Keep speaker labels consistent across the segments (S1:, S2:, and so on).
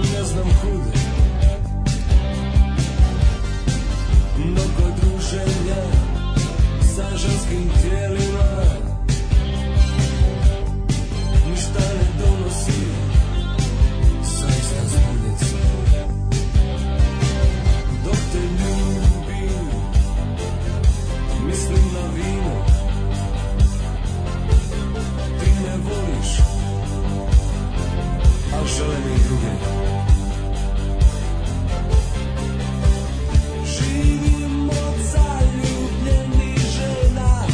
S1: znam kud Mnogo druženja sa ženskim tijelima Ništa ne donosi saista zbudnica Dok te ljubim mislim na vino Ti ne voliš a žele mi druge Živim od zaljubljenih žena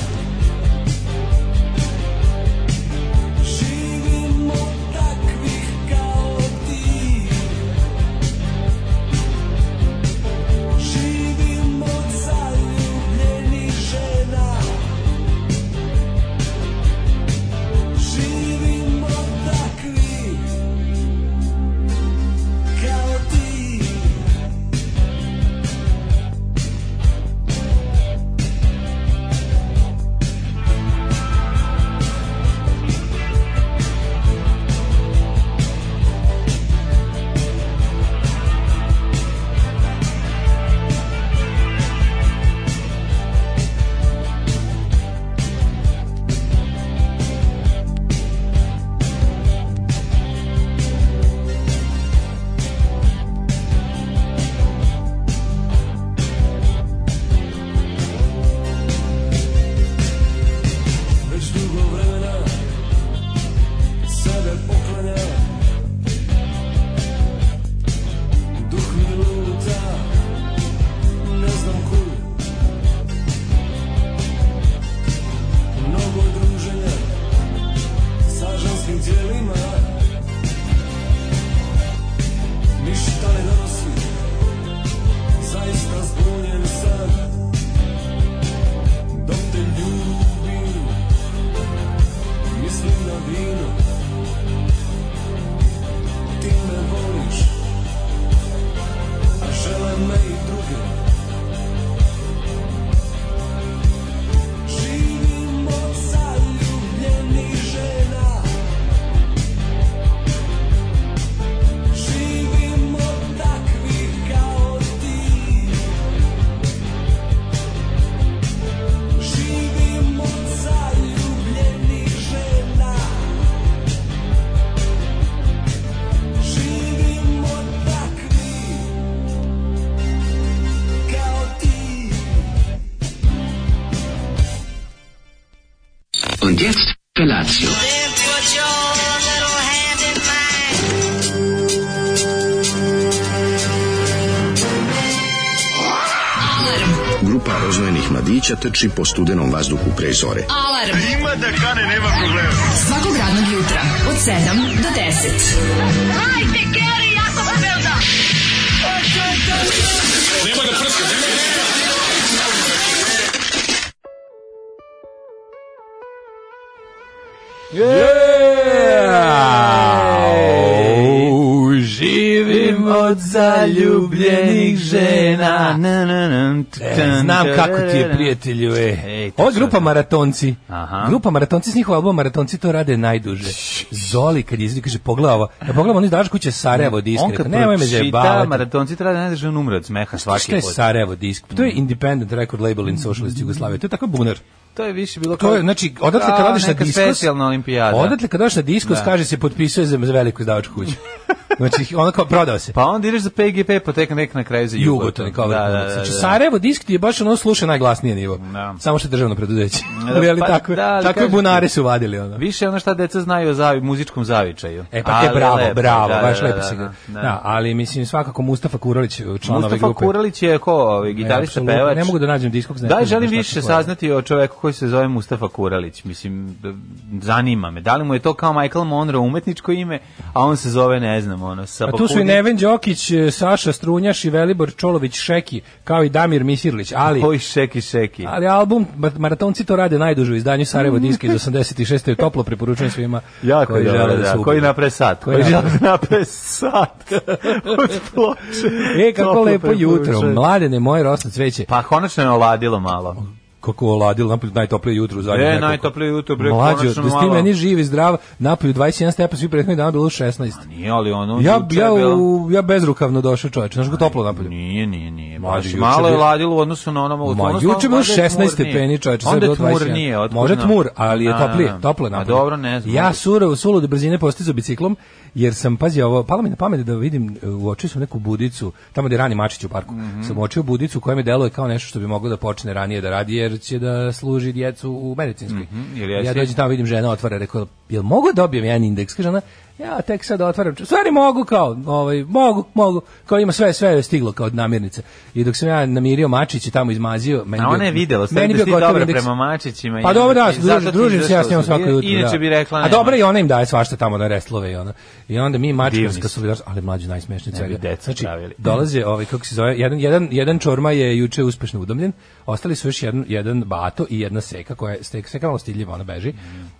S1: Živim od takvih kao ti Živim od zaljubljenih žena Živim od takvih kao ti već dugo vremena sebe poklanja duh mi luta ne znam kud mnogo druženja sa ženskim tijelima ništa ne donosi zaista zbunjen sam dok te ljubim Mislim na vino Ti me voliš A žele me i druge Živim od zaljubljenih žena Živim od takvih kao ti Živim od zaljubljenih žena Živim od takvih kao ti
S2: Und jetzt Felatio.
S3: Then put your little hand in mine.
S4: Grupa roznojenih mladića trči po studenom vazduhu pre zore.
S5: Alarm. Ima da kane, nema problema. Svakog radnog jutra, od 7 do 10.
S3: Hajde, Geri, jako se velda.
S6: Živim
S7: od zaljubljenih žena.
S6: Na, na, na, t-
S7: E, znam kako ti je prijatelju e.
S6: Ej, to
S7: Ova
S6: što
S7: grupa
S6: znam.
S7: Maratonci.
S6: Aha.
S7: Grupa Maratonci s njihov album Maratonci to rade najduže. Zoli kad je kaže pogledaj ovo. Ja pogledam oni daš kuće Sarajevo disk.
S6: On
S7: Rekao,
S6: kad
S7: pa Nemoj me
S6: pročita
S7: zajebavati. Pa
S6: maratonci treba da ne znaš da on umre od smeha svaki
S7: Šta je
S6: put.
S7: Sarajevo disk? Pa To
S6: Mm.
S7: je independent record label in socialist Jugoslavije. To je tako bunar.
S6: To je više bilo
S7: To je, znači, odatle kad
S6: A,
S7: odeš na
S6: neka
S7: diskos...
S6: specijalna olimpijada.
S7: Odatle kad odeš na diskos,
S6: Da.
S7: kaže se, potpisuje za, za veliku izdavačku kuću. Znači, ono kao prodao se.
S6: Pa onda ideš za PGP, pa tek nek na kraju za
S7: Jugoton kao
S6: da, da, da,
S7: vrhunac.
S6: da.
S7: Znači Sarajevo disk ti je baš ono sluša najglasnije nivo.
S6: Da.
S7: Samo što je državno preduzeće.
S6: Da,
S7: Ali, ali
S6: pa,
S7: tako,
S6: da, ali
S7: takve
S6: kažem ti.
S7: bunare su vadili ono.
S6: Više ono šta deca znaju o zavi, muzičkom zavičaju.
S7: E pa te
S6: Ali
S7: bravo,
S6: lepo,
S7: bravo,
S6: da,
S7: baš
S6: da,
S7: lepo
S6: da,
S7: se.
S6: da,
S7: Da,
S6: da.
S7: ali mislim svakako Mustafa Kuralić član ove
S6: Mustafa
S7: grupe.
S6: Kuralić je ko ovaj, gitarista,
S7: E, apsolutno.
S6: pevač.
S7: Ne mogu da nađem diskog
S6: Da, želim više saznati o čoveku koji se zove Mustafa Kuralić. Mislim, d- zanima me. Da li mu je to kao Michael Monroe umetničko ime, a on se zove, ne znam, ono,
S7: A tu su i
S6: Sabakudin?
S7: Neven Đokić, e, Saša Strunjaš i Velibor Čolović Šeki, kao i Damir Misirlić, ali
S6: Koji šeki šeki.
S7: Ali album Mar- Maratonci to rade najduže u izdanju Sarajevo diska iz 86. je toplo preporučujem svima
S6: Mm. Jako
S7: koji
S6: koji dobro,
S7: žele da,
S6: da,
S7: se ubedu.
S6: koji napre sat, koji,
S7: Koji
S6: žele da napre sat od ploče.
S7: E, kako
S6: Toplo
S7: lepo jutro,
S6: preporučujem.
S7: mladene moje rosno cveće.
S6: Pa konačno je oladilo malo.
S7: kako je oladilo, napolju najtoplije jutro u zadnjih
S6: E,
S7: nekoliko-
S6: najtoplije jutro, bre,
S7: Mlađo,
S6: konačno
S7: da ste
S6: malo.
S7: meni živi, zdrav, napolju 21 stepa, svi prethodni dana bilo 16.
S6: Nije, ali ono...
S7: Ja,
S6: juče je
S7: ja,
S6: bilo-
S7: u, ja bezrukavno došao čoveče, znaš kako je toplo napolju.
S6: Nije, nije, nije.
S7: Mlađe,
S6: Baš
S7: juče
S6: malo je
S7: bilo-
S6: ladilo u odnosu na ono malo.
S7: Ma,
S6: odnosno,
S7: juče je bilo
S6: onda je
S7: 16
S6: tmurnije.
S7: stepeni, čoveče, sad
S6: Onda
S7: je
S6: je
S7: bilo 21.
S6: tmurnije, otkud
S7: Može
S6: znam.
S7: tmur, ali je
S6: Da, da,
S7: toplije,
S6: da.
S7: toplo je
S6: Ma
S7: napolje.
S6: pa dobro, ne znam.
S7: Ja sure u sulu do brzine postizao biciklom, jer sam, pazi ovo, palo mi na pamet da vidim, e, uočio sam neku budicu, tamo gde je rani Mačić u parku,
S6: Mhm.
S7: sam uočio budicu koja mi deluje kao nešto što bi moglo da počne ranije da radi, jer će da služi djecu u medicinskoj.
S6: Mhm, jel
S7: ja
S6: jesi?
S7: dođem tamo, vidim žena otvara, rekao, jel mogu da dobijem jedan indeks? Kaže ona, ja tek sad otvaram, u stvari mogu kao, ovaj, mogu, mogu, kao ima sve, sve je stiglo kao od namirnice. I dok sam ja namirio Mačić i tamo izmazio, meni
S6: A ona je videla, sve da ti
S7: gotov
S6: dobro
S7: indeks.
S6: prema mačićima.
S7: Pa
S6: i-
S7: dobro, da,
S6: i zato
S7: družim,
S6: ti
S7: družim se ja s njom
S6: izašao
S7: svako
S6: si.
S7: jutro.
S6: Inače
S7: da.
S6: bi rekla...
S7: A
S6: nema.
S7: dobro, i ona im daje svašta tamo na restlove i ona. I onda mi mačkarska
S6: Divni su.
S7: solidarnost, ali mlađi najsmešnije
S6: Ne bi
S7: svega.
S6: decu
S7: Znači,
S6: pravili.
S7: dolaze, ovaj, kako se zove, jedan, jedan, jedan čorma je juče uspešno udomljen, ostali su još jedan, jedan bato i jedna seka, koja je seka, seka je malo stidljiva, ona beži,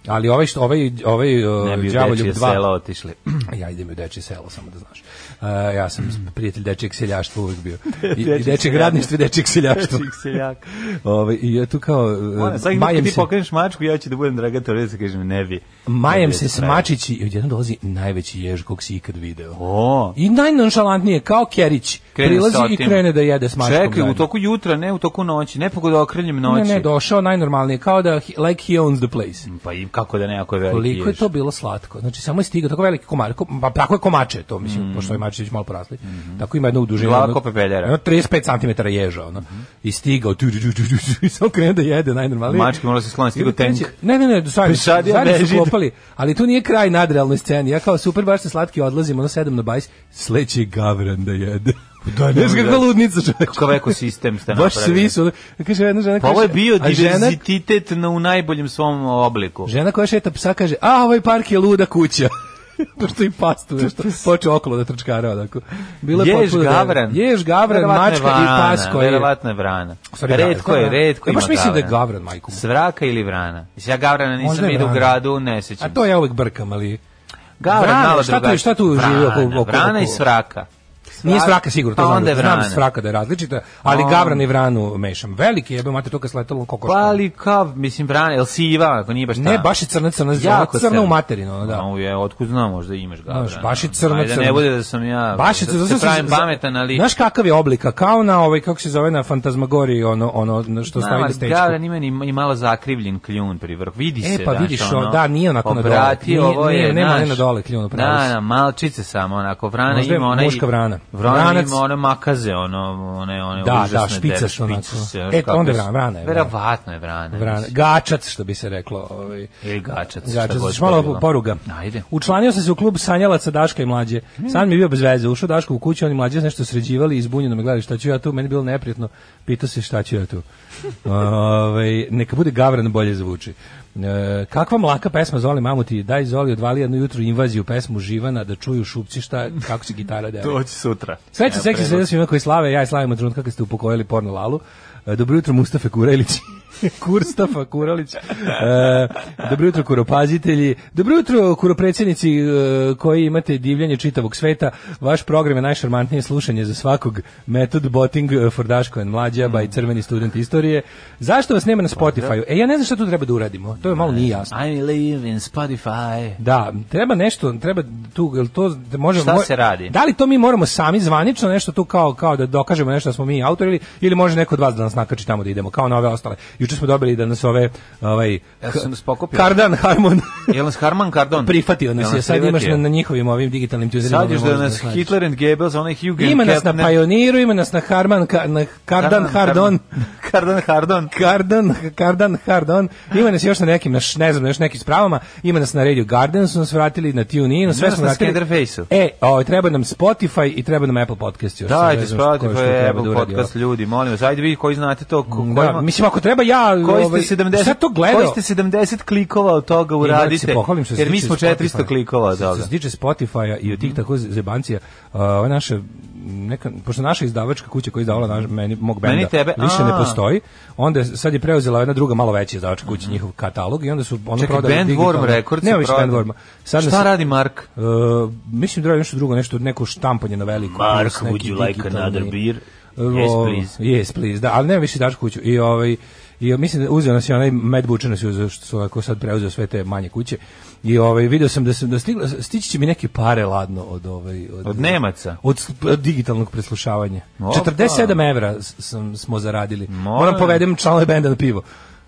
S7: ali ovaj, što, ovaj, ovaj,
S6: Mm. Ne
S7: ovaj
S6: bi u
S7: djavoljub
S6: dečije sela
S7: 2,
S6: otišli.
S7: ja idem u dečje selo, samo da znaš. Uh, ja
S6: Mm.
S7: sam prijatelj dečijeg seljaštva uvek bio. I, i dečijeg radništva i dečijeg seljaštva.
S6: Čik seljak.
S7: Ovaj, I ja tu kao, uh,
S6: Ona, Pa, sad kad
S7: majem
S6: ti
S7: se.
S6: pokreneš mačku, ja ću da budem draga Teresa, kažem, ne bi. ne
S7: Majem
S6: bi
S7: se
S6: da pravim.
S7: smačići i odjednom dolazi najveći jež kog si ikad video.
S6: O,
S7: I najnonšalantnije, kao Kerić,
S6: krene
S7: prilazi
S6: sa
S7: i
S6: tim.
S7: krene da jede s mačkom.
S6: Čekaj,
S7: zajedno.
S6: u toku jutra, ne u toku noći, ne pogoda okrenjem noći.
S7: Ne, ne, došao najnormalnije, kao da, he- like he owns the place.
S6: Pa i kako da ne, ako je veliki
S7: Koliko je
S6: jež.
S7: to bilo slatko. Znači, samo je stigao tako veliki komar, ko, pa tako je komače to, mislim,
S6: Mm.
S7: pošto je mačić malo porasli.
S6: Mm-hmm.
S7: Tako ima jednu dužinu.
S6: Glava
S7: ono-
S6: ko pepeljara.
S7: ono 35 cm ježa, ono.
S6: Mm-hmm.
S7: I stigao, tu, tu, tu, tu, tu, tu, i samo krene da jede, najnormalnije.
S6: Mačke morala se skloniti, stigao
S7: Ili
S6: tank.
S7: treće- Ne, ne, ne, stvari,
S6: Pešadija
S7: stvari su
S6: beži.
S7: klopali, ali tu nije kraj nadrealnoj sceni. Ja kao super, baš se slatki odlazim, ono sedam na bajs, sleće gavran da jede. Da, ne,
S6: nemoj
S7: ne,
S6: Pa da.
S7: ludnica čoveče.
S6: Kakav ekosistem ste
S7: Baš svi
S6: napravili.
S7: su, kaže jedna žena,
S6: Pa ovo je
S7: kaže,
S6: bio
S7: a žena,
S6: diverzitet na, u najboljem svom obliku.
S7: žena koja šeta psa kaže, a ovaj park je luda kuća. Pošto i pastu nešto, počeo okolo da trčkara onako. Bilo je
S6: Ješ
S7: potpuno da-
S6: gavran.
S7: Ješ gavran,
S6: Verovatno je
S7: mačka i
S6: vrana,
S7: pas koji je.
S6: Verovatno je vrana.
S7: U stvari, da,
S6: Redko
S7: je
S6: je,
S7: to
S6: redko
S7: vrana.
S6: ima
S7: Ja baš mislim da je
S6: gavrana.
S7: gavran, majku mu.
S6: Svraka ili vrana? Mislim, ja gavrana
S7: Možda
S6: nisam
S7: je
S6: vidio u
S7: vrana.
S6: gradu, ne
S7: A
S6: sećam.
S7: to ja uvek brkam, ali...
S6: Gavran
S7: Vrana,
S6: malo
S7: šta tu-
S6: drugačije.
S7: šta tu živi
S6: Vrana,
S7: oko- oko- oko-
S6: Vrana i svraka.
S7: Nije svraka sigurno, to
S6: pa
S7: znam
S6: onda
S7: da-
S6: je
S7: znam
S6: vrana.
S7: da svraka da je različita, ali
S6: On-
S7: gavran i vranu mešam. Veliki jebe, mate, to kad sletalo kokoška.
S6: Pa ali kao, mislim, vrana, jel siva, ako nije baš ta?
S7: Ne, baš je crna, crna,
S6: Jako
S7: crna
S6: se-
S7: u materinu, ono, da.
S6: Au je, otkud znam, možda imaš gavrana.
S7: Znaš, baš je crna,
S6: Ajde, da
S7: crna.
S6: ne bude da sam ja,
S7: Baš je
S6: da
S7: zato
S6: se
S7: što
S6: pravim
S7: za-
S6: pametan, ali...
S7: Znaš kakav je oblika? Kao na ovaj, kako se zove, na fantazmagoriji, ono, ono na što stavi na
S6: Nama,
S7: stečku.
S6: Gavran ima ni, i malo zakrivljen kljun pri vrhu. Vidi
S7: E,
S6: se.
S7: pa
S6: znaš,
S7: vidiš,
S6: ono,
S7: o, da, nije onako na dole.
S6: obrati,
S7: Nije-
S6: ovo je,
S7: nije- nema
S6: znaš,
S7: ne na dole kljun, u pravu si.
S6: Da, da, malčice samo, onako, vrana
S7: Možda je
S6: ima ona...
S7: muška vrana.
S6: Vrana
S7: Vranac.
S6: ima one makaze, ono, one, one
S7: Da, da,
S6: užasne
S7: špicaš
S6: dere,
S7: onako.
S6: špice,
S7: E,
S6: znaš kako
S7: onda je vrana, vrana je, vrana.
S6: Verovatno je vrana.
S7: Vrana,
S6: mislim.
S7: gačac, što bi se reklo. Ovaj.
S6: Ili E, gačac, šta
S7: Gačac,
S6: god
S7: znaš,
S6: to
S7: malo
S6: bilo.
S7: poruga.
S6: Ajde. Hmm.
S7: Učlanio sam se u klub sanjalaca Daška i mlađe. San mi je bio bez veze. Ušao Daško u kuću, oni mlađe nešto sređivali i izbunjeno me gledali šta ću ja tu. Meni je bilo neprijatno. Pitao se šta ću ja tu. Ovaj, neka bude gavran bolje zvuči. E, kakva mlaka pesma Zoli Mamuti, daj Zoli odvali jedno jutro invaziju pesmu Živana da čuju šupci šta, kako se gitara deli.
S6: To će sutra.
S7: Sreća seksi se svima koji slave, ja i slavim od trenutka kad ste upokojili porno lalu. E, Dobro jutro Mustafa Kurelić. Kurstafa Kuralić. E, dobro jutro kuropazitelji. Dobro jutro kuropredsjednici e, koji imate divljanje čitavog sveta. Vaš program je najšarmantnije slušanje za svakog. Metod Botting e, for Daško and Mlađa by Crveni student istorije. Zašto vas nema na Spotify-u? E, ja ne znam šta tu treba da uradimo. To je malo nije jasno.
S6: I live in Spotify.
S7: Da, treba nešto, treba tu, jel to da možemo...
S6: Šta
S7: moj-
S6: se radi?
S7: Da li to mi moramo sami zvanično nešto tu kao kao da dokažemo nešto da smo mi autori ili, ili može neko od vas da nas nakači tamo da idemo kao na ove ostale. Juče smo dobili da nas ove ovaj
S6: Jel su nas pokupili?
S7: Kardan Harmon
S6: Jel nas Harman Kardon?
S7: prihvatio nas
S6: Jel
S7: je. Sad imaš
S6: prihvatio?
S7: na, na njihovim ovim digitalnim tunerima.
S6: Sad još da nas Hitler and Goebbels, onaj Hugh
S7: Ima nas na Pioneeru, ima nas na Harman, Ka- na Kardan Hardon.
S6: Kardan Hardon.
S7: Kardan, Kardan, Hardon. Ima nas još na nekim, na, š- ne znam, na još nekim spravama. Ima nas na Radio Garden, su nas vratili na TuneIn, sve
S6: nas
S7: smo
S6: na
S7: vratili.
S6: Skenderfaceu.
S7: E, o, treba nam Spotify i treba nam Apple Podcast još.
S6: Dajte,
S7: Sad ne znam što- ko je što
S6: Spotify,
S7: treba da
S6: Apple
S7: uradi,
S6: podcast, ljudi, molim vas, ajde vi koji znate to, ko,
S7: ovo.
S6: kojima-
S7: Da, mislim, ako treba ja... ovaj,
S6: koji ste 70,
S7: Sad to gledao.
S6: koji ste 70 klikova od toga
S7: I moram da se
S6: uradite,
S7: pohvalim što se
S6: jer mi
S7: tiče
S6: smo 400
S7: Spotify-a.
S6: klikova od
S7: Što
S6: toga.
S7: se tiče Spotify-a i od tih tako zebancija, uh, ova naša neka, pošto naša izdavačka kuća koja je izdavala naš, meni, mog benda
S6: Meni tebe,
S7: više ne
S6: a.
S7: postoji, onda je- sad je preuzela jedna druga malo veća izdavačka kuća njihov katalog i onda su ono
S6: Čekaj,
S7: prodali
S6: Bandworm
S7: digitalno.
S6: Records
S7: Nema
S6: je
S7: više
S6: prodan.
S7: Bandworma. Sad nas-
S6: Šta radi Mark?
S7: Uh, mislim da je nešto drugo, nešto neko štampanje na veliko.
S6: Mark,
S7: plus neki
S6: would you like
S7: digitalni- E,
S6: another beer?
S7: O,
S6: Yes, please.
S7: Yes, please. Da, ali nema više daš kuću. I ovaj I mislim da uzeo nas je onaj Mad Butcher nas je uzeo što su onako sad preuzeo sve te manje kuće. I ovaj video sam da sam da stigla, stići će mi neke pare ladno od ovaj od,
S6: Od Nemaca?
S7: Od, s- od digitalnog preslušavanja.
S6: Opa.
S7: 47 evra s- sam, smo zaradili.
S6: Molim.
S7: Moram povedem članove benda na pivo.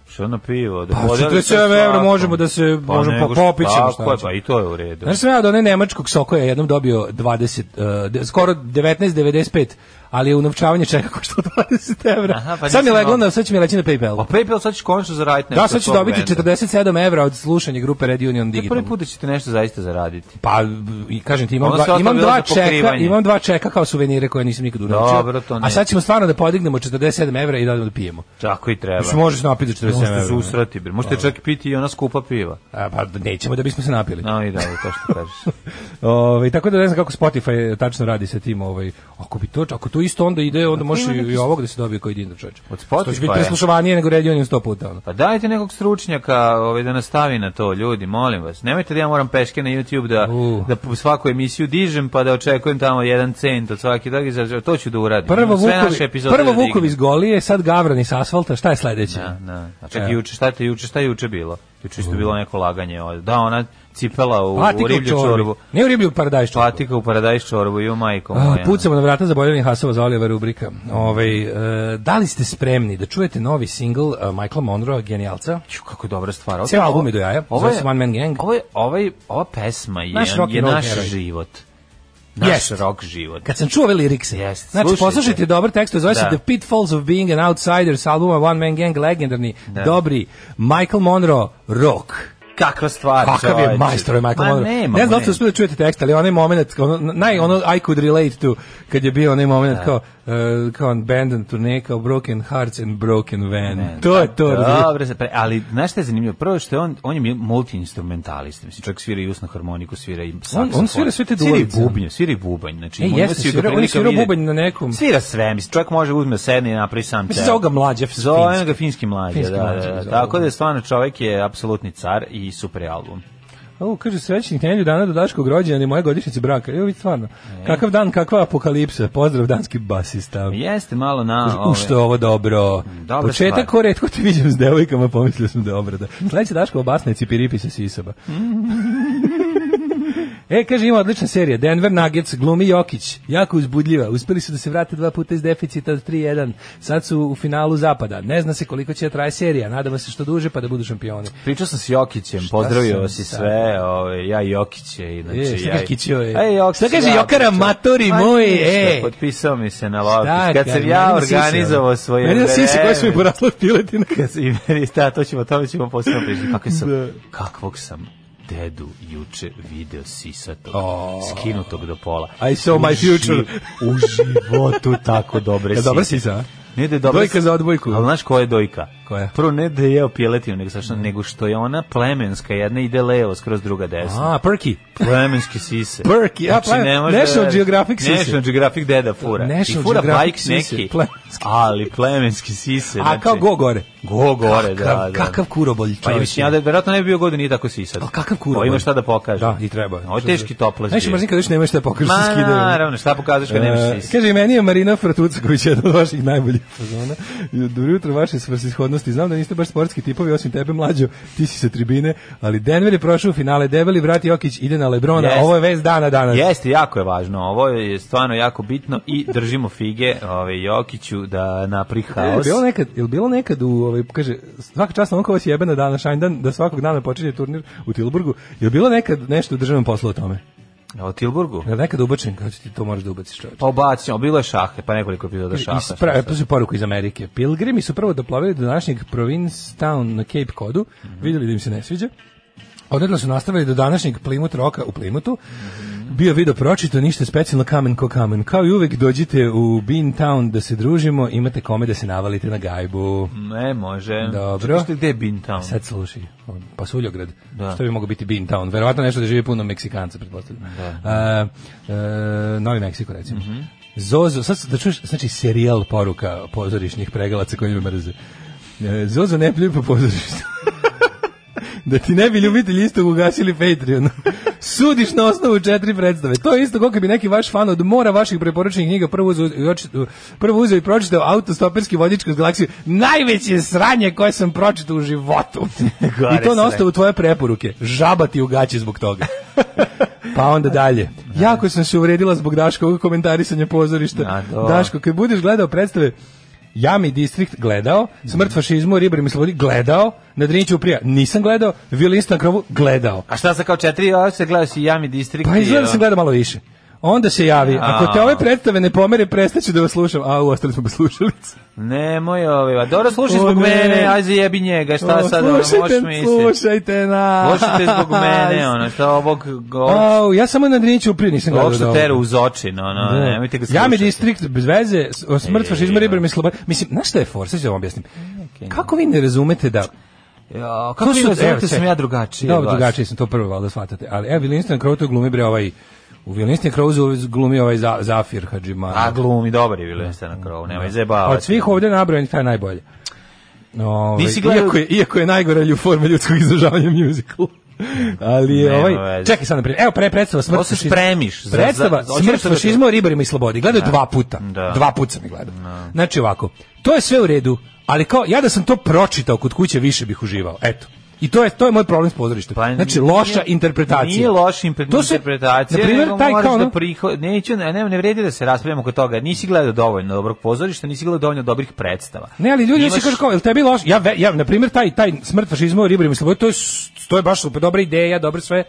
S6: Što na pivo? Da
S7: Pa,
S6: podeli sa
S7: 47 evra
S6: svakom. Pa
S7: možemo da se- možemo
S6: nego
S7: po-
S6: što-
S7: popićemo, šta
S6: Tako je,
S7: hoćemo.
S6: pa i to je u redu.
S7: Znaš sam ja od one nemačkog sokoja jednom dobio 20, uh, de, skoro 19,95, ali je unovčavanje čeka koštalo 20 evra.
S6: Aha, pa
S7: sad mi
S6: nisam
S7: leglo,
S6: mogao.
S7: na, sad će mi leći na PayPal.
S6: Pa PayPal sad ćeš končno zaraditi nešto.
S7: da, sad ću
S6: od svog
S7: dobiti
S6: benda.
S7: 47 evra od slušanja grupe Red
S6: Te
S7: Union
S6: prvi
S7: Digital.
S6: put da ćete nešto zaista zaraditi.
S7: Pa, b- i kažem ti, imam,
S6: Ono
S7: dva,
S6: sve
S7: imam,
S6: ostalo
S7: dva
S6: je za
S7: čeka,
S6: pokrivanje.
S7: imam dva čeka kao suvenire koje nisam nikad unovčio.
S6: Dobro, to
S7: A
S6: ne.
S7: sad ćemo stvarno da podignemo 47 evra i da odemo da pijemo.
S6: Tako i treba.
S7: Mislim, može se napiti za 47 evra.
S6: Možete se usrati, bre. Možete čak i piti i ona skupa piva.
S7: A, pa nećemo da bismo se napili.
S6: No i da, i to što kažeš.
S7: Ovaj tako da ne znam kako Spotify eh, tačno radi sa tim, ovaj ako bi to ako to isto onda ide, onda može i ovog da se dobije koji dinar čoveče.
S6: Od
S7: To će biti
S6: Spotifya?
S7: preslušavanije nego Red Union 100 puta ono.
S6: Pa dajte nekog stručnjaka ovaj, da nastavi na to, ljudi, molim vas. Nemojte da ja moram peške na YouTube da,
S7: U.
S6: da po svaku emisiju dižem pa da očekujem tamo jedan cent od svake toga. Za, to ću da uradim.
S7: Prvo
S6: Imam Sve naše
S7: Vukovi,
S6: epizode
S7: prvo
S6: da dignem.
S7: Vukovi iz Golije, sad Gavran iz asfalta, šta je sledeće?
S6: Da, da. A čak
S7: Evo.
S6: juče, šta te juče, šta je juče bilo? Juče isto bilo neko laganje. ovaj. Da, ona cipela u, u
S7: Patika u
S6: riblju
S7: čorbi.
S6: čorbu.
S7: Ne u riblju paradajz čorbu.
S6: Patika u paradajz čorbu, ju majko
S7: A,
S6: moja.
S7: Pucamo na vrata zaboljavnih hasova za Oliver rubrika. Ovaj, e, da li ste spremni da čujete novi singl e, Michaela Monroe, genijalca?
S6: Ću, kako dobra stvar. Ovo-
S7: Cijel album je do jaja, zove se One Man Gang.
S6: Ovo je, ovaj, ova pesma je
S7: Naš
S6: naš,
S7: rock
S6: je
S7: and roll
S6: naš
S7: heroj.
S6: život. Naš
S7: Jest.
S6: rock život.
S7: Kad sam čuo ove lirikse,
S6: Jeste,
S7: znači
S6: slušajte.
S7: poslušajte dobar tekst, zove se
S6: Da.
S7: The Pitfalls of Being an Outsider s albuma One Man Gang, legendarni,
S6: Da.
S7: dobri, Michael Monroe, rock.
S6: Kakva stvar,
S7: Kakav je
S6: čoveče.
S7: majstor ovaj Michael
S6: Ma,
S7: Monroe.
S6: nema,
S7: ne znam da li ste
S6: nema.
S7: uspeli da čujete tekst, ali onaj moment, ono, naj, ono I could relate to, kad je bio onaj moment kao, uh, kao on band turne, kao Broken Hearts and Broken Van. To je to, razumiješ?
S6: Dobro, se pre- ali znaš šta je zanimljivo? Prvo što je on, on je multiinstrumentalist, mislim, čovjek svira i usnu harmoniku, svira i saksofon.
S7: on svira sve te dualice.
S6: Svira i bubnje, svira i bubanj, znači.
S7: E,
S6: ima-
S7: jeste,
S6: ima svi
S7: svira- on je
S6: prilika
S7: svirao
S6: vidjeti-
S7: bubanj na nekom.
S6: Svira sve, mislim, čovjek može uzme sedne i napravi sam
S7: Mislim,
S6: ceo.
S7: zove ga mlađe,
S6: Zovem
S7: finski.
S6: ga finski mlađe,
S7: Finski
S6: da,
S7: mlađe
S6: da,
S7: ga zove.
S6: da. Tako da je stvarno čovjek je apsolutni car i super je album.
S7: O, kaže srećnih nedelju dana do Daškog rođena i moje godišnjice braka. Evo vidi stvarno. Kakav dan, kakva apokalipsa. Pozdrav danski basista.
S6: Jeste malo na...
S7: U što je ovo dobro.
S6: Dobra
S7: Početak
S6: stvar.
S7: ko retko te vidim s devojkama, pomislio sam da je obrada. Sledeća Daškova basna je Cipiripi sa Sisaba. e, kaže, ima odlična serija. Denver Nuggets, glumi Jokić. Jako uzbudljiva. Uspeli su da se vrate dva puta iz deficita od 3-1. Sad su u finalu zapada. Ne zna se koliko će da traje serija. Nadamo se što duže pa da budu šampioni.
S6: Pričao sam s Jokićem, pozdravio
S7: sam
S6: vas i
S7: sad?
S6: sve, ove, ja i Jokiće, i znači...
S7: E, šta kaže
S6: ja i-
S7: Kićio, e?
S6: E, Jokić
S7: Šta kaže
S6: ja
S7: Jokara,
S6: pričao.
S7: matori
S6: Ma
S7: moji,
S6: ništa,
S7: e?
S6: Potpisao mi se na
S7: Šta
S6: Valpić. Pa, Kad
S7: kaže,
S6: sam ja
S7: meni sise, ono.
S6: organizovao svoje...
S7: Meni da sise koje su mi
S6: vreme-
S7: porasle od piletina.
S6: Kad sam- i meni, da, to ćemo, o tome ćemo posebno pričati. Kako sam,
S7: Da.
S6: kakvog sam dedu juče video sisatog, skinutog do pola.
S7: I saw my
S6: U ži-
S7: future.
S6: U životu tako dobre
S7: Ja, dobra sisa, a?
S6: Ne da je dobra
S7: Dojka
S6: si-
S7: za odbojku.
S6: Ali znaš koja je dojka?
S7: Koja?
S6: Prvo ne da je jeo piletinu, nego, sa što, nego što je ona plemenska, jedna ide levo, skroz druga desna.
S7: A, Perky.
S6: Plemenske sise. Znači,
S7: Perky, a, plemen-
S6: ne može
S7: National
S6: da-
S7: Geographic sise.
S6: National Geographic deda fura.
S7: National
S6: I fura
S7: Geographic
S6: bajk
S7: sise,
S6: neki,
S7: plemenski.
S6: ali plemenski sise.
S7: A kao
S6: znači-
S7: go gore.
S6: Go gore, da, da.
S7: Kakav- Kakav kurobolj
S6: Pa
S7: čovječe.
S6: mislim, ja da verovatno ne bi bio god da nije tako sisat.
S7: Ali kakav kurobolj?
S6: Pa ima šta da pokaže.
S7: Da, i treba.
S6: Ovo je teški toplac.
S7: Znaš,
S6: bio.
S7: mrzim kad više nemaš šta da pokažeš sa
S6: Ma,
S7: skidaju. E,
S6: naravno, šta pokazuješ kad nemaš sisa?
S7: Kaže, i meni je Marina Fratucaković jedna od vaših najboljih fazona. Dobro jutro, vaše svrsishodnosti. Znam da niste baš sportski tipovi, osim tebe mlađo, ti si sa tribine, ali Denver je prošao u finale, debeli vrat Jokić ide na Lebrona,
S6: Jeste.
S7: ovo je vez dana danas.
S6: Jeste, jako je važno. Ovo je stvarno jako bitno i držimo fige ovaj, Jokiću da napri
S7: Je li
S6: haos.
S7: E, bilo nekad, je li bilo nekad u, ovaj, kaže, svaka čast onko vas jebena dana, šajndan, da svakog dana počinje turnir u Tilburgu, je li bilo nekad nešto u državnom poslu o tome?
S6: O Tilburgu?
S7: Je li nekad ubačen, kao ti to moraš da ubaciš čovječe?
S6: Pa obacio, bilo je šahe, pa nekoliko epizoda šaha.
S7: Iz, pra, pa su poruku iz Amerike. Pilgrimi su prvo doplavili do današnjeg Provincetown na Cape Codu, vidjeli da im se ne sviđa. Odredno su nastavili do današnjeg Plymouth Roka u Plymoutu. Bio video pročito, ništa specijalno kamen ko kamen. Kao i uvek dođite u Bean Town da se družimo, imate kome da se navalite na gajbu.
S6: Ne, može.
S7: Dobro.
S6: Čekaj, gde je Bintown?
S7: Sad slušaj, on, pa Suljograd,
S6: Da.
S7: što bi mogao biti Bean Town, verovatno nešto da živi puno Meksikanca, pretpostavljam. Da. Novi Meksiko, recimo. Zozo, sad da čuješ, znači serijal poruka pozorišnih pregalaca koji me mrze. E, Zozo ne pljuju po pozorištu. da ti ne bi ljubitelji istog ugasili Patreon. sudiš na osnovu četiri predstave. To je isto kako bi neki vaš fan od mora vaših preporučenih knjiga prvo uzeo i oči- prvo uzeo i pročitao autostoperski vodič kroz galaksiju. Najveće sranje koje sam pročitao u životu.
S6: Gore
S7: I to na
S6: sranje.
S7: osnovu tvoje preporuke. Žaba ti u gaći zbog toga. Pa onda dalje. Jako sam se uvredila zbog Daškovog komentarisanja pozorišta.
S6: A, to.
S7: Daško, kad budeš gledao predstave Jami distrikt gledao,
S6: Mhm.
S7: smrt fašizmu, ribari mi slobodi gledao, na Driniću prija nisam gledao, violista na krovu gledao.
S6: A šta sa kao četiri, ovo se gledaš i Jami District.
S7: Pa
S6: i,
S7: izgleda da
S6: o,
S7: sam gledao malo više. Onda se javi, ako te
S6: A.
S7: ove predstave ne pomere, prestaću da vas slušam. A, ostali smo bez slušalica.
S6: Nemoj ove, a dobro slušaj
S7: O,
S6: zbog
S7: ne.
S6: mene, aj za jebi njega, šta
S7: O,
S6: sad, ono, možeš
S7: slušajte,
S6: misliti.
S7: slušajte na...
S6: Slušajte zbog mene, ono, šta ovog, ovog,
S7: Au, ja samo na Driniću prije nisam gledao.
S6: ovog što
S7: da
S6: tera uz oči, no, no,
S7: Da.
S6: nemojte ga
S7: Ja mi
S6: slušati.
S7: distrikt bez veze, s- o, smrt
S6: E,
S7: fašizma
S6: e,
S7: ribar mi sloboda. Mislim, znaš šta je for, sad ću vam objasnim. Kako vi ne razumete da
S6: Ja, kako vi
S7: evo,
S6: razumete sam
S7: čekaj.
S6: ja drugačiji? od
S7: Dobro,
S6: vas?
S7: drugačije sam to prvo valjda shvatate. Ali evo Winston Crowe to glumi bre ovaj u Winston Crowe zu- glumi ovaj za, Zafir Hadžima.
S6: A glumi, dobar je Vilensta na krovu, nemoj zajebavati.
S7: Od svih ovde nabrojenih taj je najbolje. Ovaj,
S6: Nisi gledao-
S7: iako je iako je najgora lju forma ljudskog izražavanja musical. Ali je
S6: Nema
S7: ovaj
S6: veze.
S7: čekaj sad na primjer. Evo pre predstava smrt
S6: Ovo se
S7: fašizma.
S6: spremiš za- za-
S7: Predstava
S6: hoćeš
S7: smrt
S6: da te-
S7: fašizma o ribarima i slobodi. Gledao dva puta.
S6: Da.
S7: Dva puta sam ih gledao. Znači ovako, to je sve u redu, ali kao ja da sam to pročitao kod kuće više bih uživao. Eto. I to je to je moj problem s pozorištem.
S6: Pa
S7: znači
S6: nije-
S7: loša interpretacija.
S6: Nije loša impe-
S7: To se-
S6: interpretacija,
S7: na primjer,
S6: nego
S7: taj
S6: moraš
S7: kao ono-
S6: da priho... Neću, ne, ne, ne vredi da se raspravljamo oko toga. Nisi gledao dovoljno dobrog pozorišta, nisi gledao dovoljno dobrih predstava.
S7: Ne, ali ljudi
S6: Imaš-
S7: se kažu kao, jel tebi loš? Ja, ve- ja na primjer, taj, taj smrt fašizma u ribarima i slobodi, to je, s- to je baš super, dobra ideja, dobro sve.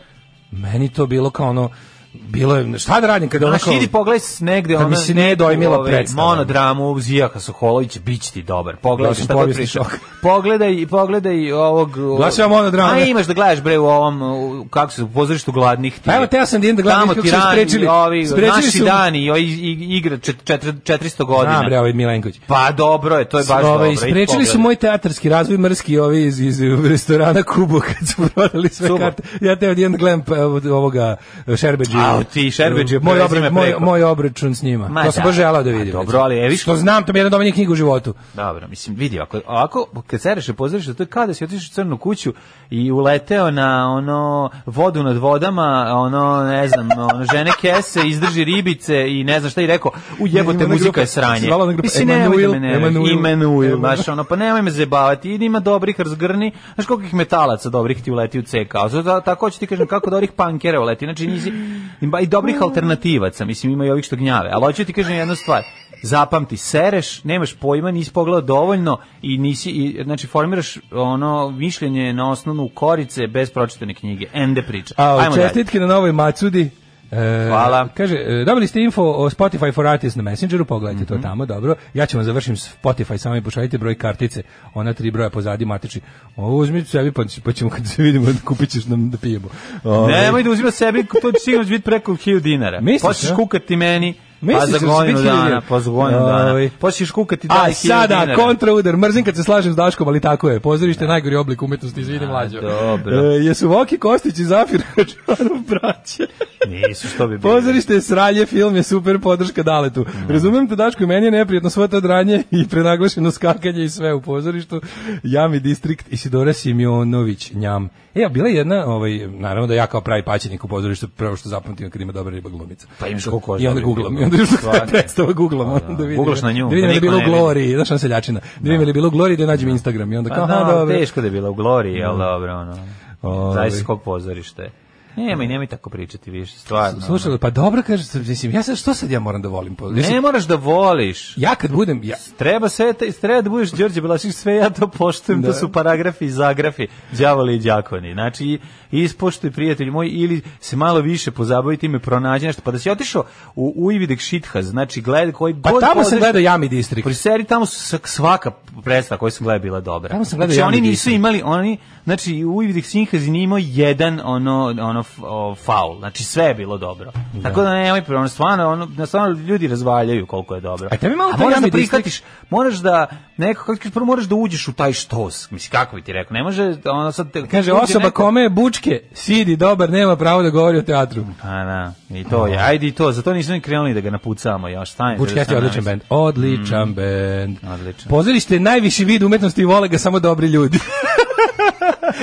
S7: Meni to bilo kao ono, bilo je, šta da radim kada ono
S6: Znaš,
S7: kao...
S6: idi pogledaj s- negde
S7: Da mi
S6: ona
S7: se ne dojmila
S6: ovaj,
S7: predstava.
S6: Monodramu Zijaka Soholovića biće ti dobar. Pogledaj
S7: Da, sam
S6: šta to
S7: povijesni
S6: priča.
S7: šok.
S6: Pogledaj, pogledaj ovog... ovog-
S7: Glasaj o monodrami.
S6: A imaš da gledaš bre u ovom u- kako se u pozorištu gladnih ti.
S7: Pa evo, teo sam da idem da gledam,
S6: Tamo
S7: kako
S6: ti
S7: su
S6: rani,
S7: sprečili.
S6: Ovi,
S7: Sprečili
S6: naši
S7: su-
S6: dani, i ovi i- igra čet- četiri- 400 godina.
S7: Znam, bre, ovaj Milenković.
S6: Pa dobro je, to je baš dobro.
S7: Ovaj,
S6: idi
S7: sprečili su
S6: pogledaj.
S7: moj teatarski razvoj mrski ovi iz, iz restorana Kubo kad su prodali sve
S6: Subo.
S7: karte. Ja te odjedno gledam pa, od ovoga Šerbeđi.
S6: Au, ti, Šerbeđiju
S7: moj,
S6: prezime
S7: obra- moj,
S6: preko.
S7: moj obračun s njima.
S6: Ma
S7: to sam
S6: da.
S7: baš želao da
S6: A
S7: vidim.
S6: dobro, ali, e, viš-
S7: Što znam, to mi je jedna od omiljenih knjiga u životu.
S6: Dobro, mislim, vidi, ako, ako kad sereš i pozoriš, to je kao da si otišao u crnu kuću i uleteo na ono vodu nad vodama, ono, ne znam, ono, žene kese, izdrži ribice i ne znam šta i rekao, u
S7: Ima
S6: jebote,
S7: ona
S6: muzika
S7: grupa-
S6: je sranje.
S7: zvala ona grupa
S6: Mislim, nemoj da me
S7: Emanuel,
S6: ne
S7: Emanuel.
S6: Emanuel,
S7: Emanuel.
S6: znaš, ono, pa nemoj me zebavati, idi ima dobrih razgrni, znaš koliko ih metalaca dobrih ti uleti u CK, a zato- tako ću ti kažem kako dobrih pankera uleti, znači nisi, ima i dobrih alternativaca, mislim, ima i ovih što gnjave, ali hoću ti kažem jednu stvar, zapamti, sereš, nemaš pojma, nisi pogledao dovoljno i nisi, i, znači formiraš ono mišljenje na osnovnu korice bez pročitane knjige, ende priča.
S7: A,
S6: Ajmo dalje.
S7: čestitke na novoj Macudi. E,
S6: Hvala.
S7: Kaže, e, dobili ste info o Spotify for Artists na Messengeru, pogledajte
S6: Mhm.
S7: to tamo, dobro. Ja ću vam završim Spotify, samo mi pošaljite broj kartice, ona tri broja pozadi matiči. Ovo uzmi sebi, pa, pa ćemo kad se vidimo, kupit ćeš nam da pijemo. Ovaj,
S6: Nemoj da uzima sebi, to će sigurno biti preko 1000 dinara.
S7: Misliš,
S6: Počneš
S7: a?
S6: kukati meni, pa
S7: Misliš da
S6: za
S7: će
S6: godinu
S7: biti 1000
S6: dana, pa za godinu dana.
S7: Ovaj.
S6: Počneš kukati da
S7: A
S6: 1000 dinara.
S7: sada, kontraudar, mrzim kad se slažem s Daškom, ali tako je. Pozorište je najgori oblik umetnosti, izvini mlađo.
S6: dobro.
S7: E, jesu Voki Kostić i Zafir Hadžanov braće?
S6: Nisu, što bi bilo.
S7: Pozorište je sralje, film je super podrška Daletu. Razumem te Daško i meni je neprijatno svo to dranje i prenaglašeno skakanje i sve u pozorištu. Jami distrikt Isidora Simjonović, njam. E, ja, bila je jedna, ovaj, naravno da ja kao pravi paćenik u pozorištu, prvo što zapamtim kad ima dobra riba glumica.
S6: Pa imaš koliko
S7: I onda
S6: dobrih
S7: googlam,
S6: riba.
S7: i onda još
S6: Stvarno.
S7: predstava googlam. onda Da vidim,
S6: Googlaš na nju,
S7: Da vidim
S6: da
S7: da je bilo
S6: niko ne
S7: u
S6: vidi.
S7: Gloriji, znaš on seljačina. Da vidim da je bilo u Gloriji da je nađem Instagram. I onda kao,
S6: Pa
S7: aha,
S6: da,
S7: dobro.
S6: teško da je bila u Gloriji, ali dobro, ono.
S7: Ovaj.
S6: Zavisi kog pozorište je. Nemoj, nemoj tako pričati više, stvarno.
S7: Slušaj, pa dobro, kaže, mislim, ja sad, što sad ja moram da volim? pozorište?
S6: Ne moraš da voliš.
S7: Ja kad budem, ja,
S6: Treba sve, te- treba da budeš Đorđe Belašić, sve ja to poštujem, to su paragrafi i zagrafi, đavoli i đakoni. Znači, i- ispoštuj prijatelj moj, ili se malo više pozabavi time, pronađi nešto. Pa da si otišao u Uividek Šithaz, znači, gled koji
S7: Pa
S6: god
S7: tamo sam
S6: pozorište-
S7: gledao Jami distrikt.
S6: Pri seri tamo su svak- svaka predstava koju sam gledao je bila dobra.
S7: Tamo sam gledao
S6: znači,
S7: Jami
S6: oni nisu
S7: Disney.
S6: imali, oni, znači u Uvidih Sinhazi nije imao jedan ono, ono f- o, faul. Znači sve je bilo dobro. Tako da nemoj, pre- ono, stvarno, ono, na stvarno ljudi razvaljaju koliko je dobro.
S7: A tebi malo
S6: A
S7: taj
S6: moraš da
S7: Jami
S6: prihvatiš, moraš da, neko, kako ti kažeš, prvo moraš da uđeš u taj štos. Mislim, kako bi ti rekao, ne može, ono sad... te-
S7: Kaže,
S6: uđe
S7: osoba
S6: neko-
S7: kome je bučke, sidi, dobar, nema pravo da govori o teatru.
S6: A, Pa, da, i to je, ajde i to, zato nismo ni krenuli da ga napucamo još, stajem.
S7: Bučke jeste odličan bend. Odličan bend.
S6: Mm. odličan.
S7: Pozorište je najviši vid umetnosti i vole ga samo dobri ljudi.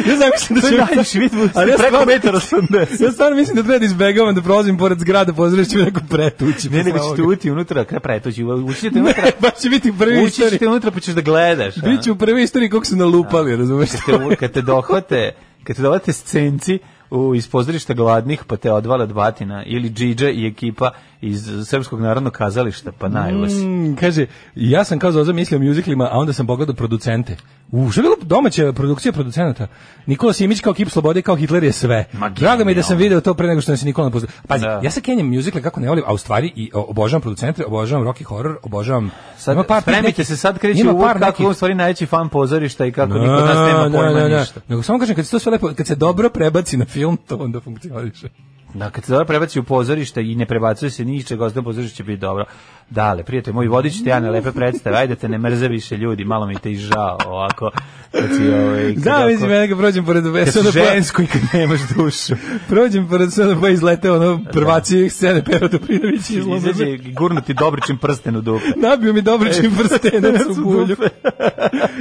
S7: ja znam mislim da
S6: To
S7: će...
S6: je najviši vid budućnosti,
S7: Ali ja
S6: preko
S7: stvarno-
S6: metara 80.
S7: Ja stvarno mislim da treba da izbegavam da prolazim pored zgrada, pozdraviš ću me neko pretući.
S6: Ne, ne,
S7: posle
S6: već ćete
S7: ovoga.
S6: uti unutra, kada pretući, ućete unutra,
S7: Baš će biti prvi
S6: ući
S7: istorij.
S6: ćete unutra pa ćeš da gledaš. a?
S7: Biću u prvi istoriji kako su nalupali, razumeš?
S6: Kad te, kad te dohvate, kad te dohvate scenci u, iz pozorišta gladnih, pa te odvale od batina, ili Džidža i ekipa iz Srpskog narodnog kazališta, pa najvas.
S7: Mm, kaže, ja sam kao Zoza mislio o muziklima, a onda sam pogledao producente. U, što je bilo domaća produkcija producenata? Nikola Simić kao Kip Slobode, kao Hitler je sve.
S6: Ma,
S7: Drago mi je da sam
S6: genijalno.
S7: video to pre nego što nas je Nikola pozdravio. Pazi,
S6: Da.
S7: ja sa Kenjem muzikle kako ne volim, a u stvari i o- obožavam producente, obožavam rock i horror, obožavam...
S6: Sad,
S7: ima par tih
S6: spremite
S7: nekih-
S6: se, sad kreće
S7: ima
S6: uvod
S7: par
S6: kako
S7: nekih-
S6: je u stvari najveći fan pozorišta i kako niko od nas nema
S7: Ne,
S6: pojma
S7: ne, ne.
S6: ništa.
S7: Nego samo kažem, kad se to sve lepo, kad se dobro prebaci na film, to onda funkcioniše.
S6: Da, kad se dobro prebaci u pozorište i ne prebacuje se ničeg, ostaje pozorište će biti dobro. Dale, prijatelj moj, vodit ću te ja na lepe predstave, ajde te ne mrze više ljudi, malo mi te i žao, ovako. Kad si, ovaj, kad
S7: Da,
S6: ovako-
S7: mislim, ja nekad prođem pored
S6: kad si
S7: Vesona, pa,
S6: žensko i kad nemaš dušu.
S7: prođem pored Vesona, pa izlete ono prvaci scene Pero Dobrinović i
S6: Izađe
S7: izložbe.
S6: i gurnuti dobrčim prsten u dupe.
S7: Nabio mi Dobričin prstenac u bulju.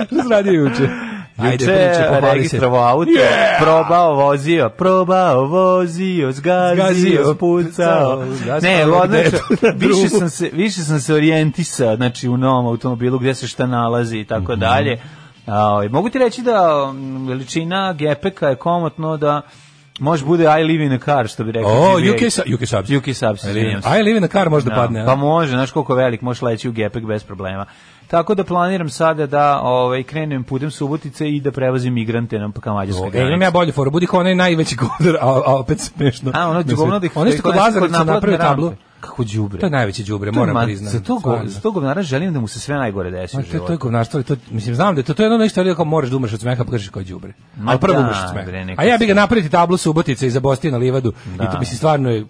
S7: Što si radio juče?
S6: Ajde, priče, registrovao auto, probao, vozio, probao, vozio, zgazio,
S7: Zgazio,
S6: spucao.
S7: spucao,
S6: Ne,
S7: zaspao
S6: odlično.
S7: gde je to?
S6: Više
S7: Drugu.
S6: sam se, više sam se orijentisao, znači u novom automobilu gdje se šta nalazi i tako
S7: Mhm.
S6: dalje. Ovaj, mogu ti reći da mm, veličina gepeka je komotno da može bude I live in a car, što bi rekao.
S7: O,
S6: TBA.
S7: UK sa- UK Subs.
S6: UK Subs, izvinjam se.
S7: Aj, live na kar možda
S6: Da,
S7: padne.
S6: Pa
S7: a?
S6: može, znaš koliko je velik, možeš leći u gepek bez problema. Tako da planiram sada da ovaj, krenem putem Subotice i da prevozim migrante nam ka Mađarskoj
S7: E, imam ja bolje foru, budi kao onaj najveći govnar, a, a opet smešno.
S6: A, ono
S7: Na
S6: đugovno
S7: svetu.
S6: da ih-
S7: Ono što kod
S6: kod
S7: Lazarevca
S6: naplatne
S7: napravio
S6: rampe.
S7: tablu.
S6: Kako đubre.
S7: To je najveći đubre,
S6: To je
S7: moram
S6: ma-
S7: priznati.
S6: Za to, go,
S7: stvarno.
S6: za to govnara želim da mu se sve najgore desi
S7: Ma,
S6: u
S7: Pa to, to
S6: životu.
S7: je govnarstvo, to, mislim, znam da je to, to je ono nešto ali kao moraš da umreš od smeha, pa kažeš kao đubre. Ali prvo
S6: da,
S7: umreš od smeha.
S6: bre, neka
S7: A ja bi ga napraviti tablu Subotice i zabostio na livadu. I to
S6: Da.
S7: mislim, stvarno je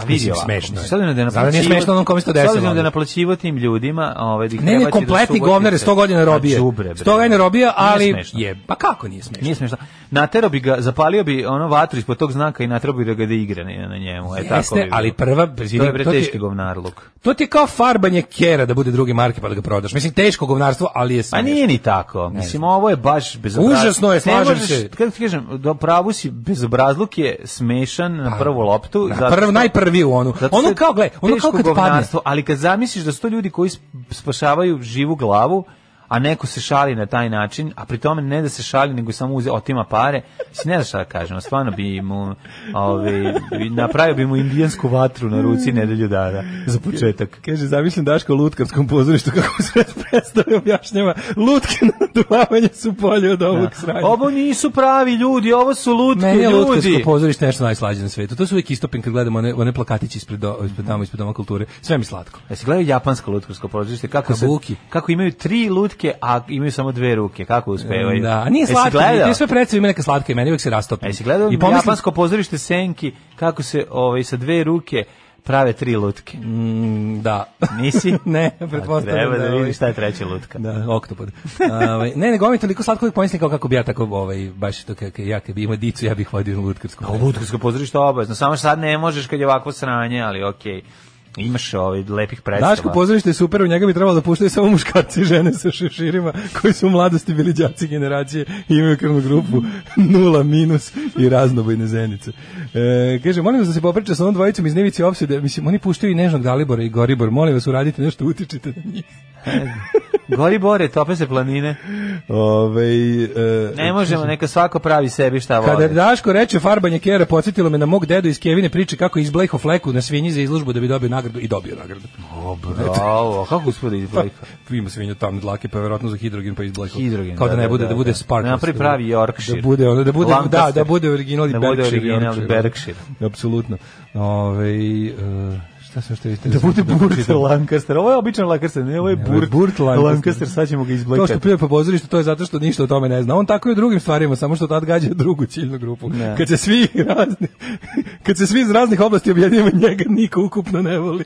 S6: Pa
S7: mislim,
S6: ovako,
S7: smešno je.
S6: Sad da je
S7: Znam da nije
S6: naplaćivo-
S7: smešno onom kome se to desilo,
S6: S obzirom da je
S7: ali.
S6: naplaćivo tim ljudima, ovaj da ih
S7: Ne,
S6: prebaci do
S7: ne, kompletni
S6: Subotice.
S7: govnar je 100 godina
S6: Ma,
S7: robije.
S6: đubre, bre.
S7: 100 godina robije,
S6: Nije
S7: ali
S6: smešno.
S7: je, pa kako nije smešno?
S6: Nije smešno. Natero bi ga, zapalio bi ono vatru ispod tog znaka i naterao bi da ga da igra na, na njemu. E, tako bi
S7: Jeste,
S6: bilo.
S7: ali prva,
S6: To
S7: izvini,
S6: je bre
S7: to ti-
S6: teški govnarluk.
S7: To ti je kao farbanje kera da bude druge marke pa da ga prodaš. Mislim, teško govnarstvo, ali
S6: Pa
S7: je smešno.
S6: nije ni tako. Mislim, ovo je baš bezobrazluk.
S7: Užasno je, slažem se.
S6: Kako ti kažem, do pravu si, bezobrazluk je smešan na prvu loptu.
S7: Pa, Na
S6: zato
S7: prv,
S6: što-
S7: najprvi u onu.
S6: zato
S7: Ono
S6: što
S7: kao, gle, ono
S6: teško
S7: kao kad padne.
S6: govnarstvo, Ali kad zamisliš da su to ljudi koji sp- spašavaju živu glavu, a neko se šali na taj način, a pri tome ne da se šali, nego samo uze, otima pare, si ne znaš šta da kažem, a stvarno bi mu, ove, napravio bi mu indijansku vatru na ruci nedelju dana, za početak.
S7: Kaže, zamislim Daško u lutkarskom pozorištu kako se predstavlja objašnjava. Lutke na duvavanje su polje od ovog sranja.
S6: Ovo nisu pravi ljudi, ovo su lutki
S7: Meni je lutkarsko
S6: ljudi.
S7: pozorište nešto najslađe na svetu. To su uvijek istopim kad gledamo one, one plakatići ispred, do, ispred dama, ispred doma kulture. Sve mi slatko.
S6: Jesi E, gledao japansko lutkarsko pozorište kako se
S7: Kabuki.
S6: kako imaju tri lutke a imaju samo dve ruke kako uspevaju?
S7: Da, a nije
S6: Jesi
S7: slatko.
S6: gledao?
S7: Ti sve predstave ima neka slatka i meni uvijek se rastopi.
S6: A Jesi gledao
S7: I pomislim,
S6: japansko pozorište Senki kako se ovaj sa dve ruke prave tri lutke?
S7: da.
S6: Nisi?
S7: ne,
S6: Pa
S7: pretpostavljam
S6: Treba da
S7: ovaj-
S6: vidiš šta je treća lutka.
S7: Da, oktopod. Ovaj ne, nego mi je toliko slatko uvijek pomislim kao kako bi ja tako ovaj baš to kako ja kad bi imao dicu ja bih vodio na lutkarsku.
S6: A lutkarsko pozorište obavezno, samo što sad ne možeš kad je ovakvo sranje, ali okej. Imaš ovaj lepih predstava.
S7: Daško pozorište je super, u njega bi trebalo da puštaju samo muškarci i žene sa šeširima koji su u mladosti bili đaci generacije i imaju krvnu grupu nula minus i raznobojne zenice. E, kaže, molim vas da se popriča sa onom dvojicom iz Nevici opside, mislim, oni puštaju i Nežnog Dalibora i Goribor, molim vas uradite nešto, utičite na njih.
S6: Gori bore, tope se planine.
S7: Ovaj, e,
S6: Ne možemo, neka svako pravi sebi šta voli.
S7: Kada Daško reče farbanje kjera, podsjetilo me na mog dedu iz Kevine priče kako je izblejho fleku na svinji za izložbu da bi dobio nagradu i dobio nagradu.
S6: O, bravo, kako uspio iz Blejka?
S7: Pa, Ima svinju tamne dlake, pa verovatno za hidrogen pa izblejho.
S6: Hidrogen,
S7: Kao da,
S6: da,
S7: ne
S6: da,
S7: bude, da,
S6: da,
S7: bude
S6: da.
S7: sparkle.
S6: Napravi pravi Yorkshire.
S7: Da bude, ono, da bude, da,
S6: Lancaster.
S7: da bude original i
S6: Da bude
S7: Berkshire.
S6: original i
S7: Yorkshire.
S6: Berkshire.
S7: Apsolutno. Ove, šta sam što vidite?
S6: Da bude Burt Lancaster. Ovo je običan Lancaster, ne, ovo je
S7: Ne, ovo je
S6: Burt,
S7: Burt Lancaster.
S6: Lancaster. sad ćemo ga
S7: To što
S6: izblekati.
S7: pljuje po pozorištu, to je zato što ništa o tome ne zna. On tako i u drugim stvarima, samo što tad gađa drugu ciljnu grupu.
S6: Ne.
S7: Kad se svi razni, kad se svi iz raznih oblasti objedinimo, njega niko ukupno ne voli.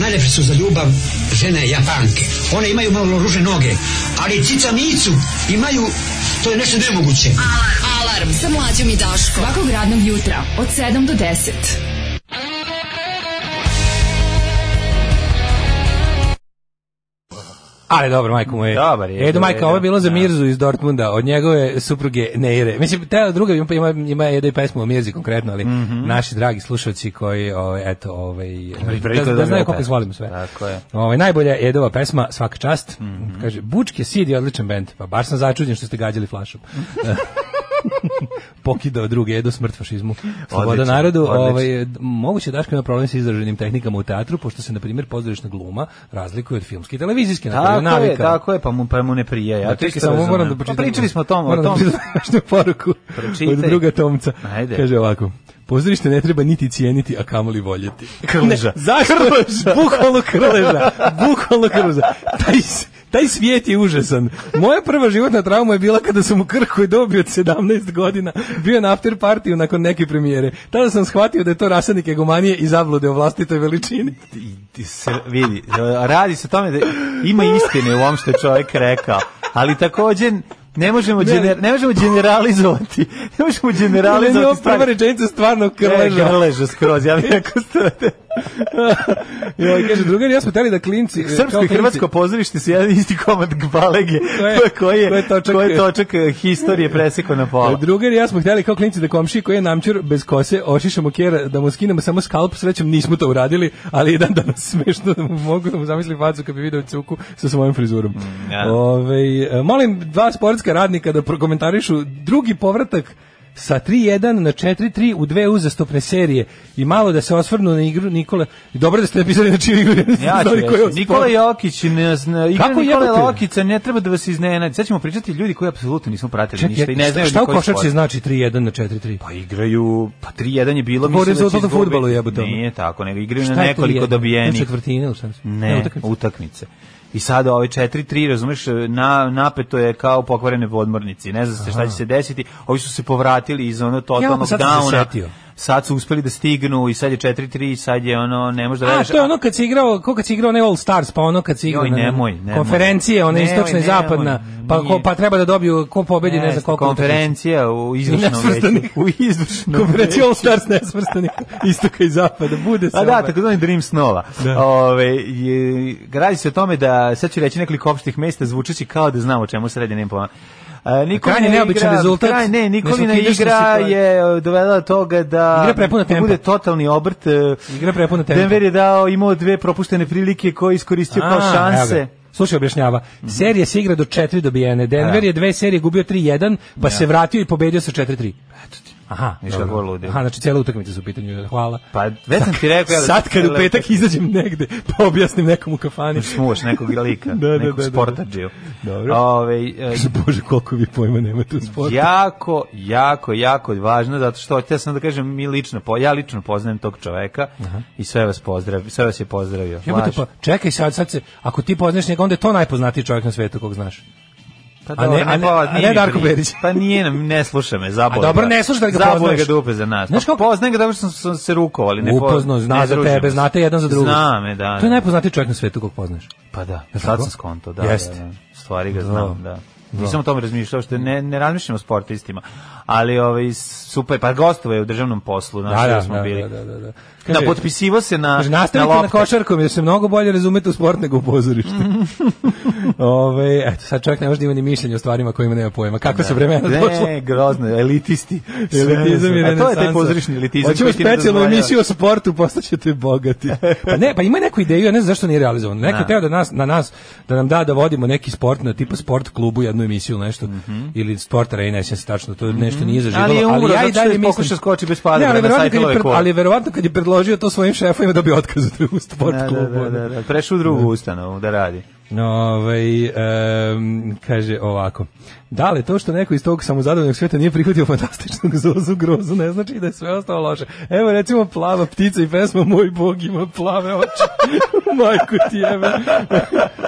S2: Najlepše su za ljubav žene japanke. One imaju malo ruže noge, ali cica micu imaju, to je nešto nemoguće.
S5: Alarm. Alarm sa mlađom i Daškom. Svakog radnog jutra od 7 do 10.
S7: Ali dobro, majko moje.
S6: Dobar je,
S7: Edo,
S6: Edo,
S7: majka, ovo je bilo za
S6: da.
S7: Mirzu iz Dortmunda, od njegove supruge Neire. Mislim, te druga ima, ima, ima Edo i pesmu o Mirzi konkretno, ali
S6: Mhm.
S7: naši dragi slušalci koji, ovaj, eto, ovaj,
S6: priliku
S7: da,
S6: da
S7: da znaju
S6: dobiju
S7: koliko
S6: pesmu.
S7: izvolim sve.
S6: Tako je. Mhm.
S7: Ovaj, najbolja je Edova pesma, svaka čast. Kaže, Bučke Sid je odličan bend, pa baš sam začuđen što ste gađali flašom. Pokidao druge, Edo smrt fašizmu. Sloboda
S6: Odlično,
S7: narodu.
S6: odlično.
S7: Ovaj, moguće da ima problem sa izraženim tehnikama u teatru, pošto se, na primjer, pozorišna gluma razlikuje od filmske i televizijske. na primjer,
S6: Tako je,
S7: navika.
S6: tako je, pa mu, pa mu ne prija. Ja
S7: Ja
S6: to
S7: čekaj,
S6: isto
S7: samo
S6: razumem.
S7: moram da pročitam.
S6: Pa pričali smo o tom, o
S7: Moram da
S6: tom.
S7: pročitam vašu poruku
S6: Pročitaj.
S7: od druga Tomca.
S6: Ajde.
S7: Kaže ovako, pozorište ne treba niti cijeniti, a kamoli voljeti.
S6: Krleža.
S7: Ne, zašto? Krleža. Bukvalno krleža. Bukvalno krleža. Taj, s- taj svijet je užasan. Moja prva životna trauma je bila kada sam u Krkoj dobio od 17 godina. Bio na after partiju nakon neke premijere. Tada sam shvatio da je to rasadnik egomanije i zablude o vlastitoj veličini.
S6: I- i se vidi, radi se o tome da ima istine u ovom što je čovjek rekao, ali takođe ne možemo, gener, ne možemo generalizovati. Ne možemo
S7: Ali je ovo
S6: generalizovati
S7: prva
S6: stvari. E,
S7: rečenica stvarno krleža.
S6: Krleža. Krleža skroz, ja bih rekao stvarno.
S7: Joj, kaže, drugari, ja smo teli da klinci... e, kao
S6: Srpsko i
S7: klinci-
S6: hrvatsko pozorište su jedan isti komad gbalege
S7: To je-
S6: koji
S7: to je
S6: je,
S7: točak-
S6: koji je točak eh, historije presekao na pola.
S7: Drugar i ja smo hteli kao klinci da komši koji je namćur bez kose ošišamo kjera da mu skinemo samo skalp, srećom nismo to uradili, ali jedan danas smešno da mu mogu da mu zamisli facu kad bi video cuku sa svojom frizurom.
S6: Mm, ja.
S7: Ovaj, e, molim dva sportska radnika da prokomentarišu drugi povratak sa 3-1 na 4-3 u dve uzastopne serije i malo da se osvrnu na igru Nikole. Dobro da ste napisali na čiju igru.
S6: Ja ću
S7: Znali ko je
S6: reći,
S7: od
S6: Nikola
S7: sport-
S6: Jokić, ne, zna, igra
S7: Kako
S6: Nikola
S7: jebote?
S6: Jokića, ne treba da vas iznenadi. Sad ćemo pričati ljudi koji apsolutno nismo pratili ništa i ne znaju
S7: šta u
S6: ni koji
S7: košarci
S6: sport.
S7: znači 3-1 na 4-3?
S6: Pa igraju, pa 3-1 je bilo,
S7: Govorim
S6: mislim da će
S7: za
S6: izgubiti.
S7: u fudbalu, jebote, ono.
S6: Nije tako, nego igraju na
S7: Šta je to
S6: nekoliko
S7: jedan? Na
S6: dobijenih.
S7: četvrtine ili šta mislim?
S6: Ne, utakmice.
S7: utakmice.
S6: I sada ove 4-3, razumeš, na, napeto je kao pokvarene podmornici. Ne zna se šta će se desiti. Ovi su se povratili iz ono totalnog
S7: pa sad sam se
S6: downa.
S7: setio.
S6: Sad su uspeli da stignu i sad je 4-3 i sad je ono, ne može da
S7: A,
S6: veruješ.
S7: to je ono kad se igrao, ko kad se igrao ne All Stars, pa ono kad se igrao
S6: Joj,
S7: na- na-
S6: nemoj, nemoj.
S7: konferencije, ona
S6: Nemoj,
S7: istočna i
S6: nemoj,
S7: zapadna, pa, ko,
S6: nije.
S7: pa treba da dobiju, ko pobedi, ne, znam
S6: Jeste,
S7: koliko.
S6: konferencija u izvršnom veću.
S7: Nesvrstanih.
S6: U izvršnom
S7: Konferencija
S6: veću.
S7: All Stars nesvrstanih istoka i zapada, bude se.
S6: A da,
S7: ovaj.
S6: tako da je Dream Snova.
S7: Da.
S6: Ove, je, radi se o tome da, sad ću reći nekoliko opštih mesta, zvučeći kao da znamo o čemu se radi, nema pojma. A, Nikolina
S7: Krajnje neobičan
S6: igra-
S7: rezultat.
S6: Kraj, ne, Nikolina
S7: Ne smukidaš
S6: igra
S7: se si to-
S6: je e, dovela do toga da
S7: Igra prepuna tempa.
S6: bude totalni obrt. e,
S7: Igra prepuna tempa.
S6: Denver je dao, imao dve propuštene prilike koje je iskoristio kao
S7: A,
S6: šanse. Mhm.
S7: evo ga. Slušaj, objašnjava. Serija se igra do 4 dobijene. Denver
S6: Da.
S7: je dve serije gubio 3-1, pa se vratio i pobedio sa 4-3. Aha,
S6: Viš
S7: dobro.
S6: kako je ludio.
S7: Aha, znači cijela utakmica su u pitanju. Hvala.
S6: Pa, već sam ti rekao, ja da- Znači,
S7: Sad kad u petak izađem negde, pa objasnim nekom u kafani.
S6: Smuš nekog lika,
S7: Da, da,
S6: nekog
S7: da, da.
S6: sportađiju.
S7: Dobro.
S6: Ove, e,
S7: Bože, koliko vi pojma nemate u sportu.
S6: Jako, jako, jako važno zato što htio sam da kažem mi lično, po, ja lično poznajem tog čoveka i sve vas pozdrav, sve vas je pozdravio.
S7: Jebote,
S6: Laž.
S7: pa čekaj sad, sad se, ako ti poznaš njega, onda je to najpoznatiji čovjek na svetu kog znaš.
S6: Pa
S7: a ne-
S6: dobro,
S7: a ne-
S6: pa,
S7: a ne
S6: nije mi
S7: Darko
S6: pri-
S7: Berić.
S6: Pa nije, nam- ne sluša me, zabole.
S7: A dobro, ne sluša da ga
S6: Zabole ga
S7: poznaš.
S6: dupe za nas.
S7: Znaš
S6: Znaš
S7: kako-
S6: kako? Poznajem ga dobro što smo se rukovali. Ne po-
S7: Upoznao,
S6: ne
S7: zna za
S6: družimo
S7: tebe,
S6: se.
S7: znate jedan za drugog.
S6: Zna me, da.
S7: To je
S6: da.
S7: najpoznatiji čovjek na svetu kog poznaš.
S6: Pa da, sad
S7: tako?
S6: sam skonto, da,
S7: Jeste.
S6: da, da. Stvari ga znam,
S7: Da.
S6: da. Nisam o tome razmišljao, što ne, ne razmišljam o sportistima, ali ovaj, super, pa gostovo je u državnom poslu, znaš,
S7: Da,
S6: da,
S7: da,
S6: smo
S7: da,
S6: bili.
S7: da, da, da, da.
S6: Da, potpisivo se na,
S7: Kaže,
S6: na
S7: nastavite na,
S6: lopte.
S7: košarkom jer se mnogo bolje razumete u sport nego u pozorištu. Ove, eto, sad čovjek ne može da ima ni mišljenje o stvarima kojima nema pojma. Kako su vremena došla?
S6: Ne, grozno, elitisti.
S7: Elitizam i
S6: A to je taj
S7: renesansa.
S6: pozorišni elitizam.
S7: Hoćemo
S6: koji ti ne
S7: specijalnu
S6: dozvoljava.
S7: emisiju o sportu, postaćete bogati. Pa ne, pa ima neku ideju, ja ne znam zašto nije realizovano. Neko je
S6: Da.
S7: teo da nas na nas da nam da da vodimo neki sport na tipa sport klubu jednu emisiju nešto ili sport arena, ja se sjećam tačno, to nešto nije zaživjelo,
S6: Mhm. Ali je umro,
S7: ja
S6: zato
S7: i
S6: što
S7: dalje
S6: je
S7: mislim
S6: pokušao skoči bez pada,
S7: Ne, ali
S6: bre, na
S7: verovatno kad je
S6: sajtove
S7: pred-
S6: koje.
S7: ali verovatno kad je predložio to svojim šefovima dobio otkaz od u sport
S6: Da,
S7: klubu.
S6: da, da,
S7: ono.
S6: da, da. Prešao u drugu ustanovu da radi.
S7: Ovaj em, kaže ovako. Da li to što neko iz tog samozadovoljnog sveta nije prihvatio fantastičnog zozu grozu, ne znači da je sve ostalo loše. Evo recimo plava ptica i pesma Moj bog ima plave oči. Majku ti jebe.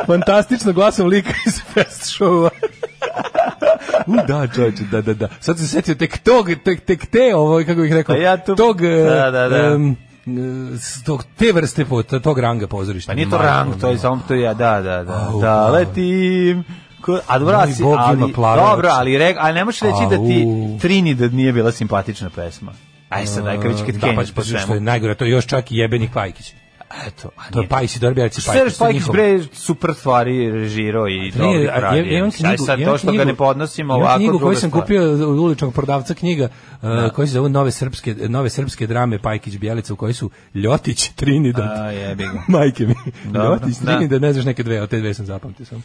S7: Fantastično glasom lika iz fest showa. U, da, čovječe, da, da, da. Sad sam se setio tek tog, tek, tek te, ovo, kako bih rekao,
S6: Pa ja tu-
S7: tog, e,
S6: da, da, da.
S7: em, e, s tog, te vrste, po, tog ranga pozorišta.
S6: Pa nije to
S7: Majko
S6: rang, to je samo to ja, da, da, da.
S7: Au,
S6: Da
S7: au.
S6: letim. Ko- A dobro,
S7: Moj
S6: si-
S7: Bog
S6: ali,
S7: ima plave
S6: dobro,
S7: oči.
S6: ali reg, a ne možeš reći da ti
S7: Au.
S6: Trinidad nije bila simpatična pesma. Aj sad, aj kad već kad
S7: da,
S6: Kenjiš
S7: pa,
S6: po
S7: pa što je
S6: svemu.
S7: najgore, to je još čak i jebenik Pajkić.
S6: Eto, a
S7: To je Pajsi Dorbijaci
S6: Serge Pajkić bre super stvari režirao i dobro pravi. Ja, sad to što ga ne podnosimo ovako
S7: knjigu koju
S6: druga
S7: sam
S6: stvar.
S7: kupio od uličnog prodavca knjiga, uh, koja se zove Nove srpske, nove srpske drame Pajkić Bjelica, u kojoj su Ljotić, Trinidad.
S6: A, jebi ga.
S7: Majke mi.
S6: Dobro,
S7: Ljotić,
S6: da.
S7: Trinidad, ne znaš neke dve, od te dve sam zapamtio sam.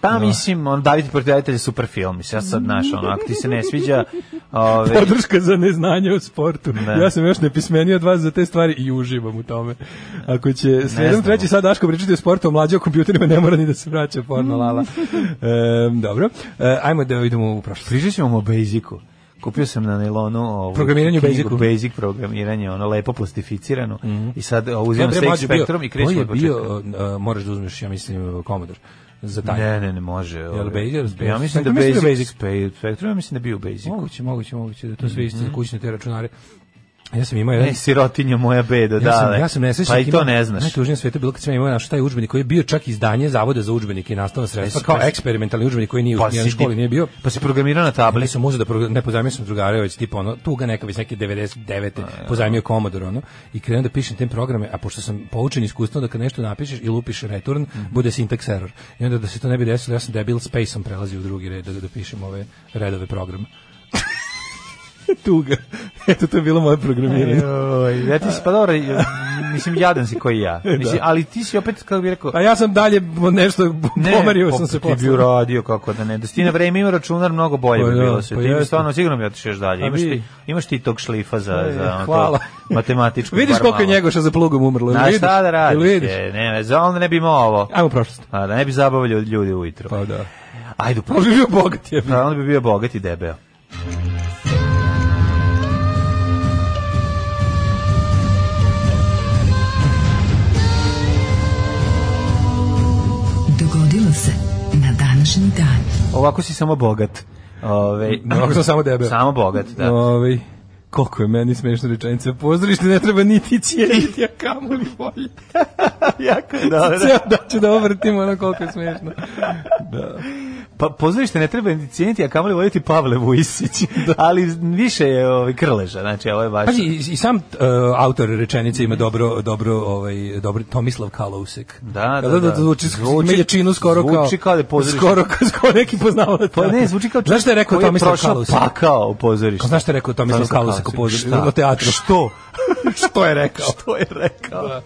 S6: Pa mislim, on David Prodajatelj je super film, mislim, ja sad znaš, ono, ako ti se ne sviđa, ovaj, ove,
S7: Podrška za neznanje o sportu.
S6: Ne.
S7: Ja sam još nepismeniji od vas za te stvari i uživam u tome. Ako će sredom
S6: znamo.
S7: treći sad Daško pričati o sportu, o mlađe o kompjuterima ne mora ni da se vraća
S6: Mm.
S7: porno lala. Em, dobro. E, ajmo da idemo u prošlost.
S6: pričat ćemo o Basicu. Kupio sam na Nelonu ovu
S7: Programiranju
S6: knjigu
S7: Basicu. Mhm.
S6: Basic programiranje, ono lepo plastificirano i sad o, uzimam
S7: To je
S6: se
S7: bre mlađi bio-
S6: spektrum i
S7: koji
S6: krećem
S7: je
S6: od početka.
S7: bio, e, moraš da uzmeš, ja mislim, Commodore za taj.
S6: Ne, ne, ne može. ovaj.
S7: Basic-
S6: Ja mislim da
S7: Spectrum, mislim da je
S6: Basic, Spe- Spectrum, ja mislim da je bio Basic.
S7: Moguće, moguće, moguće da je to sve isto za kućne te računare. Ja sam imao jedan
S6: Mhm. Ne, sirotinja moja bedo,
S7: Ja
S6: da.
S7: sam, ja sam nesrećnik.
S6: Pa i to
S7: imam-
S6: ne znaš.
S7: Najtužnije na svetu je bilo kad sam ja imao naš taj udžbenik koji je bio čak izdanje Zavoda za udžbenike i nastavna sredstva
S6: Jesi,
S7: kao
S6: pa si-
S7: eksperimentalni udžbenik koji nije u
S6: Pa
S7: nijednoj
S6: si
S7: školi
S6: ti-
S7: nije bio.
S6: Pa si programirao na
S7: Ali
S6: tabli.
S7: sam uzeo da progra- ne pozajmio sam drugare, već tipa ono, tu ga neka već neke 99. pozajmio Commodore, ono, i krenuo da pišem te programe, a pošto sam poučen iskustvom da kad nešto napišeš i lupiš return,
S6: Mhm.
S7: bude syntax error. I onda da se to ne bi desilo, ja sam debil spaceom prelazio u drugi red da, da pišem ove redove programa. Tuga. Eto, to je bilo moje programiranje.
S6: Joj, ja ti si, pa dobro, mislim, jadan si koji ja. Mislim, ali ti si opet, kako bi rekao,
S7: A ja sam dalje nešto Pa, pomerio sam se
S6: ti bi
S7: posle.
S6: uradio kako da ne. Da si ti na vreme ima računar, mnogo bolje
S7: Pa
S6: bi
S7: da,
S6: bilo sve.
S7: pa
S6: Ti bi
S7: jeste.
S6: stvarno sigurno bi otišao još dalje.
S7: A
S6: Imaš
S7: vi-
S6: ti, imaš ti tog šlifa za,
S7: E,
S6: za ono,
S7: hvala.
S6: to matematičku.
S7: Vidiš
S6: bar
S7: koliko je
S6: malo.
S7: njegoša za plugom umrlo.
S6: Znaš
S7: vidiš?
S6: šta da
S7: Jel
S6: radiš?
S7: vidiš?
S6: je, Ne, za onda ne bi imao ovo.
S7: Ajmo u prošlost.
S6: A da ne bi zabavljao ljudi ujutro.
S7: Pa da.
S6: Ajde, u
S7: Pa bi bio bogat je.
S6: Pa onda bi bio bogat i debeo.
S5: Dogodilo se na današnji dan.
S6: Ovako si samo bogat. Ove,
S7: Ovako sam samo debeo.
S6: Samo bogat, da.
S7: Ovaj, koliko je meni smešna rečenica. Pozorište ne treba niti cijeli, niti a kamoli volje.
S6: jako je
S7: Ceo da ću da obrtim ono koliko je smešno.
S6: Pa pozorište ne treba ni cijeniti, a kamoli voliti Pavle Vujsić. Ali više je ovaj, krleža, znači ovo je baš...
S7: Pazi, i, i sam uh, autor rečenice ima dobro, dobro, ovaj, dobro Tomislav Kalousek.
S6: Da, da,
S7: da,
S6: da.
S7: da, zvuči,
S6: Zvuči-
S7: zvuči, jačinu skoro kao...
S6: zvuči kao da je pozorište.
S7: Skoro, kao, skoro neki poznavalac.
S6: Pa ne, zvuči kao
S7: Znaš šta je rekao
S6: koji
S7: Tomislav
S6: prošao
S7: Kalousek?
S6: pakao u pozorištu.
S7: Kao, znaš šta je rekao Tomislav Kalousek u pozorištu?
S6: Šta?
S7: U teatru.
S6: Što?
S7: Što je rekao?
S6: Što je rekao?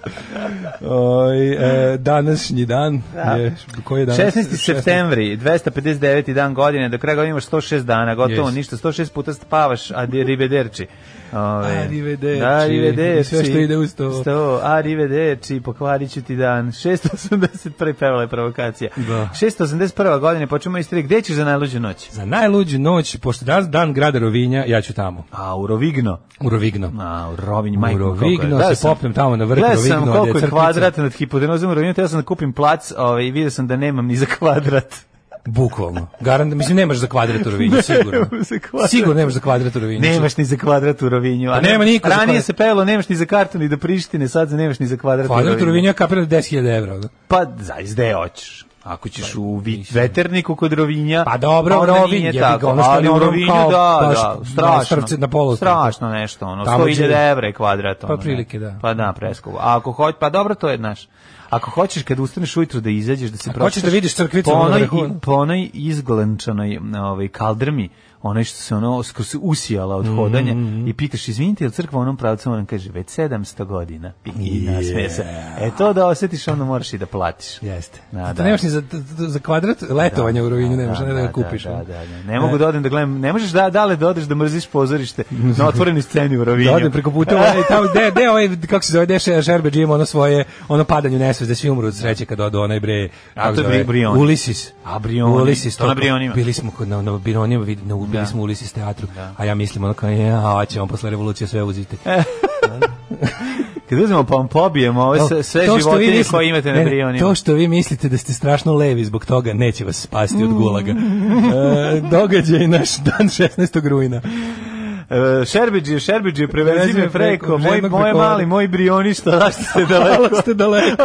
S7: Oj, e, današnji dan je, koji je danas?
S6: 16. septembri, 259. dan godine, do kraja godine imaš 106 dana, gotovo
S7: Yes.
S6: ništa, 106 puta spavaš, a di- arrivederci. Ove,
S7: Arrivederci.
S6: Arrivederci.
S7: I sve što ide uz to.
S6: Sto, arrivederci, pokvarit ću ti dan. 681. pevala je provokacija.
S7: Da.
S6: 681. godine, počemo istri, gde ćeš za najluđu noć?
S7: Za najluđu noć, pošto je danas dan grada Rovinja, ja ću tamo,
S6: A, u Rovigno.
S7: u Rovigno.
S6: A, u Rovinj, majko,
S7: U
S6: koliko je.
S7: Rovigno
S6: Gledao
S7: se
S6: sam-
S7: popnem tamo na vrh
S6: Gledao
S7: Rovigno.
S6: sam
S7: gde
S6: koliko je
S7: crkvica.
S6: kvadrat nad hipotenuzom u Rovinju, teo sam da kupim plac ovaj, i vidio sam da nemam ni za kvadrat.
S7: Bukvalno. Garant, mislim, nemaš za kvadrat u Rovinju, sigurno.
S6: Nemam za kvadrat.
S7: sigurno nemaš za kvadrat u Rovinju. Znači,
S6: Nemaš ni za kvadrat u Rovinju.
S7: Pa nema niko za
S6: Ranije
S7: kvadrat.
S6: se pevalo, nemaš ni za kartu, ni do Prištine, sad za nemaš ni za kvadrat,
S7: Kvadrat u Rovinju je kapiran 10.000 evra. ono.
S6: Pa, zaista gde hoćeš. Ako ćeš u vi, veterniku kod Rovinja,
S7: Pa dobro,
S6: onda
S7: Rovinj,
S6: nije
S7: jebi ga,
S6: tako,
S7: ono što je
S6: ali
S7: na
S6: u
S7: onom
S6: Rovinju,
S7: kao
S6: da,
S7: baš
S6: da,
S7: na
S6: strašno.
S7: Ostrvce, na poluostrvu.
S6: Strašno nešto, ono,
S7: Tamo gdje-
S6: 100.000 evra je kvadrat. Ono, ne.
S7: prilike, da.
S6: Pa da, preskupo. A ako hoć, pa dobro, to je, znaš, ako hoćeš kad ustaneš ujutru da izađeš, da se
S7: Ako hoćeš da vidiš crkvicu,
S6: po
S7: ono na
S6: onoj,
S7: vrhu, ono.
S6: po onoj izglenčanoj ovaj, kaldrmi, onaj što se ono skoro se usijala od hodanja
S7: Mhm,
S6: i pitaš, izvinite, je li crkva u onom pravcu? On kaže, već 700 godina. I nasmeje se. E to da osjetiš, onda moraš i da platiš.
S7: Jeste.
S6: Da,
S7: Da,
S6: da.
S7: Nemaš ni za, za kvadrat letovanja u Rovinju, nemaš, ne da ga
S6: da,
S7: kupiš.
S6: Da,
S7: ono.
S6: da, da. Ne mogu da odem da gledam, ne možeš da, da li da odeš da mrziš pozorište na otvorenoj sceni u Rovinju.
S7: Da odem preko puta ovaj, tamo, gde, gde ovaj, kako se zove, gde še- Šerbedž ima ono svoje, ono padanje u nesvest, da svi umru od sreće kad odu onaj bre, kako
S6: to je
S7: zove,
S6: Brioni.
S7: Ulisis.
S6: A, Brioni.
S7: Ulisis,
S6: To na Brionima.
S7: Bili smo kod, na, na Brionima, vid- na, bili smo u Ulisis teatru, a ja mislim ono kao, ja, ćemo posle revolucije sve uzeti.
S6: Kad uzmemo pa vam pobijemo ove sve, sve životinje
S7: mislite-
S6: koje imate
S7: ne,
S6: na
S7: ne,
S6: Brionima.
S7: To što vi mislite da ste strašno levi zbog toga neće vas spasti od gulaga.
S6: Mm.
S7: e, događaj naš dan 16. rujna.
S6: E, Šerbeđi, Šerbeđi, prevezi me preko, moj,
S7: žednog
S6: moje
S7: preko
S6: mali, moji brioni, što da ste daleko.
S7: Hvala ste daleko.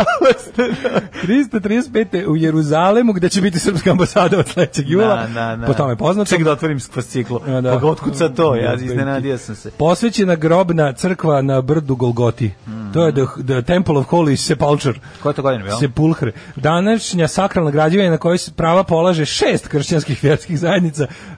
S7: 335. u Jeruzalemu, gde će biti srpska ambasada od sledećeg jula. Po tome poznato.
S6: Ček da otvorim kvasciklo.
S7: A,
S6: Da.
S7: da.
S6: Pa otkud sad to, ja
S7: Da,
S6: iznenadio sam se.
S7: Posvećena grobna crkva na brdu Golgoti.
S6: Mm.
S7: To je the, the Temple of Holy Sepulchre.
S6: Koja je to godina bila?
S7: Sepulhre. Današnja sakralna građevina na kojoj se prava polaže šest kršćanskih vjerskih zajednica um,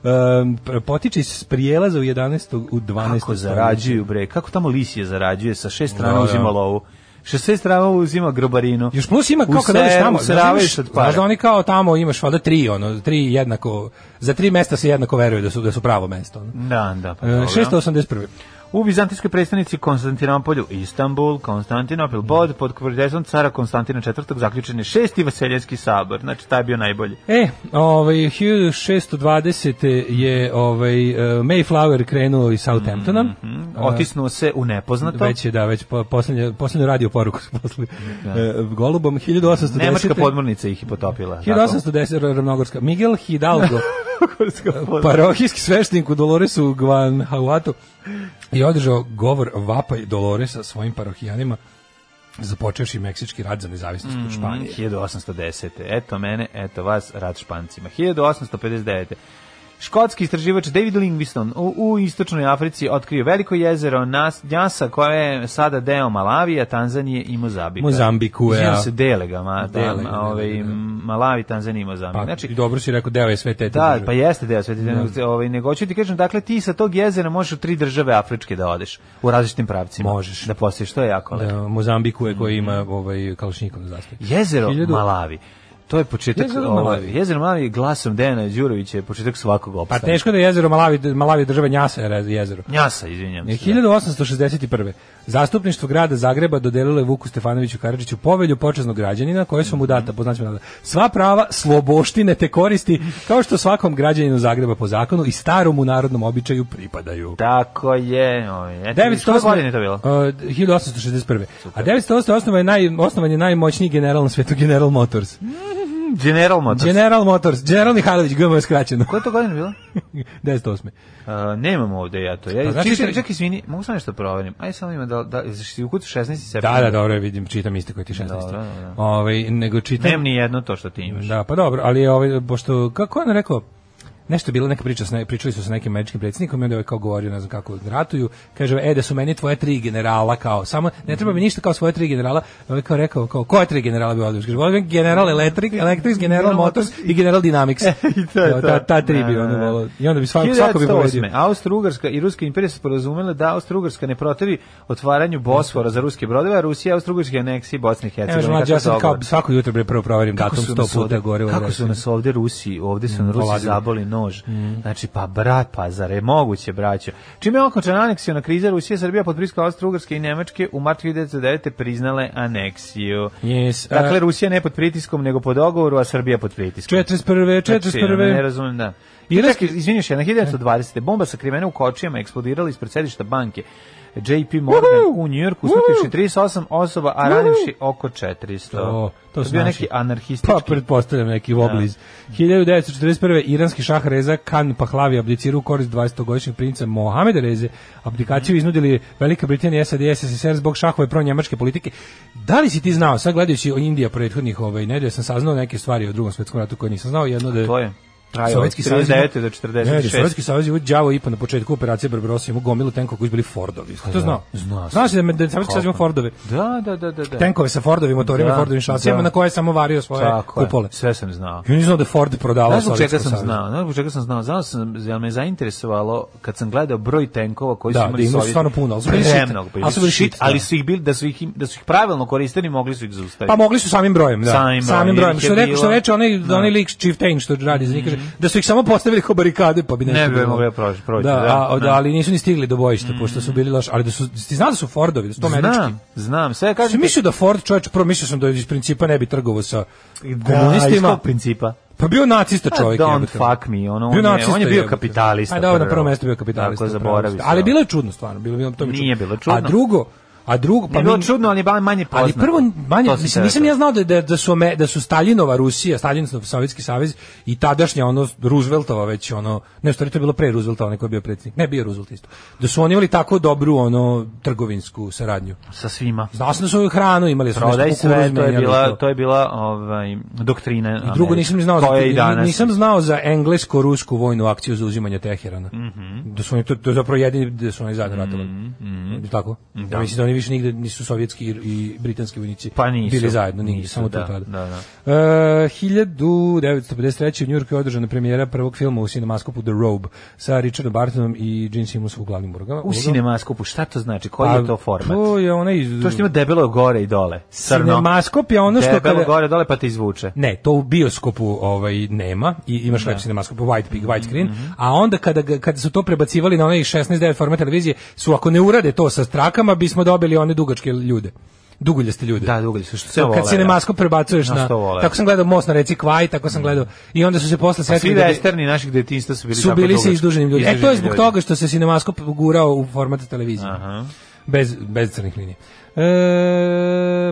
S7: pr- potiče iz prijelaza u 11. u 12.
S6: Kako
S7: stoljeću.
S6: zarađuju, bre, kako tamo lisije zarađuje, sa šest strana
S7: Da, da.
S6: uzima lovu. Sa šest strana uzima grobarinu.
S7: Još plus ima kao kad
S6: Use-
S7: odeš tamo, znaš da imaš-
S6: useravaju se od para.
S7: znaš da oni kao tamo imaš valjda tri, ono, tri jednako, za tri mesta se jednako veruje da su, da su pravo mesto. Ono.
S6: Da, da, pa
S7: E,
S6: dobro.
S7: 681.
S6: U bizantijskoj predstavnici Konstantinopolju, Istanbul, Konstantinopil, Bod, pod kvrdezom cara Konstantina IV. zaključen je šesti vaseljanski sabor. Znači, taj je bio najbolji.
S7: E, ovaj 1620 je ovaj e, Mayflower krenuo iz
S6: Mhm,
S7: Southamptona.
S6: Otisnuo se u nepoznato.
S7: Već je, da, već po, posljednju, posljednju radio poruku su poslali e, golubom. 1810.
S6: Nemačka podmornica ih je potopila.
S7: 1810. Ravnogorska. Miguel Hidalgo,
S6: Tako.
S7: parohijski sveštenik u Doloresu Guanajuato, je održao govor vapaj Doloresa svojim parohijanima započevši meksički rad za nezavisnost
S6: Mm,
S7: u Španiji.
S6: 1810. Eto mene, eto vas, rad špancima. 1859. Škotski istraživač David Livingstone u, u istočnoj Africi otkrio veliko jezero Nas, Njasa koje je sada deo Malavija, Tanzanije i Mozambika.
S7: Mozambiku, ja.
S6: Izvinjam se dele ga, ma, da,
S7: Dele ga, da,
S6: ovaj,
S7: da, da.
S6: Malavi, Tanzanija i Mozambik.
S7: Pa,
S6: znači,
S7: i dobro si rekao, deo je sve te
S6: Da, pa jeste deo sveta, nego, ovaj, nego hoću ti kažem, dakle ti sa tog jezera možeš u tri države Afričke da odeš, u različitim pravcima.
S7: Možeš.
S6: Da posjetiš, to je Mhm. jako lepo.
S7: da, Mozambiku je koji ima ovaj kalašnikov na zastavi.
S6: Jezero
S7: Hiljadu-
S6: Malavi. To je početak
S7: Jezero
S6: ovaj,
S7: Malavi.
S6: Jezero Malavi glasom Dejana Đurovića je početak svakog
S7: Pa
S6: opstanka.
S7: teško da je jezero Malavi, Malavi država Njasa je rez- jezero.
S6: Njasa, izvinjam se. da.
S7: 1861. Zastupništvo grada Zagreba dodelilo je Vuku Stefanoviću Karadžiću povelju počasnog građanina koje su mu data po znacima navoda. Sva prava sloboštine te koristi kao što svakom građaninu Zagreba po zakonu i starom u narodnom običaju pripadaju.
S6: Tako je. Ovaj, eto, koje
S7: 908.
S6: godine je to bilo?
S7: Uh, 1861. A 908. osnovan je, naj, osnovan je najmoćniji general na svetu, General Motors.
S6: General Motors.
S7: General Motors, General Mihajlović, GM je skraćeno.
S6: Koje je to godine bilo?
S7: 908.
S6: Uh, nemam ovde ja to.
S7: Pa
S6: Ja,
S7: znači-
S6: znači, čekaj, čekaj, izvini, mogu sam nešto proverim. Ajde samo ima da, da, da, u kutu 16.
S7: Da,
S6: septembra.
S7: da, dobro, vidim, čitam isto koji ti 16.
S6: Dobro, da,
S7: Ovaj, nego čitam...
S6: Nemam ni jedno to što ti imaš.
S7: Da, pa dobro, ali je ovaj, pošto, kako je on rekao, nešto je bila neka priča, s ne, pričali su sa nekim američkim predsjednikom i onda je ovaj kao govorio, ne znam kako ratuju, kaže, e, da su meni tvoje tri generala, kao, samo, ne treba mi ništa kao svoje tri generala, ovaj kao rekao, kao, koje tri generala bi odbjoš? Kaže, volim general Electric, Electrics, general Motors i general Dynamics.
S6: E, I to je
S7: Evo, ta,
S6: to.
S7: ta tri bi
S6: Da,
S7: ono
S6: da, da.
S7: volao. I onda bi svako, svako bi
S6: 1908.
S7: povedio.
S6: Austro-Ugarska i Ruska imperija su porazumele da Austro-Ugarska ne protivi otvaranju Bosfora za ruske brodove, a Rusija Austro-Ugarske aneksije Bosne i
S7: Ne možemo,
S6: Hercegovine.
S7: E, mlađe, ja
S6: Kakav
S7: sam kao
S6: dogovor?
S7: svako jutro bre prvo proverim
S6: Kako
S7: datum
S6: su
S7: sto
S6: nas
S7: puta
S6: ovde-
S7: gore.
S6: Kako su nas ovde Rusi, ovde su na Rusi
S7: ovladili.
S6: zaboli nož.
S7: Mm.
S6: Znači, pa brat, pa zar je moguće, braćo? Čime je okončena aneksijona kriza, Rusija i Srbija pod priskom Austro-Ugarske i Nemačke u martu 1909. priznale aneksiju.
S7: Yes, a-
S6: Dakle, Rusija ne pod pritiskom, nego po dogovoru, a Srbija pod pritiskom.
S7: 41.
S6: Znači, ono, ne
S7: 41.
S6: razumem, da. I
S7: Iranski-
S6: čekaj, izvinjuš, jedna 1920. Bomba sa krimena u kočijama eksplodirala ispred sedišta banke JP Morgan u Njujorku, usmrtivši 38 osoba, a ranivši oko 400.
S7: To- to
S6: je
S7: su
S6: bio
S7: naši.
S6: neki anarhistički.
S7: Pa pretpostavljam neki vobliz. 1941. iranski šah Reza Khan Pahlavi abdicirao u korist 20-godišnjeg princa Mohameda Reze. Abdikaciju iznudili Velika Britanija, SAD i SSSR zbog šahove pro-njemačke politike. Da li si ti znao, sad gledajući o Indija prethodnih ovaj, nedelja, sam saznao neke stvari o drugom svetskom ratu koje nisam znao. Jedno da
S6: To je. Trajao od
S7: Sovjetski savez
S6: 39. do
S7: Ne, da,
S6: 46.
S7: Sovjetski savez je đavo ipa na početku operacije Barbarossa imao gomilu tenkova koji su bili Fordovi. To znao.
S6: znao sam.
S7: Znaš da je da je Sovjetski savez imao Fordove.
S6: Da, da, da, da. da.
S7: Tenkove sa Fordovim motorima,
S6: Da,
S7: Fordovim šasijama
S6: da.
S7: na koje je samo vario svoje
S6: Tako je.
S7: kupole.
S6: Sve sam znao.
S7: Ja nisam znao da je Ford prodavao
S6: Znaš zbog čega
S7: Sovjetskom
S6: sam
S7: savezu.
S6: znao? Znaš zbog čega sam znao? Znao sam, jel me zainteresovalo kad sam gledao broj tenkova koji
S7: Da,
S6: su imali
S7: da imaju
S6: Sovjeti.
S7: stvarno puno, ali su bili shit.
S6: Premnog, pa
S7: Ali su bili shit, da.
S6: ali su ih bili, da su ih, im- da su ih pravilno koristili, mogli su ih zaustaviti.
S7: Pa mogli su samim brojem, da.
S6: Samim brojem, jer
S7: brojem.
S6: ih je
S7: Što, reka, što
S6: bilo- Mhm.
S7: reče onaj, onaj lik Chieftain što radi za njih, kaže, da su ih samo postavili kao barikade, pa bi nešto...
S6: Ne bi
S7: bilo.
S6: mogli proći- proći,
S7: Da,
S6: da,
S7: a,
S6: da. Mhm.
S7: ali nisu ni stigli do bojišta, pošto su bili loši. Ali da su, ti znao da su Fordovi, da su to američki.
S6: Znam, znam. Sve kažem
S7: Sam mislio da Ford, čovječ, prvo mislio sam da iz principa ne bi trgovao sa komunistima.
S6: Da, principa.
S7: Pa bio nacista čovjek.
S6: Don't
S7: jebote.
S6: fuck me, ono, on
S7: bio
S6: je-
S7: nacista,
S6: on je bio
S7: jebote.
S6: kapitalista
S7: A da, na
S6: prvo.
S7: prvo mesto bio kapitalista.
S6: Tako,
S7: na prvom
S6: zaboravi
S7: mestu.
S6: se,
S7: Ali
S6: ono.
S7: bilo je čudno stvarno, bilo bilo to mi je
S6: Nije bilo čudno.
S7: A drugo, a drugo pa
S6: Nije bilo
S7: mi-
S6: čudno, ali je ba- manje
S7: Ali
S6: poznato.
S7: prvo manje,
S6: To sam
S7: mislim
S6: te
S7: nisam
S6: rekao.
S7: ja znao da da, da su Ame- da su Staljinova Rusija, Staljinov Sovjetski savez i tadašnja ono Rooseveltova već ono, ne što je to je bilo pre Roosevelta, onaj koji je bio predsjednik. Ne, bio je Roosevelt isto. Da su oni imali tako dobru ono trgovinsku saradnju.
S6: Sa svima.
S7: Znao sam da su ovu hranu imali su nešto
S6: Prodaj
S7: kukuruz
S6: sve, to je
S7: menjali,
S6: bila, to je bila ovaj, doktrina.
S7: I drugo nisam ni znao
S6: To je i
S7: za
S6: danas.
S7: nisam znao za englesko-rusku vojnu akciju za uzimanje
S6: Mhm.
S7: Teherana. Da su oni to, to je zapravo jedini da su oni zajedno ratovali. Je li Tako. Ja mislim da oni oni više nigde nisu sovjetski i- i britanski vojnici
S6: Pa nisu.
S7: bili zajedno, nigde,
S6: Nisu,
S7: samo to
S6: da,
S7: tada.
S6: da, da.
S7: Uh, 1953. u Njurku je održana premijera prvog filma u sinemaskopu The Robe sa Richardom Bartonom i Gene Simmonsom u glavnim ulogama.
S6: U sinemaskopu, šta to znači? Koji je to format?
S7: To je onaj... iz-
S6: To što ima debelo gore i dole. Crno.
S7: Cinemaskop je ono što
S6: Debelo
S7: kada-
S6: gore i dole pa te izvuče.
S7: Ne, to u bioskopu ovaj nema i imaš lep sinemaskop white pig
S6: Mhm,
S7: white screen, a onda kada ga- kada su to prebacivali na onaj 16:9 format televizije, su ako ne urade to sa strakama, bismo dobili one dugačke ljude. Duguljaste ljude.
S6: Da, dugo su što se
S7: To
S6: vole.
S7: kad sinemaskop prebacuješ
S6: Na
S7: na,
S6: sto vole. Mhm.
S7: tako sam gledao Most na reci Kvaj, tako sam gledao i onda su se posle
S6: Pa Svi
S7: setili da bi-
S6: westerni naših detinjstva su bili
S7: su
S6: tako
S7: bili sa
S6: dugački.
S7: izduženim ljudima. E to je
S6: Izduženi
S7: zbog
S6: ljudi.
S7: toga što se sinemaskop gurao u format televizije. Bez, bez crnih linija. E,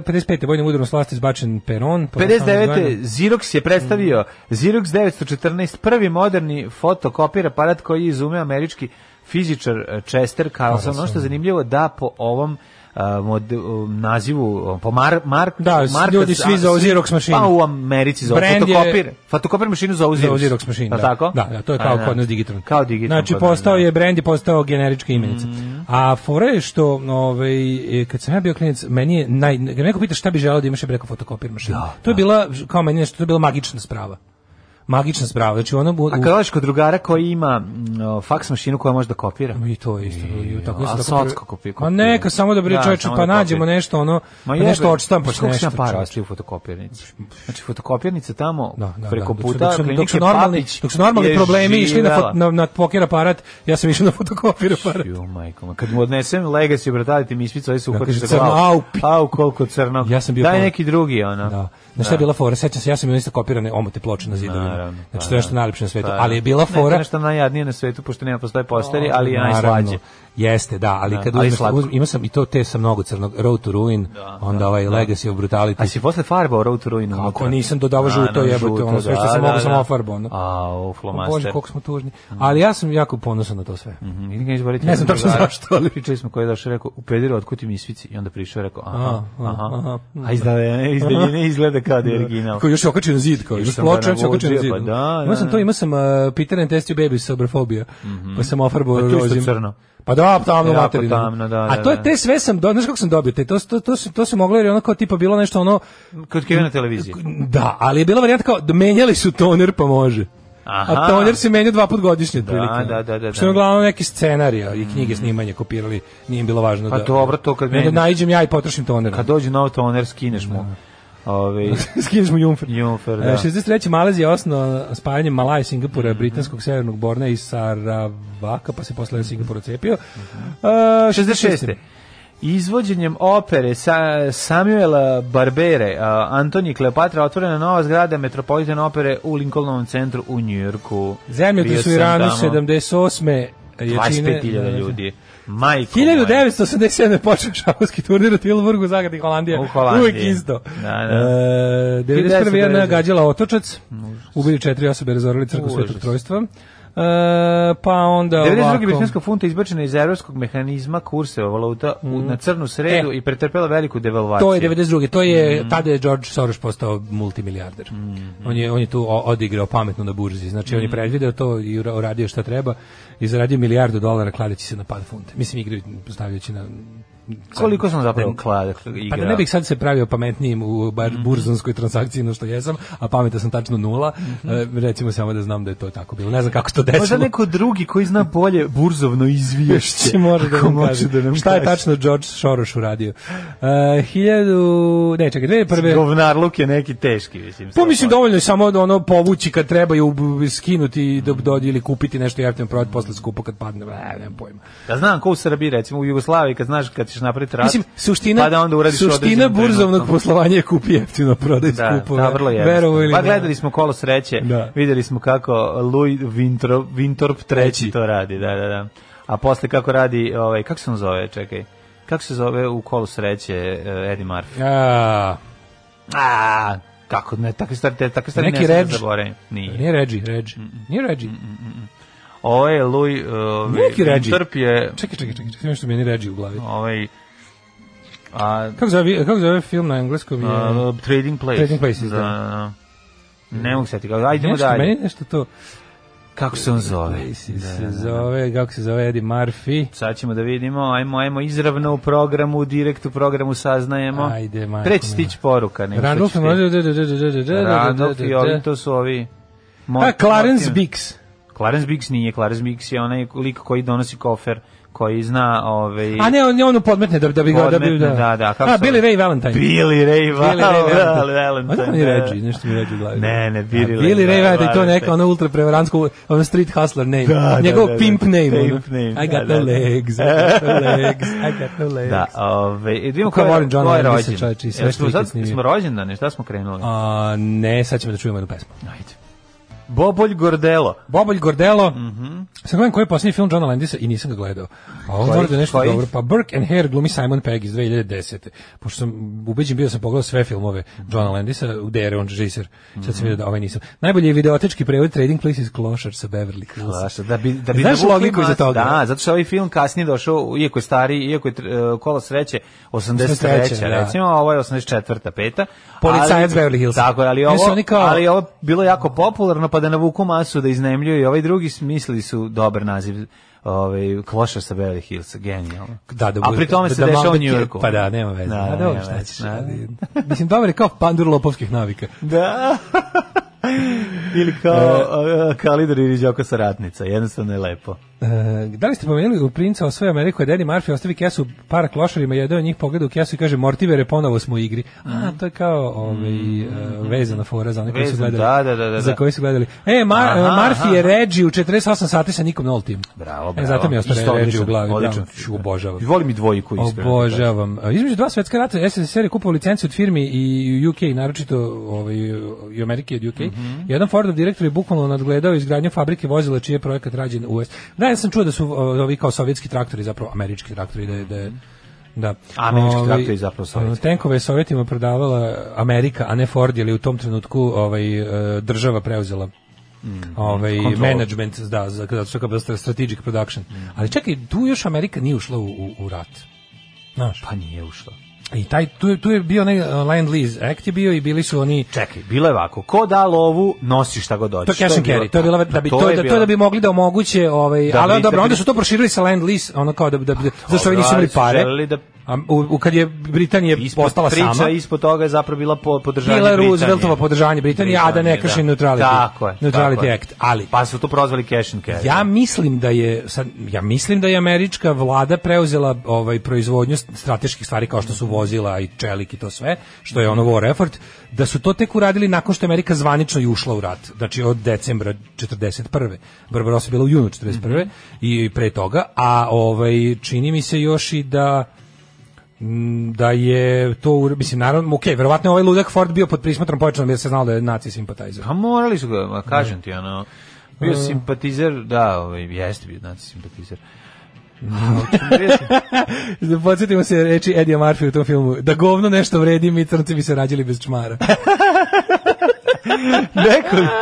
S7: 55. vojnim udarom s vlasti izbačen Peron. posle
S6: 59.
S7: samog
S6: Xerox je predstavio
S7: Mm.
S6: Xerox 914, prvi moderni fotokopir aparat koji je izumeo američki fizičar eh, Chester Carlson. Ono što je zanimljivo da po ovom eh, mod, eh, nazivu eh, po mar, mark,
S7: Da, s-
S6: marka-
S7: ljudi svi
S6: a,
S7: zovu
S6: svi-
S7: Xerox mašinu.
S6: Pa u Americi zovu
S7: Brand je-
S6: fotokopir. Fotokopir mašinu zovu Xerox.
S7: Za Xerox mašine.
S6: Pa
S7: da.
S6: tako?
S7: Da, da, to je
S6: A,
S7: kao
S6: da.
S7: kod nas digitron.
S6: Kao pa digital.
S7: Znači, postao je brend i postao generička imenica.
S6: Mhm.
S7: A fora je što, ovaj, e, kad sam ja bio klinac, meni je, naj, kad me neko pita šta bi želeo da imaš, ja bih rekao fotokopir mašinu. to je bila, kao meni nešto, to je bila magična sprava. Magična sprava. Znači, ono... bu-
S6: A kad odeš kod drugara koji ima mm, o, faks mašinu koja može da kopira?
S7: I to je isto bilo. I tako
S6: a
S7: isto tako
S6: socko
S7: prvi-
S6: kupi- kupio.
S7: Ma neka samo da bre
S6: Da,
S7: čoveče
S6: samo
S7: pa
S6: da
S7: nađemo
S6: kopira.
S7: nešto ono, pa nešto
S6: pa
S7: odštampaš
S6: što
S7: nešto.
S6: sam para
S7: čoveče.
S6: ostaje u fotokopirnici. Znači fotokopirnica tamo
S7: Da, da,
S6: preko
S7: da. Dok su-
S6: puta
S7: dok su, dok
S6: klinike
S7: su normalni,
S6: Papić
S7: dok su normalni
S6: je
S7: problemi išli na,
S6: živela.
S7: fot, na, na poker aparat, ja sam išao na fotokopir aparat.
S6: Ju, majko, moja, kad mu odnesem Legacy, bratali ti mi ispicu, ovi se uhvatiš
S7: kaže,
S6: za glavu.
S7: crno, au, pi-
S6: Au, koliko crno.
S7: Ja sam bio
S6: Daj
S7: prvo-
S6: neki drugi, ono.
S7: Da. Znaš šta je bila fora? Sećam se, ja sam imao isto kopirane omote ploče na zidovima.
S6: Naravno,
S7: znači, to
S6: pa
S7: je nešto
S6: da.
S7: najlepše na svetu.
S6: Pa,
S7: ali je bila
S6: Ne, to je
S7: fora...
S6: nešto najjadnije na svetu, pošto nema postoje posteri, ali je
S7: Naravno.
S6: najslađe.
S7: Jeste, da, ali
S6: Da,
S7: kad
S6: ali
S7: uzmeš,
S6: slatko.
S7: uzmeš, imao sam i to te sa mnogo crnog, Road to Ruin, onda ovaj Legacy of Brutality.
S6: A si posle farbao Road to Ruin?
S7: Ako
S6: unutra?
S7: nisam
S6: Da,
S7: dodavao žuto
S6: da,
S7: jebote,
S6: žuto,
S7: ono sve što
S6: da,
S7: sam mogao
S6: da,
S7: sam
S6: da.
S7: ofarbao. ono.
S6: A, u
S7: O
S6: flomaster.
S7: Bože, koliko smo tužni.
S6: Mm.
S7: Ali ja sam jako ponosan na to sve.
S6: Mhm, idem ga izboriti.
S7: Ne znam tačno
S6: Drugara.
S7: zašto, ali-
S6: Pričali smo koji je došao i rekao, u pederu, otkud ti mi isvici? I onda prišao i rekao, aha,
S7: A,
S6: aha,
S7: a,
S6: aha.
S7: aha.
S6: A izdaljene, izdaljene izgleda kao da je original.
S7: Koji još je okačio na zid, kao još
S6: Išao sam
S7: ploča,
S6: ga
S7: još je okačio na
S6: naložio,
S7: zid.
S6: pa da,
S7: imao sam
S6: da.
S7: to, imao sam uh, Peter and Test Your Baby sa obrofobija, pa sam ofarbao
S6: Pa to
S7: pa
S6: je isto crno.
S7: Pa da, tamno
S6: Jako
S7: materinu.
S6: tamno, da, da,
S7: A to je
S6: da.
S7: te sve sam, do, znaš kako sam dobio, te, to, to, to, se- to se moglo jer je ono kao tipa bilo nešto ono,
S6: Kod Kevina televizije.
S7: da, ali je bila varijanta kao, da menjali su toner pa može.
S6: Aha.
S7: A toner se menja dva put godišnje. otprilike. ono.
S6: da, da, da,
S7: Što
S6: da. Mhm.
S7: je uglavnom neki scenarija i knjige snimanja kopirali, nije im bilo važno
S6: Pa
S7: da...
S6: dobro, to kad
S7: Nego
S6: menjaš.
S7: najđem ja i potrošim toner.
S6: Kad dođe nov toner, skineš mu. Ove,
S7: Skineš mu jumfer.
S6: Jumfer, da. Mhm.
S7: E, 63. Malezija je osnovno spajanjem Malaja, Singapura, britanskog severnog Bornea i Saravaka, pa se posle Singapura cepio. E,
S6: 66. Izvođenjem opere sa Samuela Barbere, a, Antoni Kleopatra, otvorena nova zgrada Metropolitan opere u Lincolnovom centru u Njujorku.
S7: Zemljotres u
S6: Bio sam
S7: Iranu
S6: tamo.
S7: 78. jačine-
S6: 25.000 ljudi. Majko moja.
S7: 1987. počeo šahovski turnir u Tilburgu, Zagradi, Holandija.
S6: U Holandiji.
S7: Uvijek isto.
S6: Da, da.
S7: E, 91. je
S6: 1990.
S7: nagađala otočac. Ubili četiri osobe, razorili crkvu
S6: Užas.
S7: Svetog Trojstva. E, pa onda
S6: 92.
S7: ovako...
S6: britanska funta izbačena iz evropskog mehanizma kurseva valuta u- na crnu sredu
S7: E.
S6: i pretrpela veliku devalvaciju.
S7: To je 92. To
S6: Mm.
S7: je tada je George Soros postao multimilijarder. On je on je tu o- odigrao pametno na burzi. Znači
S6: Mm.
S7: on je predvideo to i ura- uradio šta treba i zaradio milijardu dolara kladeći se na pad funte. Mislim igraju stavljajući na
S6: Koliko sam zapravo
S7: Da-
S6: klada
S7: Pa
S6: igra? Mm-hmm.
S7: da ne bih sad se pravio pametnijim u bar burzonskoj transakciji no što jesam, a pameta sam tačno nula, e, recimo samo da znam da je to tako bilo. Ne znam kako se to desilo.
S6: Mm-hmm. Možda neko drugi koji zna bolje burzovno izvješće.
S7: Ti može da
S6: Ako
S7: nam
S6: može
S7: kaže.
S6: da nam
S7: Šta je
S6: kaže.
S7: tačno George Soros uradio? Uh, 1000... Ne, čekaj, 2001.
S6: Govnarluk je neki teški, mislim.
S7: Pa mislim dovoljno je samo da ono povući kad treba ju b- skinuti i da dođe ili kupiti nešto jeftino prodati posle skupo kad padne, ne, nemam pojma.
S6: Da znam ko u Srbiji, recimo u Jugoslaviji, kad znaš kad ćeš napraviti rat,
S7: Mislim suština
S6: pa da onda uradiš u
S7: suština
S6: određenom
S7: burzovnog
S6: trenutku.
S7: poslovanja je kupi jeftino prodaj
S6: Da,
S7: skupo.
S6: da, vrlo
S7: verovali
S6: jednostavno.
S7: ili
S6: Pa
S7: ne.
S6: gledali smo kolo sreće,
S7: Da.
S6: vidjeli smo kako Louis Vintrop, Vintorp treći
S7: Treći.
S6: to radi, da, da, da. A posle kako radi, ovaj, kako se on zove, čekaj, kako se zove u kolu sreće eh, Eddie Murphy?
S7: A,
S6: A, kako, ne, takve stvari, te- takve stvari
S7: Neki
S6: ne smiješ
S7: Reg.
S6: da zaboravim. Nije.
S7: nije Reggie, Reggie. Nije Reggie.
S6: Ovo je Louis ovaj,
S7: Neki Regi.
S6: Vintorp je
S7: Čekaj, čekaj, čekaj, čekaj, nešto meni Reggie u glavi.
S6: ovaj, a,
S7: Kako zove, kako zove film na engleskom? Je,
S6: a, Trading Place.
S7: Trading Places, da.
S6: da. Ne mogu se ti kao, ajdemo
S7: nešto,
S6: dalje.
S7: meni nešto to.
S6: Kako se on zove?
S7: Koji si se zove, kako se zove Eddie Murphy.
S6: Sad ćemo da vidimo, ajmo, ajmo izravno u programu, u direkt u programu saznajemo.
S7: Ajde, majko
S6: Preći
S7: mila.
S6: stići poruka. nego što
S7: Randolph
S6: će
S7: je
S6: ti-
S7: mlađe- da, da, da, da, da, da, da, da,
S6: Randolph
S7: da,
S6: i
S7: da.
S6: ovi, to su ovi... Mont-
S7: A, Clarence
S6: Monty-
S7: Bix.
S6: Clarence Biggs nije, Clarence Biggs je onaj lik koji donosi kofer, koji zna ovaj, ove...
S7: A ne, on je onu podmetne da, da bi ga da bi
S6: Podmetne, da, da, kako
S7: A,
S6: se
S7: Billy
S6: zove?
S7: Ray Valentine.
S6: Billy Ray
S7: Billy Ray Valentine.
S6: Valentine.
S7: Odakle mi
S6: da.
S7: ređi, nešto mi ređi u glavi.
S6: Ne, ne, Billy
S7: A,
S6: Ray
S7: Billy Ray Valentine, to je
S6: Valentine.
S7: neka ono ultra prevarantsko, ono street hustler name.
S6: Da, da,
S7: Njegov
S6: da, da.
S7: pimp name. ono.
S6: Pimp name,
S7: I
S6: da,
S7: got
S6: da,
S7: no
S6: da.
S7: legs, I got no legs, I got no legs.
S6: Da, ove, i da vidimo ko
S7: Kako
S6: je,
S7: volim Johna
S6: ko je
S7: Landisa,
S6: rođen.
S7: čoveče, i sve
S6: Jesmo
S7: što ikad
S6: sad-
S7: snimio.
S6: Smo rođendani, šta smo krenuli?
S7: A, ne, sad ćemo da čujemo jednu pesmu.
S6: Ajde. Bobolj Gordelo.
S7: Bobolj Gordelo. Mhm. Sad gledam koji je posljednji film Johna Landisa i nisam ga gledao. A on
S6: Koji?
S7: mora da je nešto
S6: Koji?
S7: dobro. Pa Burke and Hare glumi Simon Pegg iz 2010. Pošto sam ubeđen bio da sam pogledao sve filmove Johna Landisa, gde je on režiser. Sad
S6: Mhm.
S7: sam vidio da ovaj nisam. Najbolji je videotečki prevod Trading Places Klošar sa Beverly Hills.
S6: Da bi, da bi
S7: Znaš
S6: da
S7: logiku iza toga?
S6: Da, zato što je ovaj film kasnije došao, iako je stariji, iako je e, kola sreće, 83.
S7: 83., da.
S6: recimo, a ovo je 84. peta.
S7: Policajac
S6: Ali-
S7: Beverly Hills.
S6: Tako, je, ali
S7: Ne,
S6: ovo,
S7: su oni kao-
S6: ali ovo je bilo jako popularno, pa da navuku masu da iznemljuju i ovaj drugi smislili su dobar naziv ovaj kloša sa Beverly Hills, genijalno.
S7: Da, da
S6: A
S7: bude-
S6: pri tome
S7: da-
S6: se
S7: da
S6: dešava u
S7: malo
S6: New Yorku.
S7: Pa da, nema veze.
S6: Da,
S7: Da,
S6: da,
S7: da, dobro,
S6: nema
S7: šta
S6: veze,
S7: ćeš.
S6: da.
S7: Mislim, dobar je kao pandur lopovskih navika.
S6: Da. Ili kao, e, kao lider ili Đoko Saratnica, jednostavno je lepo.
S7: E, da li ste pomenuli u princa osvoje Ameriku je Danny Murphy ostavi kesu para klošarima, jedan od njih pogleda u kesu i kaže Mortivere, ponovo smo u igri.
S6: Mhm.
S7: A, to je kao ovaj, e, vezana fora za one koji su
S6: Vezan,
S7: gledali.
S6: Mhm. da, da, da, da,
S7: Za
S6: da.
S7: koji su gledali. E, Mar,
S6: Aha,
S7: e, Murphy je
S6: aha.
S7: Reggie u 48 sati sa nikom na all team.
S6: Bravo,
S7: E,
S6: bravo.
S7: zato mi je
S6: Isto
S7: ostao Reggie
S6: odličan,
S7: u glavi.
S6: odličan
S7: Odlično.
S6: film.
S7: Obožavam.
S6: Volim i dvojku, iskreno.
S7: Obožavam. E, Između dva svetska rata SSSR je kupovao licenciju od firmi i u UK, naročito ovaj, i u Amerike i od UK.
S6: Mhm.
S7: Jedan Fordov direktor je bukvalno nadgledao izgradnju fabrike vozila čiji je projekat rađen u US. Da, ja sam čuo da su o, ovi kao sovjetski traktori, zapravo američki traktori, da je... Da je Da.
S6: Američki
S7: Ovaj,
S6: traktori zapravo sovjetski.
S7: Tenkove je Sovjetima prodavala Amerika, a ne Ford, jer je u tom trenutku ovaj, e, država preuzela ovaj
S6: kontrolu.
S7: management da za kada su kao strategic production. Ali čekaj, tu još Amerika nije ušla u, u, u rat. Znaš.
S6: Pa nije ušla.
S7: I taj tu, je- tu je bio onaj uh, Land Lease Act je bio i bili su oni
S6: Čekaj, bilo je ovako. Ko da lovu, nosi šta god
S7: to
S6: dođe.
S7: je cash and carry, to je bilo da bi to, je da, to je da bi mogli da omoguće ovaj
S6: Da
S7: ali
S6: bi-
S7: dobro
S6: da bi-
S7: onda su to proširili sa Land Lease ono kao da bi- da bi- zašto oni nisu imali pare.
S6: Da,
S7: A u, u kad je Britanija
S6: ispod
S7: postala
S6: priča,
S7: sama
S6: ispod toga je zapravo bila po, podržanje
S7: Bila
S6: Britanije.
S7: je Rooseveltova podržanje Britanije, a da ne krši neutrality.
S6: Tako je.
S7: Neutrality
S6: tako je.
S7: act, ali-
S6: Pa su to prozvali cash and carry.
S7: Ja mislim da je sad ja mislim da je američka vlada preuzela ovaj proizvodnju strateških stvari kao što su vozila i čelik i to sve, što je ono war effort, da su to tek uradili nakon što je Amerika zvanično i ušla u rat. Znači od decembra 41. Barbarossa je bila u junu 41. i pre toga, a ovaj čini mi se još i da m, da je to, ur- mislim, naravno, okej, verovatno je ovaj ludak Ford bio pod prismotrom pojačanom jer se znalo da je naci simpatizer.
S6: Pa morali su ga, ma kažem ti, ono, bio
S7: Mm.
S6: simpatizer, da, ovaj, jeste bio, znači, simpatizer.
S7: Da podsjetimo se reči Edija Murphy u tom filmu, da govno nešto vredi, mi crnci bi se rađali bez čmara.
S6: Nekoliko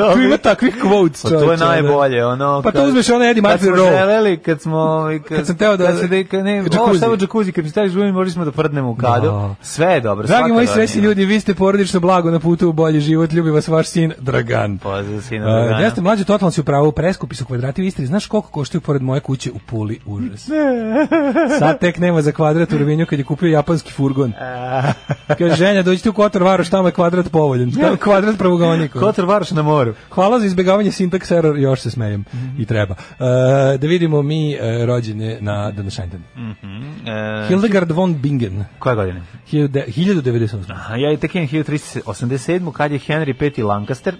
S6: ja,
S7: Tu ima takvih quotes,
S6: Pa to je najbolje, ono...
S7: Pa to
S6: kad-
S7: uzmeš onaj Eddie
S6: kad
S7: Murphy
S6: smo
S7: roll.
S6: želeli, kad smo... ovaj, Kad,
S7: Kad sam teo da-
S6: Kad se de- kad ne,
S7: Jacuzzi.
S6: ovo samo džakuzi, kad mi staviš gumi, morali smo da prdnemo u kadu.
S7: Da.
S6: Sve je dobro.
S7: Dragi
S6: svaka
S7: moji
S6: rodnja.
S7: srećni ljudi, vi ste porodično blago na putu u bolji život, ljubi vas vaš sin Dragan.
S6: Pozdrav sinu
S7: Uh,
S6: Dragana.
S7: ja ste mlađi totalno si upravo preskupi su kvadrati u Istri. Znaš koliko koštaju pored moje kuće u Puli? Užas. Sad tek nema za kvadrat u Rovinju kad je kupio japanski furgon. Kaže, ženja, dođite u Kotor Varoš, tamo je kvadrat povoljen. Tamo je kvadrat pravogonikom.
S6: Kotor Varoš na moru.
S7: Hvala za izbjegavanje sintaks error, još se smejem i treba. E, da vidimo mi e, rođene na današnji dan.
S6: E,
S7: Hildegard von Bingen,
S6: koje godine?
S7: 1098.
S6: Aha, Ja i tek imam 1387. kad je Henry V. Lancaster,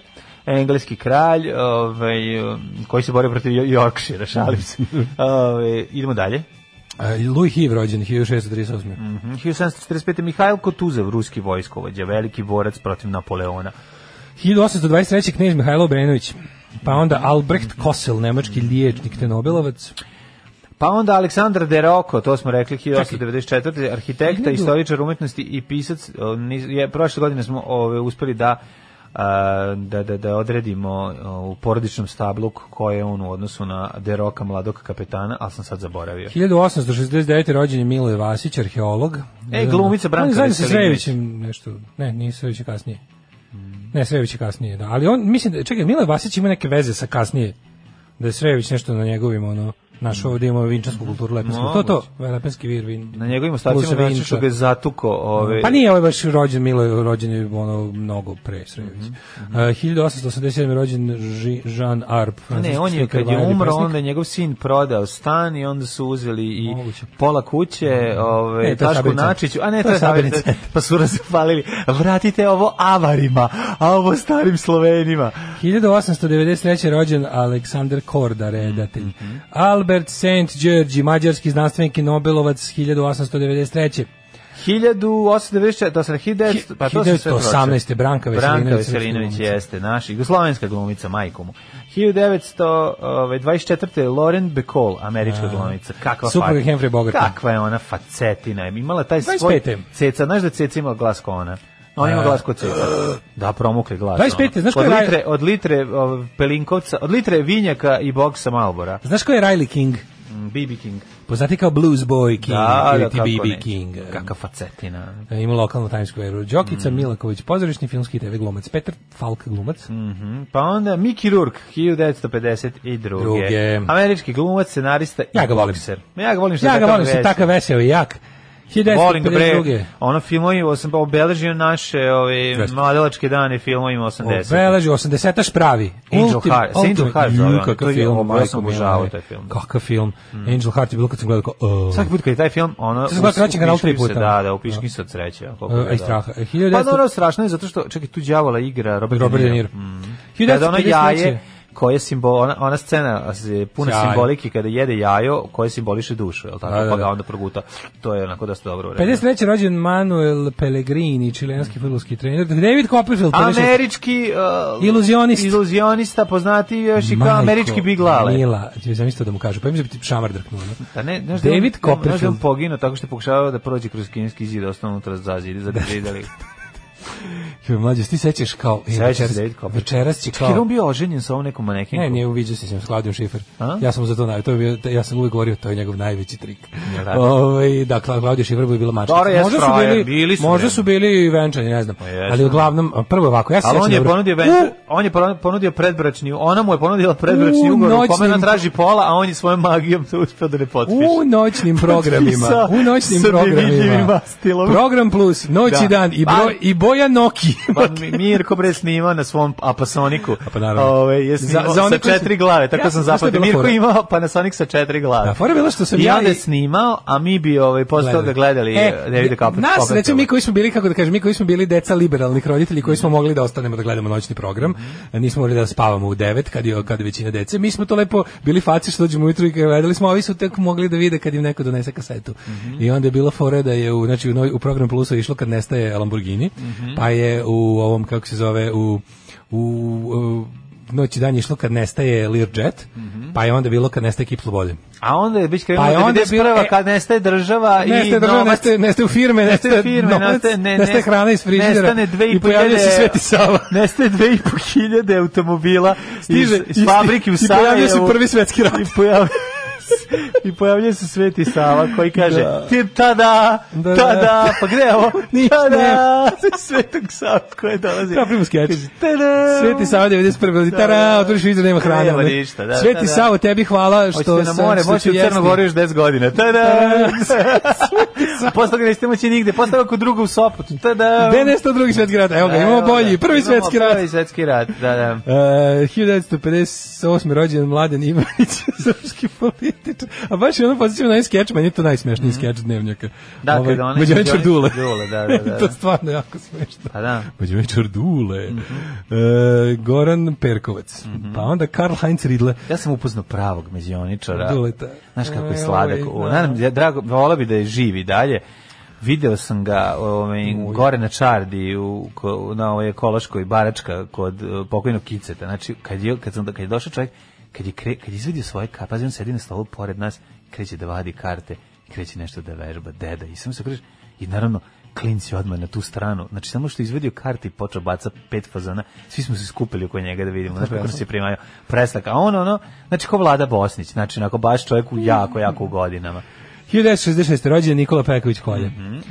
S6: engleski kralj, ovaj, um, koji se borio protiv Jo- Yorkshire, šalim se. Ovaj, idemo dalje. Mhm,
S7: E, Louis Hiv rođen, 1638.
S6: 1745. Mihajl Kotuzev, ruski vojskovođa, veliki borac protiv Napoleona.
S7: 1823. knjež Mihajlo Obrenović. Pa onda Albrecht Kossel, nemački liječnik te Nobelovac.
S6: Pa onda Aleksandar De Rocco, to smo rekli 1894. arhitekta,
S7: Hiljadu-
S6: istoričar umetnosti i pisac. O, niz- Je, prošle godine smo ove, uspeli da a, da, da, da odredimo o, u porodičnom stablu ko je on u odnosu na De Roka, mladog kapetana, ali sam sad zaboravio.
S7: 1869. rođen je Mile Vasić, arheolog.
S6: E, glumica Branka
S7: Zajedno sa
S6: Veselinović.
S7: Srejevićem nešto. Ne, nije Srejević je kasnije. Ne, Srejević je kasnije, da. Ali on, mislim, da, čekaj, Milan Vasić ima neke veze sa kasnije. Da je Srejević nešto na njegovim, ono, naš ovdje imamo vinčansku kulturu lepensku. To, to, lepenski vir, vin.
S6: Mm. Na njegovim
S7: plus
S6: ostacima znači
S7: Vinča.
S6: što ga je zatuko ove...
S7: Pa nije ovaj baš rođen, Milo je rođen je ono mnogo pre Srejević. Uh, 1887. je rođen Ži- Jean Arp.
S6: Mhm, Ne,
S7: francuski
S6: on je
S7: slikar,
S6: kad je
S7: vajar i
S6: umro,
S7: pesnik.
S6: onda je njegov sin prodao stan i onda su uzeli i
S7: Moguće.
S6: pola kuće, ovaj
S7: Ne, to je
S6: Tašku
S7: sabirnica.
S6: Načiću, a ne,
S7: To
S6: to
S7: je
S6: je sabirnica.
S7: sabirnica.
S6: pa su razvalili. Vratite ovo avarima, a ovo starim Slovenima.
S7: 1893. rođen Aleksandar Korda, redatelj.
S6: Mm-hmm,
S7: Albert St. Đorđi, mađarski znanstvenik i Nobelovac 1893.
S6: 1894, to sam 1900, pa to sam sve prošao.
S7: 1918. Branka
S6: Branka
S7: Veselinović, srpska
S6: Veselinović
S7: glumica.
S6: jeste, naš, jugoslovenska glumica, majku mu. ovaj, 1924. Lauren Bacall, američka glumica. Kakva
S7: Supruga
S6: faca.
S7: Humphrey Bogarta.
S6: Kakva je ona facetina. Imala taj svoj
S7: 25..
S6: ceca. Znaš da ceca imala glas ko ona? On ima glas ko ceca. Da, promukli glas.
S7: 25.,
S6: ono.
S7: znaš ko
S6: od
S7: je Raj-
S6: litre, od litre o, pelinkovca, od litre vinjaka i boksa Malbora.
S7: Znaš ko je Riley King?
S6: BB King.
S7: Poznati kao Blues Boy King ili ti
S6: kako
S7: BB
S6: ne.
S7: King.
S6: Kakva facetina.
S7: E, Ima lokalnu Times Square-u.
S6: Mm.
S7: Đokica Milaković, pozorišni filmski i TV glumac. Petar Falk glumac.
S6: Mhm, Pa onda Mickey Rourke, 1952.
S7: Druge.
S6: Američki glumac, scenarista i
S7: Ja ga volim.
S6: bokser. Ja ga volim što
S7: Ja
S6: je
S7: ga
S6: takav
S7: volim, sam
S6: vesel.
S7: takav veseo i jak.
S6: Volim ga bre.
S7: 1952.
S6: Ono filmovima sam obeležio naše ove,
S7: Jeste.
S6: mladelačke dane filmovima 80.
S7: Obeleži 80-taš pravi.
S6: Angel
S7: Ultim-
S6: Heart, Angel
S7: Ultimate-
S6: Heart zove
S7: Ju,
S6: on. To
S7: Kakav
S6: je-
S7: film,
S6: ja sam
S7: majko mila,
S6: obožavao
S7: bre.
S6: taj film. Mm.
S7: Kakav film. Angel Heart je bilo kad sam gledao kao... "Oh." "O".
S6: Svaki put kad je taj film, ono,
S7: Sad sam gledao Kraćenka na
S6: upiškim
S7: tri puta.
S6: se, Da, da, upiški se od sreće. ako
S7: E, a i
S6: pogledam.
S7: straha. E,
S6: Pa
S7: 1900
S6: dobro, strašno je zato što, čekaj, tu đavola igra Robert,
S7: Robert De Niro.
S6: Mm. Kada ono
S7: 1953.
S6: jaje, koje simbol, ona, ona scena je puna
S7: Sjaj.
S6: simbolike kada jede jajo koje simboliše dušu, je li tako?
S7: Da, da,
S6: pa ga
S7: da.
S6: onda proguta. To je onako dosta dobro urađeno.
S7: 53. rođen Manuel Pellegrini, čilenski fudbalski trener. David Copperfield, 56.
S6: Američki uh,
S7: Iluzionist.
S6: iluzionista poznati još i kao
S7: Majko
S6: američki Big Lale.
S7: Mila, ti mi zamislio da mu kažu, pa im zapiti šamar drknuo. no?
S6: Da ne, znaš
S7: David
S6: da on, Znaš da on
S7: Copperfield.
S6: poginuo tako što je pokušavao da prođe kroz kineski zid, ostao unutra za zid, za zidali.
S7: Jo, mlađe, ti sećaš kao, e,
S6: Sećam se
S7: večeras,
S6: David Copperfield.
S7: večeras će
S6: Kada
S7: kao,
S6: on bio oženjen sa ovom nekom manekinkom?
S7: Pa. Ne, nije uviđao se s njim, s Klaudijom Šifer.
S6: A?
S7: Ja sam mu za to naj, to je bio, ja sam uvek govorio, to je njegov najveći trik.
S6: Jel da?
S7: Ovaj da, Kla- Klaudija Šifer bi bila mačka.
S6: Dobro, jes,
S7: možda su
S6: frajer,
S7: bili,
S6: bili su,
S7: možda
S6: ne.
S7: su bili i venčani, ne znam.
S6: jesam.
S7: Ali uglavnom, a, prvo ovako, ja se
S6: Ali on
S7: sećam
S6: je
S7: dobro.
S6: ponudio ven,
S7: U,
S6: on je ponu- ponudio predbračni, ona mu je ponudila predbračni
S7: U,
S6: ugovor u kome
S7: noćnim-
S6: ona traži pola, a on je svojom magijom to uspio da ne potpiše.
S7: U noćnim programima,
S6: Potpisao
S7: u noćnim
S6: sa nevidljivim
S7: programima.
S6: mastilom.
S7: Program plus, noć
S6: Da.
S7: i dan i
S6: Pa-
S7: broj i boja Noki.
S6: Pa mi- Mirko bre snima na svom Apasoniku.
S7: A pa naravno.
S6: Ove, je snimao
S7: Za- za
S6: sa
S7: one koji su-
S6: četiri glave, tako sam
S7: Ja sam- znaš šta je
S6: zapamtio.
S7: bila
S6: Mirko
S7: fora?
S6: imao Panasonic sa četiri glave.
S7: Da, fora je bila što sam
S6: Pa- I
S7: ja
S6: onda je
S7: i-
S6: snimao, a mi bi ovaj, posle toga gledali e, Davide Kapoč.
S7: Nas, recimo,
S6: ono-
S7: mi koji smo bili, kako da kažem, mi koji smo bili deca liberalnih roditelji, koji smo mogli da ostanemo da gledamo noćni program,
S6: Mhm.
S7: nismo mogli da spavamo u devet, kad je, kad je većina dece, mi smo to lepo bili faci što dođemo ujutru i gledali smo, a ovi su tek mogli da vide kad im neko donese kasetu.
S6: Mhm.
S7: I onda je bila fora da je u, znači, u, noj- u program Plusa išlo kad nestaje Lamborghini,
S6: Mhm.
S7: pa je u ovom, kako se zove, u, u, u noć i dan je išlo kad nestaje Learjet,
S6: Mhm.
S7: pa je onda bilo kad nestaje Kip Slobode.
S6: A onda je već krenuo
S7: Pa je onda
S6: 91.
S7: bilo-
S6: kad nestaje država i
S7: Nestaje država,
S6: novac.
S7: nestaje, nestaje u firme, nestaje,
S6: Nestaje firme,
S7: novac,
S6: nestaje- ne-
S7: nestaje
S6: ne-
S7: hrana iz frižidera
S6: nestane dve i
S7: i pojavljuje se
S6: hiljade-
S7: Sveti Sava.
S6: Nestaje dve i po hiljade automobila
S7: Stiže
S6: iz, iz fabrike u
S7: i pojavljuje se
S6: Sarajevu.
S7: prvi svetski rat.
S6: I pojavljuje I pojavljuje se Sveti Sava koji kaže
S7: Da.
S6: ti tada,
S7: Da, da.
S6: tada, pa gde je ovo?
S7: Ništa
S6: Tada, Svetog Sava koji dolazi.
S7: Napravimo skeč.
S6: Kaže, Tada.
S7: Sveti Sava 91. veli, Tara, otvoriš vizor, nema hrane.
S6: Nema
S7: onda.
S6: ništa, da, da,
S7: Sveti
S6: da.
S7: Savo, tebi hvala što
S6: Hoćete na
S7: sam-
S6: more,
S7: što
S6: moći
S7: ću
S6: u Crnu
S7: jesti.
S6: Goru još 10 godina. Tada! Posle toga nećete moći nigde, posle toga kod druga u Sopotu. Tada!
S7: Gde je nestao drugi svetski rat? Evo ga, imamo
S6: Evo
S7: bolji,
S6: ga,
S7: prvi
S6: imamo
S7: svetski rat.
S6: Prvi svetski rat, da, da.
S7: Uh, 1958. rođen Mladen Ivanić, srpski političar. A baš je ono pozitivno na skeč, meni je to najsmešniji skeč dnevnjaka.
S6: Mhm. Da, kada onaj
S7: Mađoničar Dule.
S6: Dule, da, da, da.
S7: to je stvarno jako smešno.
S6: Pa da.
S7: Mađoničar Dule.
S6: Mhm.
S7: E, Goran Perkovac. Pa onda Karl Heinz Ridle.
S6: Ja sam upoznao pravog međioničara.
S7: Duleta.
S6: Znaš kako je
S7: E,
S6: sladak.
S7: ovaj,
S6: O,
S7: da.
S6: Nadam, ja drago, volao bi da je živi dalje. Video sam ga ovaj, gore na Čardi u, ko- na ovoj ekološkoj baračka kod eh, pokojnog Kiceta. Znači, kad je, kad, sam, kad je došao čovjek, kad je, kre, kad je izvedio svoje karte, pazi, on sedi na stolu pored nas, kreće da vadi karte, kreće nešto da vežba, deda. I samo se okrećeš i naravno, klinci odmah na tu stranu. Znači, samo što je izvedio karte i počeo baca pet fazona, svi smo se skupili oko njega da vidimo. Znači, kako nas je primaju preslak. A on, ono, znači, ko vlada Bosnić. Znači, onako, baš čovjek u jako, jako u godinama.
S7: 1966. rođen Nikola Peković Kolja. E, talent-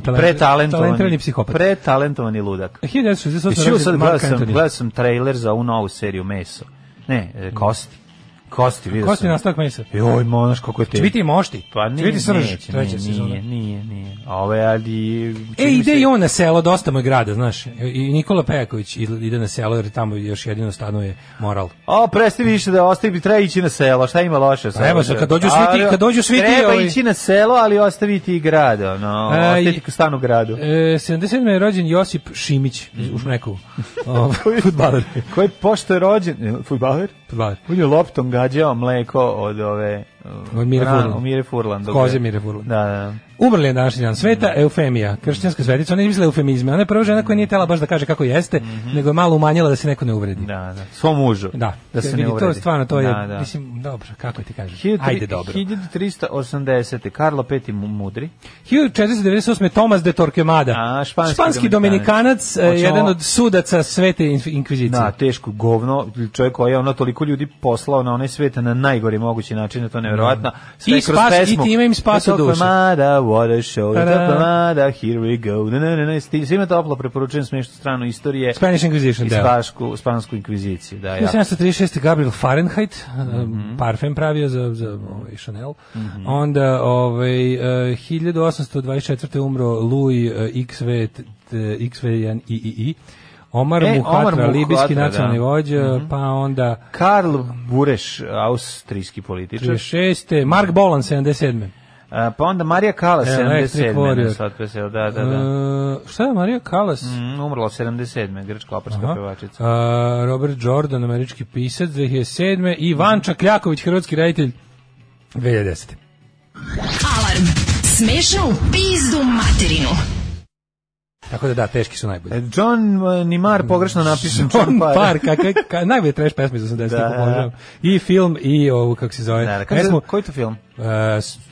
S6: Mhm, Pretalentovani.
S7: Talentirani psihopat.
S6: Pretalentovani ludak.
S7: 1968.
S6: Jesi čuo sad,
S7: rođen
S6: gledao
S7: Mark
S6: sam,
S7: Anthony.
S6: gledao sam trailer za ovu novu seriju Meso. Ne, e, Kosti. Kosti, vidio sam.
S7: Kosti nastavak mesa.
S6: Joj, monaš, kako je te...
S7: Će biti i mošti.
S6: Pa
S7: Će
S6: nije,
S7: biti srž,
S6: neće,
S7: treća
S6: nije,
S7: sezona.
S6: Nije, nije, nije. A ove, ali...
S7: E, ide i on na selo, dosta mu je grada, znaš. I Nikola Pejaković ide na selo, jer tamo još jedino stanuje moral.
S6: O, presti više da ostavi, treba ići na selo, šta ima loše? sa
S7: Pa Evo
S6: ovim?
S7: sad, kad dođu svi ti- kad dođu svi ti,
S6: Treba
S7: ovi-
S6: ići na selo, ali ostaviti i grad, ono,
S7: A, i-
S6: ostaviti stanu gradu.
S7: E, 77. je rođen Josip Šimić, u Šmeku. Mhm. Futbaler.
S6: Koji pošto je rođen, e, futbaler?
S7: Futbaler.
S6: On je loptom gađao mleko od ove...
S7: Od Mire
S6: Furlan.
S7: Furlan.
S6: Od Mire Furlan. dok je-
S7: Koze Mire Furlan.
S6: Da, da.
S7: Umrli je današnji dan. Sveta Eufemija, kršćanska svetica. Ona je mislila eufemizme. Ona je prva žena koja nije tela baš da kaže kako jeste, nego je malo umanjila Mhm. da se neko ne uvredi.
S6: Da, da. Svom mužu.
S7: Da,
S6: da se
S7: vidi,
S6: ne
S7: To je
S6: uredi.
S7: stvarno, to je,
S6: Da, da.
S7: mislim, dobro, kako ti kažeš?
S6: 1300
S7: Ajde, dobro.
S6: 1380. Karlo V mu- mudri.
S7: 1498. je Tomas de Torquemada.
S6: A, španski
S7: dominikanac, e,
S6: Hoćemo-
S7: jedan od sudaca svete inf- inkvizicije.
S6: Da, teško govno, čovjek koji je ono toliko ljudi poslao na onaj svet na najgori mogući način, to je nevjerojatno. Sve
S7: I
S6: kroz
S7: spas-
S6: pesmu.
S7: i time im spaso
S6: Topa
S7: duše.
S6: Mada, what a show,
S7: Ta-da.
S6: topa mada, here we go. Ne, ne, ne, ne, sti- svima toplo preporučujem smješnu stranu istorije
S7: Spanish Inquisition,
S6: i
S7: da.
S6: spašku, spansku inkviziciju. Da, ja. Mhm.
S7: 1736. Gabriel Fahrenheit, mm parfem pravio za, za ovaj, Chanel. Onda ovaj, e, 1824. umro Louis e, XV, t- XV1 III. Omar
S6: E,
S7: e,
S6: Omar
S7: Muhatra,
S6: Mukhatra,
S7: libijski
S6: da. Mhm.
S7: nacionalni vođa, pa onda
S6: Karl Bureš, austrijski političar.
S7: 36. Mark Bolan, 77.
S6: A, pa onda Marija Kala,
S7: Electric
S6: 77.
S7: Warrior.
S6: ne, sad pesel, Da, da, da.
S7: E, šta je Marija Kalas?
S6: Mm, Umrla 77. grčka operska
S7: Aha.
S6: pevačica.
S7: A, Robert Jordan, američki pisac 2007. I
S6: Mhm.
S7: Van Čakljaković, hrvatski reditelj 2010.
S5: Alarm. Smešno u pizdu materinu.
S7: Tako da da, teški su najbolji.
S6: E, John e, Nimar pogrešno napisan
S7: John
S6: Parr.
S7: Park, kak, kak, najbolje trash pesme iz 80-ih,
S6: Da.
S7: da. I film, i ovu, kako se zove,
S6: Da, da, kako se-
S7: pesmu
S6: koji to film?
S7: uh,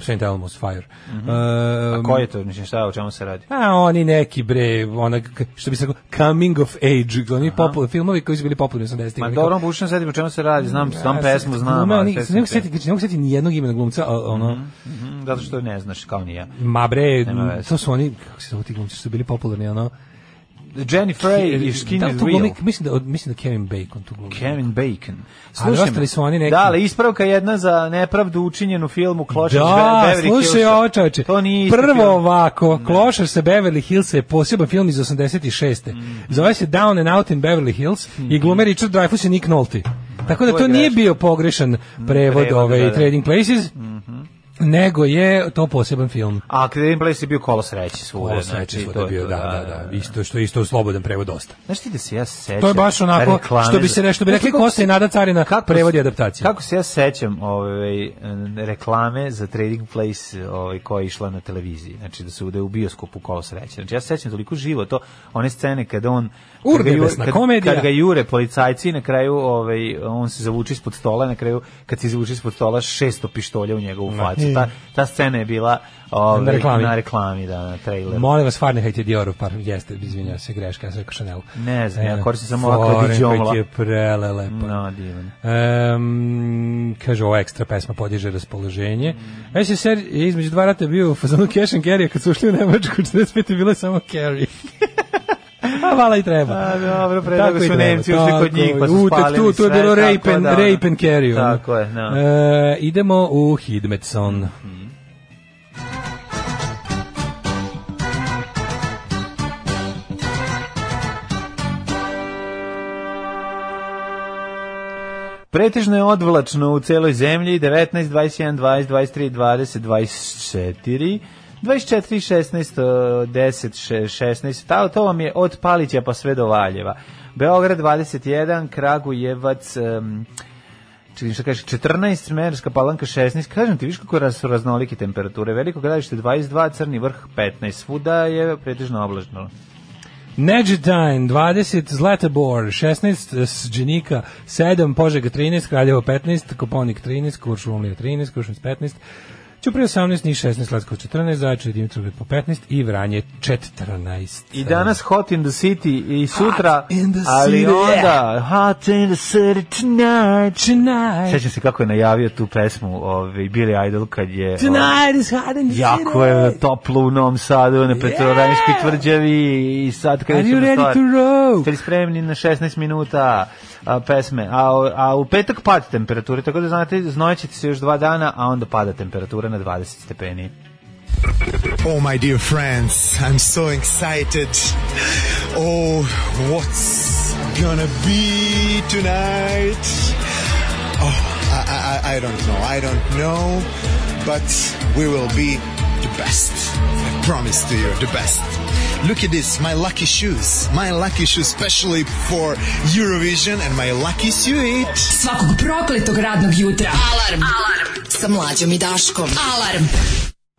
S7: St. Elmo's Fire. Um,
S6: Koji je to? Mislim, šta, o čemu se radi?
S7: A oni neki bre, ona k- što bi se rekao coming of age, oni popul filmovi koji su bili popularni u 80-ih.
S6: Ma
S7: Kao-
S6: dobro, bušno sedim o čemu se radi, znam, znam
S7: Ja se-
S6: pesmu, znam.
S7: glume,
S6: ali
S7: oni-
S6: sve sam
S7: Ne mogu
S6: te-
S7: setiti, znači, ne mogu setiti ni jednog imena glumca, a, ono
S6: Mhm, Zato što ne znaš, kao ni ja.
S7: Ma bre,
S6: Nema veze.
S7: to su oni, kako se zove ti glumci, što su bili popularni, ono...
S6: Jenny Frey i Skin
S7: da li
S6: is
S7: tu glumi-
S6: Real.
S7: mislim, da, od- mislim da Kevin Bacon tu glumi.
S6: Kevin Bacon.
S7: Ali
S6: Slušaj me.
S7: ostali su oni neki-
S6: Da, ali ispravka jedna za nepravdu učinjenu filmu Klošić
S7: Da,
S6: Beverly
S7: slušaj
S6: Hillsa.
S7: ovo čoveče.
S6: To nije isti
S7: Prvo
S6: film.
S7: ovako, Klošar se Beverly Hills je poseban film iz 86.
S6: Mm.
S7: Zove se Down and Out in Beverly Hills i glume Richard Dreyfuss i Nick Nolte. Tako da
S6: to
S7: to
S6: je
S7: nije
S6: Mm. greška. Mm,
S7: bio pogrešan prevod
S6: prevod,
S7: ove
S6: da, Mhm. da.
S7: Trading Places, nego je to poseban film.
S6: A Kevin Place je bio kolo sreće svuda.
S7: Ovo sreće
S6: E, znači,
S7: svuda
S6: to
S7: je
S6: je
S7: bio,
S6: to,
S7: da, da, da. Isto, što je isto slobodan prevod dosta.
S6: Znaš ti da se ja sećam?
S7: To je baš onako,
S6: reklame
S7: što bi
S6: za-
S7: se re- što bi
S6: Znaš
S7: rekli
S6: kako
S7: Kosta
S6: se-
S7: i Nada Carina,
S6: kako
S7: prevod i
S6: se-
S7: adaptacija.
S6: Kako se ja sećam ovaj, e, reklame za Trading Place ovaj, koja je išla na televiziji, znači da se ude u bioskopu kolo sreće. Znači ja se sećam toliko živo to, one scene kada on... kad ga jure-
S7: Urdebesna
S6: kad-
S7: komedija.
S6: Kad ga jure policajci i na kraju ovaj, on se zavuče ispod stola, na kraju kad se izvuče ispod stola 600 pištolja u njegovu facu. Ta, ta scena je bila ovaj,
S7: Na reklami.
S6: na reklami, da, na traileru.
S7: Molim vas, Fahrenheit je Diorov parfem. Jeste, izvinjavam se, greška, ja sam rekao Chanel.
S6: Ne znam, ja
S7: E,
S6: koristim samo ovako da bi
S7: Fahrenheit
S6: đomla.
S7: je prelelepo.
S6: No, divan.
S7: Ehm, kaže, ova ekstra pesma podiže raspoloženje. SSR je između dva rata bio u fazonu Cash and Carry, a kad su ušli u Nemačku, 45. bilo je samo Carry. a vala i treba.
S6: A, dobro, pre
S7: Tako
S6: toga
S7: i
S6: su
S7: treba,
S6: Nemci ušli
S7: tako
S6: kod njih, pa
S7: je.
S6: su
S7: U, tek
S6: spalili
S7: tu, tu je
S6: sve,
S7: bilo
S6: tako
S7: rape and,
S6: da, ono.
S7: rape and carry. ono.
S6: Tako je, da.
S7: E, idemo u Hidmetson.
S6: Pretežno je odvlačno u celoj zemlji 19, 21, 20, 23, 20, 24. 24, 16, 10, 16, ta, to vam je od Palića pa sve do Valjeva. Beograd 21, Kragujevac, um, čekaj šta kažeš, 14, Smerska palanka 16, kažem ti, viš kako raz- su raznolike temperature, veliko gradište 22, Crni vrh 15, svuda je pretežno oblačno.
S7: Nedžetajn, 20, Zlatibor, 16, Sđenika, 7, Požega, 13, Kraljevo, 15, Koponik, 13, Kuršumlija, 13, Kuršumlija, 15, Ćuprije 18, Niš 16, Latsko 14, Zajče, Dimitrovgrad po 15 i Vranje 14.
S6: I danas Hot in the City i sutra,
S7: in the
S6: ali
S7: city, e.
S6: onda Hot in the City tonight.
S7: Tonight,
S6: Sećam se kako je najavio tu pesmu ovaj, Billy Idol kad je... ovaj,
S7: tonight is hot in the city.
S6: Jako je toplo u Novom Sadu, na Petrovaranjskoj
S7: Yeah.
S6: tvrđavi i sad
S7: Are
S6: krećemo
S7: you ready
S6: stvar.
S7: to roll?
S6: Ste li spremni na 16 minuta a, pesme? A, a u petak pad temperature, tako da znate, znojećete se još dva dana, a onda pada temperatura na 20 stepeni.
S8: Oh, my dear friends, I'm so excited. Oh, what's gonna be tonight? Oh, I, I- I, I don't know. I don't know, but we will be the best. I promise to you, the best. Look at this, my lucky shoes. My lucky shoes, specially for Eurovision, and my lucky suit.
S5: Svakog prokletog radnog jutra. Alarm. Alarm. Sa mlađom i Daškom. Alarm.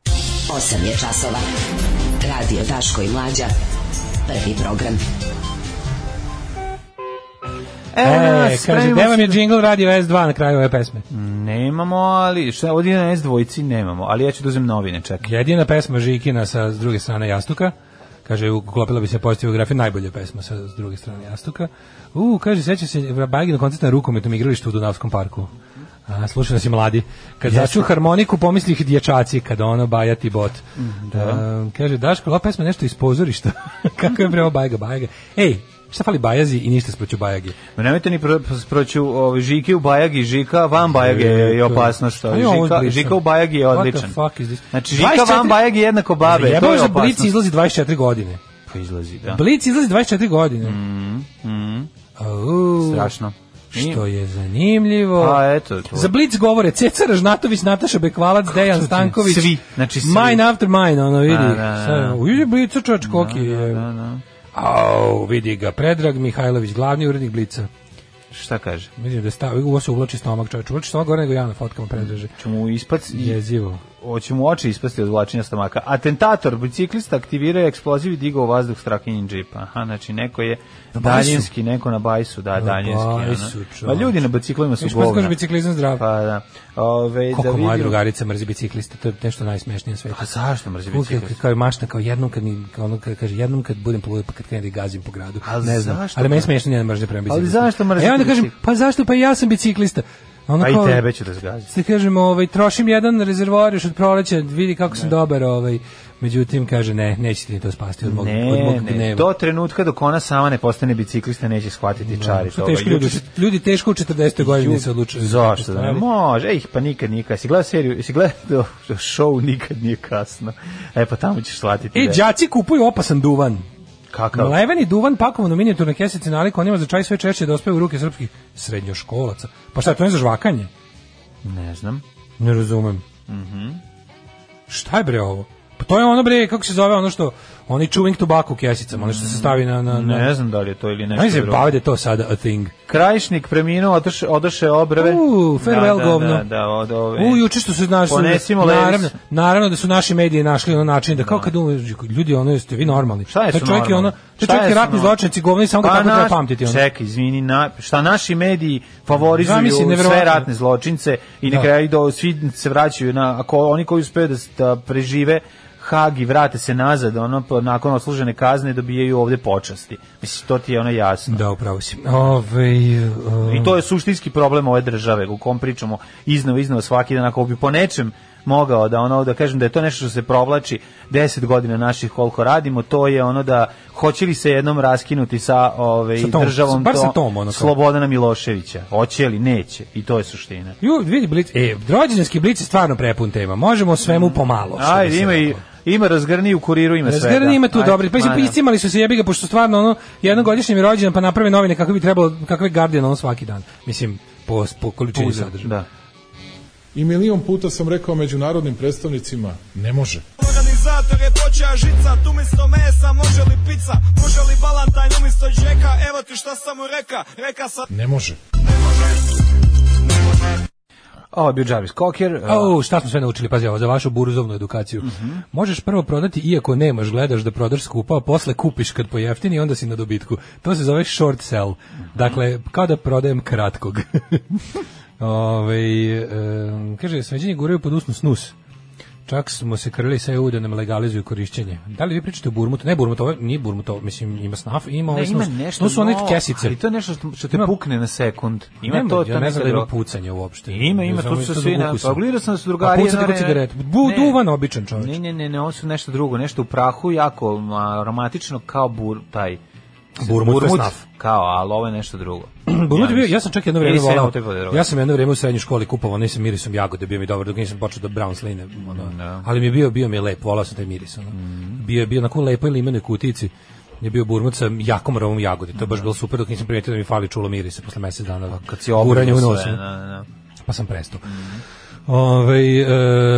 S9: 8 je časova. Radio Daško i Mlađa. Prvi program.
S6: E,
S7: E, kaže,
S6: spremimo
S7: gde vam
S6: se
S7: je džingl radio S2 na kraju ove pesme?
S6: Nemamo, ali šta, ovdje na S2 nemamo, ali ja ću da uzem novine, čekaj.
S7: Jedina pesma Žikina sa s druge strane jastuka. Kaže, uklopila bi se pozitivna grafija, najbolja pesma sa s druge strane jastuka. U, kaže, seća se Bajgi na koncert na rukometnom igralištu u Dunavskom parku. A, slušaj nas i mladi. Kad začu harmoniku, pomisli ih dječaci, kada ono bajati bot.
S6: Mhm,
S7: A, kaže, Daško, ova pesma je nešto iz pozorišta. Kako je prema Bajga, Bajga. Ej, šta fali Bajazi i ništa sproću Bajagi.
S6: Ma Nemojte ni pro, proću ovaj, Žike u Bajagi, Žika van Bajagi je opasno što.
S7: A je ovo
S6: Žika,
S7: odlično.
S6: žika u Bajagi je
S7: What the
S6: odličan.
S7: fuck is this?
S6: Znači, Žika
S7: 24
S6: van Bajagi je jednako babe, to
S7: Jebao
S6: je
S7: za Blic
S6: opasno.
S7: izlazi 24 godine.
S6: Pa izlazi, da. Mhm,
S7: Blic izlazi 24 godine. Mm, mm.
S6: Strašno. I-
S7: Što je zanimljivo.
S6: A, Pa, eto, to.
S7: Za Blic govore Ceca Ražnatović, Nataša Bekvalac, Dejan Stanković.
S6: Svi, znači svi.
S7: Mine after mine, ono vidi.
S6: Da, da, da.
S7: Sad, Uđe Blica čovječ koki. je. Au, vidi ga, Predrag Mihajlović, glavni urednik Blica.
S6: Šta kaže?
S7: Vidim da stavi, ovo se uvlači stomak čovječ. Uvlači stomak gore nego ja na fotkama Predraže.
S6: Čemu mu ispac...
S7: Jezivo.
S6: Hoće mu oči ispasti od vlačenja stomaka. Atentator, biciklista, aktivirao je eksploziv i digao u vazduh strakinjin džipa. Aha, znači neko je
S7: bajsu?
S6: daljinski, neko na bajsu, da, daljinski. ono.
S7: bajsu, čovječe.
S6: Pa ljudi na biciklima su
S7: Viš pa
S6: govna.
S7: kaže biciklizam zdrav.
S6: Pa da. Ove, da
S7: Koliko moja
S6: vidim-
S7: drugarica mrzi bicikliste, to je nešto najsmešnije na svetu.
S6: A zašto mrzi
S7: Uvijek je
S6: biciklista?
S7: kao je mašta, kao jednom kad, mi, kao ono, kad, kaže, jednom kad budem polud, pa kad krenem da ih gazim po gradu.
S6: Ali
S7: ne znam,
S6: zašto
S7: ali meni je
S6: mrzi?
S7: smiješno njena mržnja prema biciklista.
S6: zašto mrzi
S7: Ja onda kažem,
S6: bicikl?
S7: pa zašto, pa i ja sam biciklista. Ono
S6: Pa i
S7: kao-
S6: tebe ću da zgazim.
S7: Sad kažem, ovaj, trošim jedan rezervoar još od proleća, vidi kako sam dobar, ovaj, međutim, kaže, ne, nećete ni to spasti od mog, od
S6: Ne,
S7: mog
S6: ne,
S7: gneva.
S6: do trenutka dok ona sama ne postane biciklista neće shvatiti čari
S7: Što
S6: toga.
S7: teško ljudi,
S6: Juče-
S7: ljudi teško u 40. godini se odlučuju. za takve
S6: ovaj, Zašto da ne?
S7: stvari.
S6: Može, ej, pa nikad nikad. Si gledao seriju, si gledao show nikad nije kasno. E, pa tamo ćeš shvatiti.
S7: E,
S6: da-
S7: đaci kupuju opasan duvan.
S6: Kakav?
S7: Mleveni duvan pakovan u minijaturne kesice nalik onima za čaj sve češće dospeva u ruke srpskih srednjoškolaca. Pa šta, to je za žvakanje?
S6: Ne znam.
S7: Ne razumem.
S6: Mhm.
S7: Šta je bre ovo? Pa to je ono bre, kako se zove ono što, oni chewing tobacco u kesicama, ono što se stavi na... na, na
S6: Ne znam da li je to ili
S7: Ajde
S6: nešto
S7: se
S6: drugo.
S7: bavite to sada a thing.
S6: Krajišnik preminuo, odoše, odoše obrve.
S7: U, farewell
S6: da, da,
S7: govno.
S6: Da, da, od ove.
S7: U, juče što su znaš,
S6: Ponesimo Levis.
S7: naravno, naravno da su naši mediji našli ono način da kao kad umreži, ljudi ono jeste vi normalni.
S6: Šta je
S7: Taj
S6: su
S7: čovjek je
S6: normalni?
S7: ono,
S6: Šta
S7: taj čovjek je
S6: su
S7: ratni
S6: normalni?
S7: zločinci, govni samo ga
S6: Pa
S7: tako treba
S6: naš-
S7: pamtiti ono.
S6: Čekaj, izvini, na, šta naši mediji favorizuju
S7: Zamisli,
S6: sve
S7: nevjerovatno.
S6: ratne zločince i
S7: Da.
S6: na kraju do, svi se vraćaju na, ako oni koji uspeju da, s- da prežive Hag i vrate se nazad, ono, pa nakon odslužene kazne dobijaju ovde počasti. Mislim, to ti je ono jasno.
S7: Da, upravo si. Ove, uh,
S6: I to je suštinski problem ove države u kom pričamo iznova iznova svaki dan ako bi po nečem mogao da ono da kažem da je to nešto što se provlači 10 godina naših koliko radimo to je ono da hoće li se jednom raskinuti sa ovaj
S7: Sa tom,
S6: državom
S7: bar sa tom, ono, kao.
S6: Slobodana Miloševića hoće li neće i to je suština
S7: Ju, vidi blic, e, rođendanski blic je stvarno prepun tema. Možemo o svemu pomalo. što bi
S6: Mm. ajde
S7: se
S6: ima i
S7: reklo.
S6: ima razgrni u kuriru ima svega
S7: Razgrani ima tu
S6: Ajde,
S7: dobri. Pa mislim,
S6: ma da.
S7: piscimali su se jebi ga, pošto stvarno ono, jednogodišnji mi je rođendan, pa naprave novine kakve bi trebalo, kakve Guardian ono svaki dan. Mislim, po, po količini
S6: Puza,
S7: sadržaja.
S6: da
S10: I milion puta sam rekao međunarodnim predstavnicima, ne može.
S1: Organizator je počeo žica, tu umjesto mesa može li pizza, može li balantajn umjesto džeka, evo ti šta sam mu reka, reka sam...
S10: Ne može.
S6: Ovo je bio Jarvis Cocker. uh,
S7: Au, šta smo sve naučili, pazi ovo, za vašu burzovnu edukaciju. Možeš prvo prodati, iako nemaš, gledaš da prodaš skupa, a posle kupiš kad pojeftini, onda si na dobitku. To se zove short sell. Dakle, kao da prodajem kratkog. Ove, kaže, sveđenje guraju pod usnu snus. Čak smo se krili sa EU da nam legalizuju korišćenje. Da li vi pričate o Burmutu? Ne Burmutu, ovo nije Burmut, ovo, mislim ima snaf,
S6: Ne,
S7: ima ovaj
S6: ima
S7: snus.
S6: nešto.
S7: To su one
S6: novo,
S7: kesice.
S6: Ali to je nešto što, što te
S7: Ima-
S6: pukne na sekund. Ima
S7: Nema,
S6: to, to
S7: ja ne znam da ima
S6: nekad-
S7: pucanje uopšte.
S6: Ima, ima,
S7: Ne znam,
S6: tu su
S7: to
S6: svi
S7: zbog
S6: na...
S7: ukusa.
S6: Pogledao sam da su drugari...
S7: A pucate
S6: jedno
S7: po
S6: vreme-
S7: cigaretu. Bu,
S6: Ne.
S7: duvan običan čovjek.
S6: Ne, ne, ne, ne, ovo su nešto drugo, nešto u prahu, jako ma, aromatično, kao bur, taj...
S7: Burmut, to je snaf.
S6: Kao, ali ovo je nešto drugo.
S7: Burmut je bio,
S6: mislim.
S7: ja sam čak jedno vrijeme
S6: Nisam ja
S7: volao.
S6: u te godine,
S7: Ja sam jedno vrijeme u srednjoj školi kupovao, nisam mirisom jagode, bio mi dobar, dok nisam počeo da brown sline, ono.
S6: da. Mhm.
S7: Ali mi je bio, bio mi je lep, volao sam taj miris, ono. Bio je bio na lepoj limenoj kutijici. Je bio burmut sa jakom arovom jagode. To je baš bilo super, dok nisam primetio da mi fali čulo mirisa posle mesec dana.
S6: Pa Kad si obrnuo
S7: guranja u nos,
S6: sve,
S7: ono.
S6: na, na.
S7: pa sam prestao. Ovaj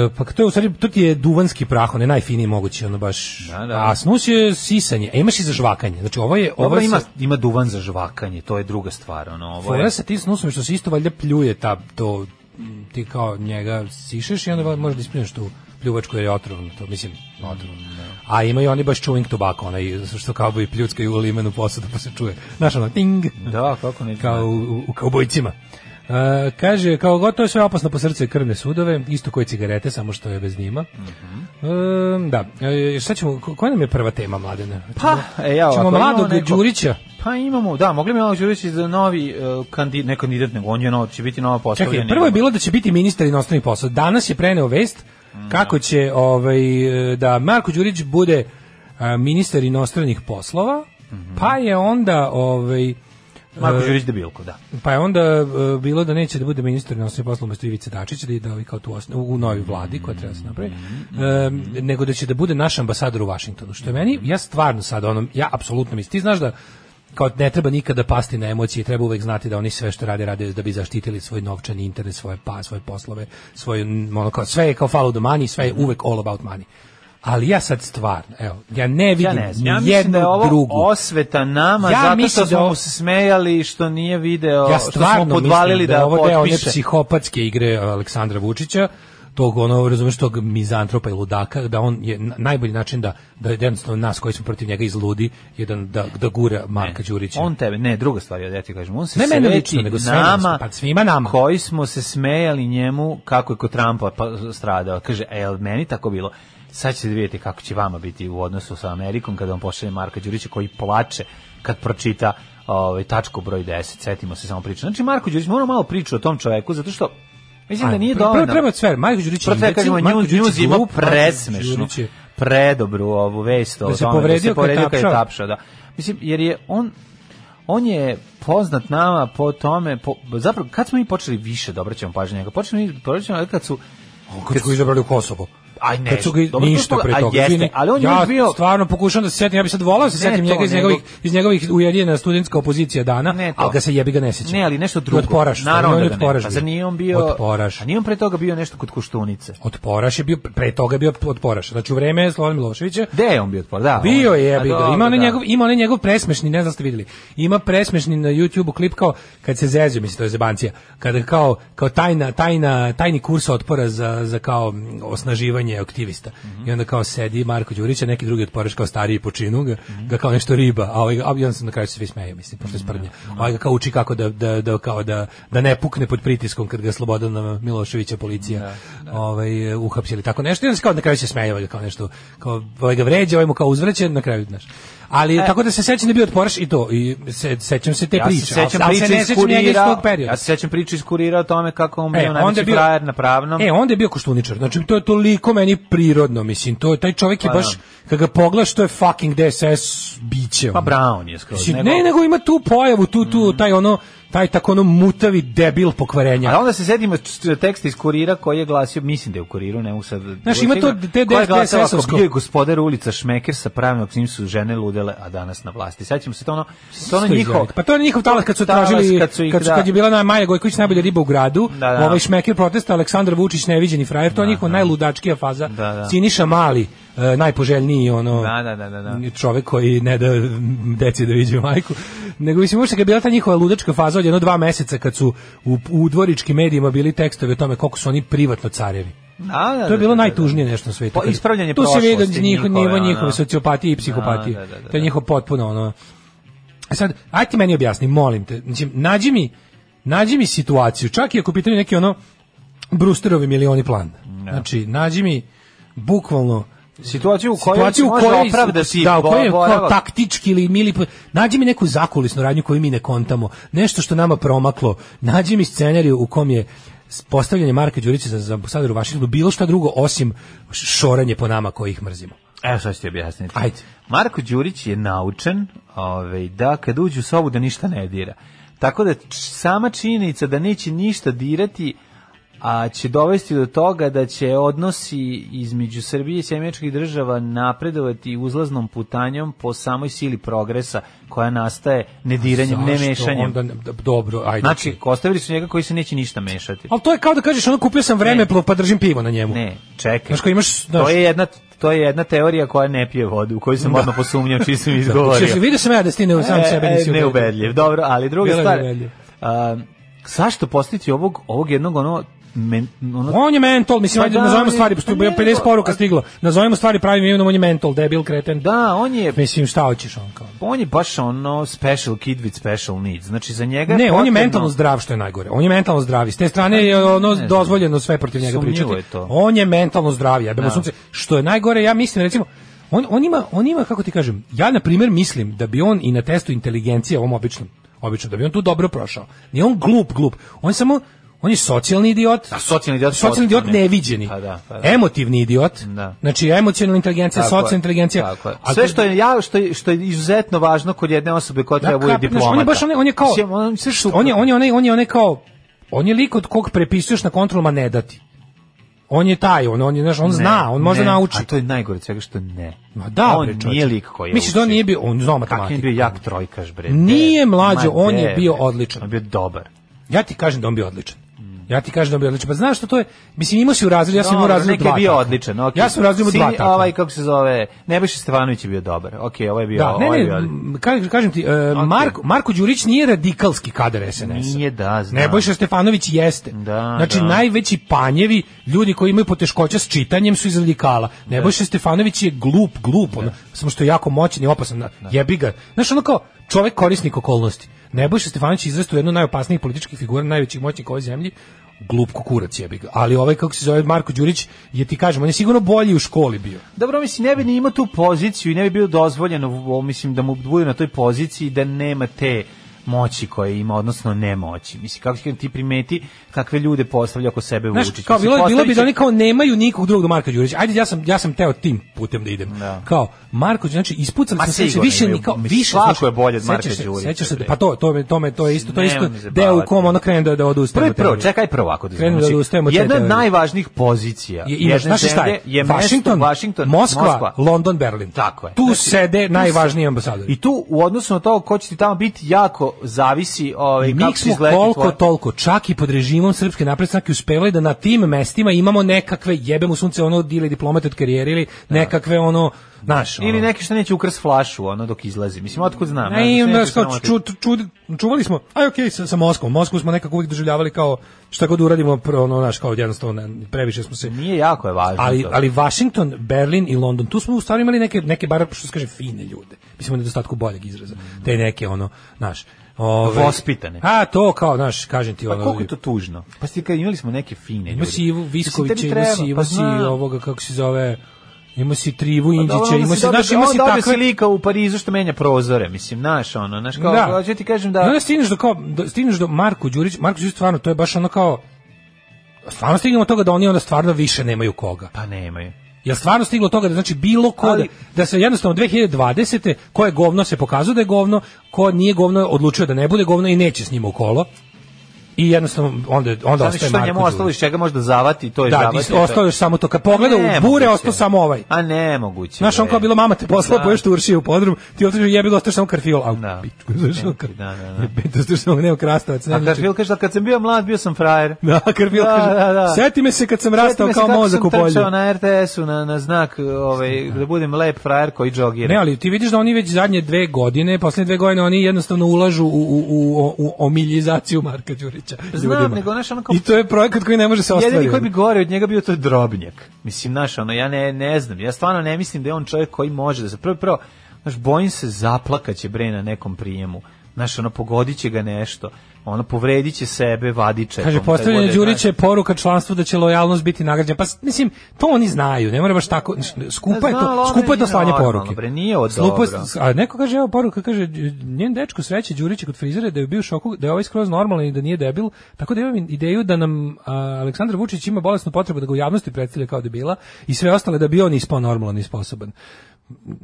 S7: e, pa to je u stvari, to ti je duvanski prah, on je najfiniji mogući, ono baš.
S6: Da, da.
S7: A snus je sisanje, a imaš i za žvakanje. Znači ovo je ovo,
S6: Ovo
S7: je
S6: ima,
S7: sa-
S6: ima duvan za žvakanje, to je druga stvar, ono, ovo je...
S7: fora sa tim snusom je što se isto valjda pljuje ta to m, ti kao njega sišeš i onda val- možeš da ispljuješ tu pljuvačku jer je otrovno to, mislim, otrovno.
S6: Mm,
S7: A imaju oni baš chewing tobacco, onaj što kao i pljucka i u limenu posudu pa se čuje. Znaš ono, ting!
S6: Da, kako ne...
S7: kao u, u, u kaubojcima. E, kaže, kao gotovo je sve opasno po srce i krvne sudove, isto koje cigarete, samo što je bez njima. E, da, e, šta ćemo, ko- koja nam je prva tema, mladene?
S6: Pa, e, ja
S7: ćemo
S6: ovako,
S7: mladog
S6: imamo nekog-
S7: Đurića.
S6: Pa imamo, da, mogli bi malo Đurić za novi uh, kandidat, ne kandidat, nego on je nov, će biti nova postavljena.
S7: Čekaj, prvo je bilo da će biti ministar inostranih poslova. Danas je preneo vest kako će ovaj, e, da Marko Đurić bude a, ministar inostranih poslova, pa je onda ovaj,
S6: Marko Đurić debilko, da.
S7: Pa je onda e, bilo da neće da bude ministar inostranih poslova umesto Ivice Dačića, da ide ovaj kao tu osno- u novoj vladi koja treba da se napravi, e, nego da će da bude naš ambasador u Vašingtonu. Što je meni, ja stvarno sad, ono, ja apsolutno mislim, ti znaš da kao ne treba nikada pasti na emocije, treba uvek znati da oni sve što rade, rade da bi zaštitili svoj novčani interes, svoje pa, svoje poslove, svoje, mm, ono, kao, sve je kao follow the money, sve je uvek all about money. Ali ja sad stvarno, evo, ja ne vidim
S6: Ja ne znam, ja
S7: ni
S6: mislim
S7: jednu
S6: da je ovo
S7: drugu.
S6: osveta nama,
S7: Ja
S6: zato
S7: mislim
S6: što
S7: da
S6: smo
S7: ovo-
S6: mu se smejali i što nije video,
S7: ja
S6: što smo
S7: stvarno
S6: podvalili
S7: mislim da,
S6: da,
S7: je ovo deo one
S6: potpiše.
S7: psihopatske igre Aleksandra Vučića tog ono razumeš tog mizantropa i ludaka da on je na- najbolji način da da jednostavno nas koji smo protiv njega izludi jedan da da gura Marka Đurića
S6: On tebe, ne, druga stvar, ja ti kažem, on se
S7: Ne mene
S6: sveti
S7: lično, nego svima,
S6: nama,
S7: pa svima nama.
S6: koji smo se smejali njemu kako je kod Trumpa pa, stradao. Kaže, e, jel meni tako bilo? Sad ćete vidjeti kako će vama biti u odnosu sa Amerikom kada vam pošalje Marka Đurića koji plače kad pročita ovaj, tačku broj 10, setimo se samo priče. Znači, Marko Đurić, moramo malo priču o tom čoveku, zato što mislim da
S7: Ajde,
S6: nije
S7: prvo-
S6: dovoljno.
S7: prvo treba sve, Marko Đurić je
S6: Prvo treba
S7: imbecil,
S6: kažemo,
S7: Marko
S6: News
S7: Đurić je
S6: News ima
S7: glup, Marko
S6: presmešnu,
S7: Đurić je-
S6: predobru ovu vest o
S7: Da se
S6: tome da
S7: povredio
S6: se
S7: kad je
S6: povredio kad je
S7: tapšao.
S6: tapšao, da. Mislim, jer je on on je poznat nama po tome, po, zapravo kad smo mi počeli više da obraćamo pažnju na njega, počeli mi da obraćamo na njega kad su
S7: kad su ga izabrali u Kosovo
S6: Aj, ne,
S7: Kad su ga,
S6: dobro,
S7: ništa
S6: to je-
S7: pre
S6: a
S7: toga.
S6: jeste,
S7: izvini.
S6: ali on je
S7: ja
S6: uvijek bio-
S7: stvarno pokušavam da se setim, ja bih sad volao da se
S6: Ne
S7: setim
S6: to,
S7: njega iz
S6: nego-
S7: njegovih, iz njegovih ujedinjena studentska opozicija dana,
S6: Ne to.
S7: ali ga se jebi ga ne sećam.
S6: ne, ali nešto drugo.
S7: I Otporaš,
S6: Naravno
S7: on je
S6: da ga ne.
S7: Otporaš
S6: Pa zar
S7: bio.
S6: nije on bio...
S7: Otporaš.
S6: A nije on pre toga bio nešto kod Koštunice?
S7: Otporaš je bio, pre toga je bio Otporaš. Znači u vreme Slobodan Miloševića
S6: Gde je on bio otpor? Da,
S7: Bio
S6: on-
S7: je,
S6: A
S7: jebi ga.
S6: dobro,
S7: Ima onaj
S6: da.
S7: njegov, ima onaj njegov presmešni, ne znam ste videli. Ima presmešni na YouTubeu klip kao kad se zezio, mislim to je zebancija. Kada kao kao tajna, tajna, tajni kurs otpora za, za kao mm, osnaživanje aktivista. I onda kao sedi Marko Đurić, a neki drugi otporaš kao stariji po činu, ga, ga kao nešto riba, a ovaj ga, a on se na kraju svi smeju, mislim, pošto je sprdnja. Ovaj ga kao uči kako da, da, da, kao da, da ne pukne pod pritiskom kad ga Slobodana Miloševića policija ovaj uhapsili tako nešto i onda se kao na kraju se smeje ovaj ga kao nešto kao ovaj ga vređa ovaj mu kao uzvraća na kraju znaš ali tako da se sećam da je bio otporaš i to i se sećam se te
S6: E. Ja
S7: priče
S6: se sećam
S7: ali, ali se
S6: priče
S7: ne
S6: iz
S7: sećam njega iz
S6: kurira.
S7: tog perioda
S6: Ja se sećam priče iz kurira o tome kako on
S7: E,
S6: bio
S7: onda je
S6: najveći
S7: bio-
S6: frajer na pravnom.
S7: E, onda je bio koštuničar. Znači, to je toliko meni prirodno, mislim. To, je- taj čovjek je
S6: Pa
S7: baš, kad ga pogledaš, to je fucking DSS biće.
S6: pa Mhm.
S7: ono.
S6: Brown je skroz.
S7: Mislim, Ne, nego ima tu pojavu, tu, tu, taj ono, taj tako ono mutavi debil pokvarenja.
S6: A onda se sedimo teksta iz kurira koji je glasio, mislim da je u kuriru, ne mogu sad...
S7: Znaš, ima to te
S6: Koja je glasila, ako
S7: DSS-ovsko.
S6: bio je gospodar ulica Šmeker sa pravim opcim su žene ludele, a danas na vlasti. Sad ćemo se to ono, to ono
S7: Isto
S6: njihov...
S7: izgleda. Pa to je njihov talas kad su
S6: Talas
S7: tražili
S6: kad su ih,
S7: kad, su,
S6: da.
S7: kad je bila na Maja Gojković najbolja riba u gradu,
S6: Da, da.
S7: ovaj šmeker protesta Aleksandar Vučić neviđeni frajer, to je njihova najludačkija faza.
S6: Da, da.
S7: Siniša Mali e, najpoželjniji ono
S6: Da, da, da, da, da.
S7: čovek koji ne da mm, deci da viđaju majku nego mislim uopšte kad je bila ta njihova ludačka faza od jedno dva meseca kad su u, u dvoričkim medijima bili tekstovi o tome koliko su oni privatno carevi
S6: Da, da,
S7: to je
S6: da,
S7: bilo
S6: da,
S7: najtužnije nešto na svetu.
S6: Pa, ispravljanje
S7: tu se vidi
S6: prošlosti
S7: njihov
S6: njihove,
S7: nivo
S6: ono.
S7: njihove sociopatije i psihopatije.
S6: Da, da, da, da.
S7: To je njihov potpuno ono. E sad, aj ti meni objasni, molim te. Znači, nađi mi, nađi mi situaciju, čak i ako pitanje neki ono Brusterovi milioni plan. Znači, nađi mi bukvalno
S6: Situaciju u kojoj
S7: situaciju
S6: situaciju
S7: u
S6: može
S7: kojoj
S6: opravdati
S7: da, u kojoj je kao
S6: boravak.
S7: taktički ili mili nađi mi neku zakulisnu radnju koju mi ne kontamo nešto što nama promaklo nađi mi scenariju u kom je s- postavljanje Marka Đurića za, za ambasadora u Vašingtonu bilo šta drugo osim š- šoranje po nama koji ih mrzimo
S6: Evo sad ću ti objasniti.
S7: Ajde.
S6: Marko Đurić je naučen ovaj, da kad uđe u sobu da ništa ne dira. Tako da č- sama činjenica da neće ništa dirati a će dovesti do toga da će odnosi između Srbije i Sjemeničkih država napredovati uzlaznom putanjom po samoj sili progresa koja nastaje nediranjem, ne
S7: Zašto
S6: mešanjem.
S7: onda ne- d- dobro ajde
S6: Znači, ostavili su njega koji se neće ništa mešati.
S7: ali to je kao da kažeš ono kupio sam vreme pa držim pivo na njemu
S6: Ne, čekaj.
S7: Znaš, kao imaš-
S6: to
S7: znaš-
S6: je jedna to je jedna teorija koja ne pije vodu, u koju sam odmah posumnjao čiji sam izgovorio.
S7: Češ, vidio sam ja da si ti ne, sam
S6: E,
S7: sebe
S6: e,
S7: nisi ubedio.
S6: neubedljiv. Dobro, ali druga
S7: Bilo je
S6: stvar.
S7: neubedljiv.
S6: a, zašto postiti ovog ovog jednog ono men, ono
S7: On je mentol, mislim,
S6: Pa
S7: ajde,
S6: da, on
S7: nazovemo
S6: je-
S7: stvari,
S6: pa
S7: pošto je
S6: ne,
S7: 50
S6: pa-
S7: poruka stiglo. Nazovemo stvari pravim imenom, on je mentol, debil, kreten.
S6: da, on je
S7: Mislim, šta hoćeš on kao?
S6: on je baš ono special kid with special needs. Znači za njega je
S7: Ne, on je
S6: potrebno- Pa,
S7: mentalno zdrav što je najgore. On je mentalno zdrav. i S te strane je ono
S6: znam.
S7: dozvoljeno sve protiv njega
S6: Sumnjivo
S7: pričati.
S6: je to.
S7: On je mentalno zdrav, jebemo
S6: Da.
S7: sunce. Što je najgore, ja mislim recimo on, on ima on ima kako ti kažem, ja na primjer mislim da bi on i na testu inteligencije ovom običnom, obično da bi on tu dobro prošao. Nije on glup, glup. On je samo on je socijalni idiot.
S6: A socijalni idiot
S7: socijalni idiot
S6: potpuni.
S7: neviđeni.
S6: Pa da, pa da.
S7: Emotivni idiot.
S6: Da.
S7: Znači emocionalna inteligencija,
S6: Tako je,
S7: socijalna inteligencija.
S6: tako je.
S7: A
S6: Sve
S7: kad-
S6: što je ja što je, što je izuzetno važno kod jedne osobe koja treba bude
S7: kap- znaš,
S6: diplomata.
S7: On je baš onaj, on je kao
S6: Mislim, on, sve super.
S7: on je on je onaj, on je onaj kao on je lik od kog prepisuješ na kontrolama ne dati. On je taj, on on je znaš, on zna, on može
S6: ne,
S7: nauči.
S6: A to je najgore od svega što ne.
S7: Ma da,
S6: on
S7: bre, čoveče.
S6: nije lik koji je
S7: Misliš da on
S6: učio.
S7: nije bio, on znao
S6: Kakav je
S7: matematiku.
S6: bio jak trojkaš, bre. De,
S7: Nije,
S6: ma
S7: mlađo, on je
S6: de,
S7: bio
S6: bre.
S7: odličan.
S6: On je bio dobar.
S7: Ja ti kažem da on bio odličan. Ja ti kažem da on bio odličan. Pa znaš što to je? Mislim, imao si u razredu, ja sam imao u
S6: Mm. Dobro,
S7: razredu
S6: neki
S7: dva.
S6: je bio
S7: takva.
S6: odličan. Okay.
S7: Ja sam u razredu dva
S6: Sin-
S7: takva.
S6: Ovaj, kako se zove, Nebojša Stevanović je bio dobar. Ok, ovaj je bio,
S7: Da, ne,
S6: ovaj je
S7: ne,
S6: bio
S7: m, ka- kažem ti, e, Marko, Marko Đurić nije radikalski kadar SNS-a.
S6: Nije da, znam.
S7: Nebojša Stefanović jeste.
S6: Da,
S7: znači,
S6: da.
S7: najveći panjevi, ljudi koji imaju poteškoća s čitanjem su iz radikala. Nebojša Stefanović je glup, glup, ono, samo što je jako moćan i opasan. na- Jebi ga. Znaš, ono kao čovek korisnik okolnosti. Nebojša Stefanović je izrastao u jednu od najopasnijih političkih figura, najvećih moćnika ove zemlji, glup kukurac jebi ga. Ali ovaj, kako se zove, Marko Đurić, je ti kažem, on je sigurno bolji u školi bio.
S6: Dobro, mislim, ne bi ni imao tu poziciju i ne bi bilo dozvoljeno, o, mislim, da mu bude na toj poziciji da nema te moći koje ima, odnosno nemoći. Mislim, kako ti- ti primeti kakve ljude postavlja oko sebe
S7: Znaš,
S6: Vučić.
S7: kao
S6: Mislim,
S7: bilo, bilo bi
S6: postavit
S7: da
S6: će-
S7: oni kao nemaju nikog drugog do Marka Đurića. Ajde, ja sam, ja sam teo tim putem da idem.
S6: Da.
S7: Kao, Marko Đurić, znači, ispucali
S6: Ma
S7: smo se,
S6: sigurno
S7: više
S6: imaju,
S7: ni kao,
S6: mislim,
S7: više.
S6: svako
S7: slušaj,
S6: je bolji od
S7: sećaš
S6: Marka
S7: se-
S6: Đurića,
S7: sećaš se,
S6: bre.
S7: pa to, to, me- to, me, to je isto, to je isto
S6: Nemoj me
S7: deo u
S6: zajebavati.
S7: kom ono krene da, da odustane.
S6: Prvi
S7: od
S6: prvo,
S7: teorije.
S6: čekaj prvo ovako. Da
S7: Krenu da odustajemo od te
S6: jedna od
S7: teorije.
S6: najvažnijih pozicija
S7: Je, imaš, znaš šta je?
S6: je
S7: Washington,
S6: mesto, Washington,
S7: Moskva, London, Berlin.
S6: Tako je.
S7: Tu
S6: Znači,
S7: sede
S6: tu
S7: najvažniji ambasadori.
S6: I tu u odnosu na to ko će ti tamo biti jako zavisi ovaj,
S7: I mi
S6: kako će
S7: smo
S6: izgledati
S7: koliko
S6: tvoja-
S7: toliko, čak i pod režimom Srpske napredne stranke uspevali da na tim mestima imamo nekakve jebemo sunce ono ili diplomate od karijere ili nekakve ono, znaš, ono,
S6: Ili neki što neće ukras flašu ono dok izlazi. Mislim, otkud znam.
S7: Ne,
S6: ja,
S7: im,
S6: mislim,
S7: znaš,
S6: neće
S7: kao,
S6: sramotiti.
S7: ču, ču- ču- čuvali smo, aj okej, sa, sa Moskvom. Moskvu smo nekako uvijek doživljavali kao šta god uradimo, pr- ono, znaš, kao jednostavno, ne, previše smo se...
S6: Nije jako je važno
S7: Ali,
S6: to.
S7: ali Washington, Berlin i London, tu smo u stvari imali neke, neke bar, što se kaže, fine ljude. Mislim, u nedostatku boljeg izraza. Te neke, ono, znaš... Ove,
S6: Vospitane.
S7: A, to kao, znaš, kažem ti,
S6: Pa
S7: ono...
S6: koliko je to tužno? Pa sti kad imali smo neke fine
S7: Ima
S6: ljude.
S7: si Ivu
S6: Mislim,
S7: Viskovića,
S6: tebi
S7: ima si,
S6: treba,
S7: ima
S6: pa
S7: si
S6: znam.
S7: ovoga, kako se zove... Ima si Trivu
S6: Pa dobro,
S7: Indića,
S6: onda
S7: ima
S6: si
S7: si, znaš,
S6: dobio-
S7: ima si
S6: onda dobio
S7: takve...
S6: lika u Parizu što menja prozore, mislim, znaš, ono, znaš, kao,
S7: Da.
S6: hoću ti kažem
S7: I
S6: da...
S7: onda stigneš do kao do, stigneš do Marko Đurić, Marko Đurić stvarno to je baš ono kao stvarno stignemo do toga da oni onda stvarno više nemaju koga.
S6: Pa nemaju.
S7: Jel stvarno stiglo do toga da znači bilo ko
S6: Ali-
S7: da, da se jednostavno 2020. ko je govno se pokazao da je govno, ko nije govno odlučio da ne bude govno i neće s njima u kolo. I jednostavno onda onda
S6: Zato
S7: ostaje
S6: Znači, što njemu
S7: Marko
S6: ostalo
S7: Đurić.
S6: iz čega možda zavati, to je
S7: Da,
S6: zavati.
S7: is-
S6: to je-
S7: ostao još samo to kad pogleda u bure,
S6: Nemoguće.
S7: ostao samo ovaj.
S6: A nemoguće.
S7: Znaš, on
S6: bre.
S7: kao bilo mama te poslala
S6: Znači, Da.
S7: poješ turšije u podrum, ti otiš jebi ga ostaš samo karfiol, a
S6: Da.
S7: u pičku, znaš, ono,
S6: Da, da, da.
S7: jebe, ostaš samo neo krastavac. ne
S6: A
S7: znači-
S6: Karfil kaže da kad sam bio mlad, bio sam frajer.
S7: Da, Karpil
S6: Da,
S7: kaže,
S6: da, da.
S7: seti me se kad sam rastao
S6: Sjetim se
S7: kao
S6: kako
S7: mozak u
S6: sam
S7: polju.
S6: trčao na RTS-u na, na znak ovaj, da budem lep frajer koji džogira.
S7: Ne, ali ti vidiš da oni već zadnje dve godine, poslednje dve godine, oni jednostavno ulažu u, u, u, u omiljizaciju Marka Đurića.
S6: Znam,
S7: ljudima.
S6: nego, znaš, ono kao-
S7: I to je projekat koji ne može se ostvariti.
S6: Jedini koji bi gore od njega bio to je drobnjak. Mislim, znaš, ono, ja ne, ne znam, ja stvarno ne mislim da je on čovjek koji može da se... Prvo, prvo, znaš, bojim se zaplakaće bre na nekom prijemu. Znaš, ono, pogodit će ga nešto. Ono, povredit će sebe, vadit će.
S7: Kaže, postavljanje Đurića je poruka članstvu da će lojalnost biti nagrađena. Pa, s- mislim, to oni znaju, ne mora baš tako, skupa je
S6: Pa znam, ali
S7: to,
S6: ovo
S7: skupa je to
S6: nije
S7: slanje
S6: normalno, pa
S7: poruke.
S6: bre, nije ovo
S7: Slupo je-
S6: dobro.
S7: a neko kaže, evo poruka, kaže, njen dečko sreće Đurića kod frizera da je bio u šoku, da je ovaj skroz normalan i da nije debil, tako da imam ideju da nam a, Aleksandar Vučić ima bolesnu potrebu da ga u javnosti predstavlja kao debila i sve ostale da bi on ispao normalan i sposoban.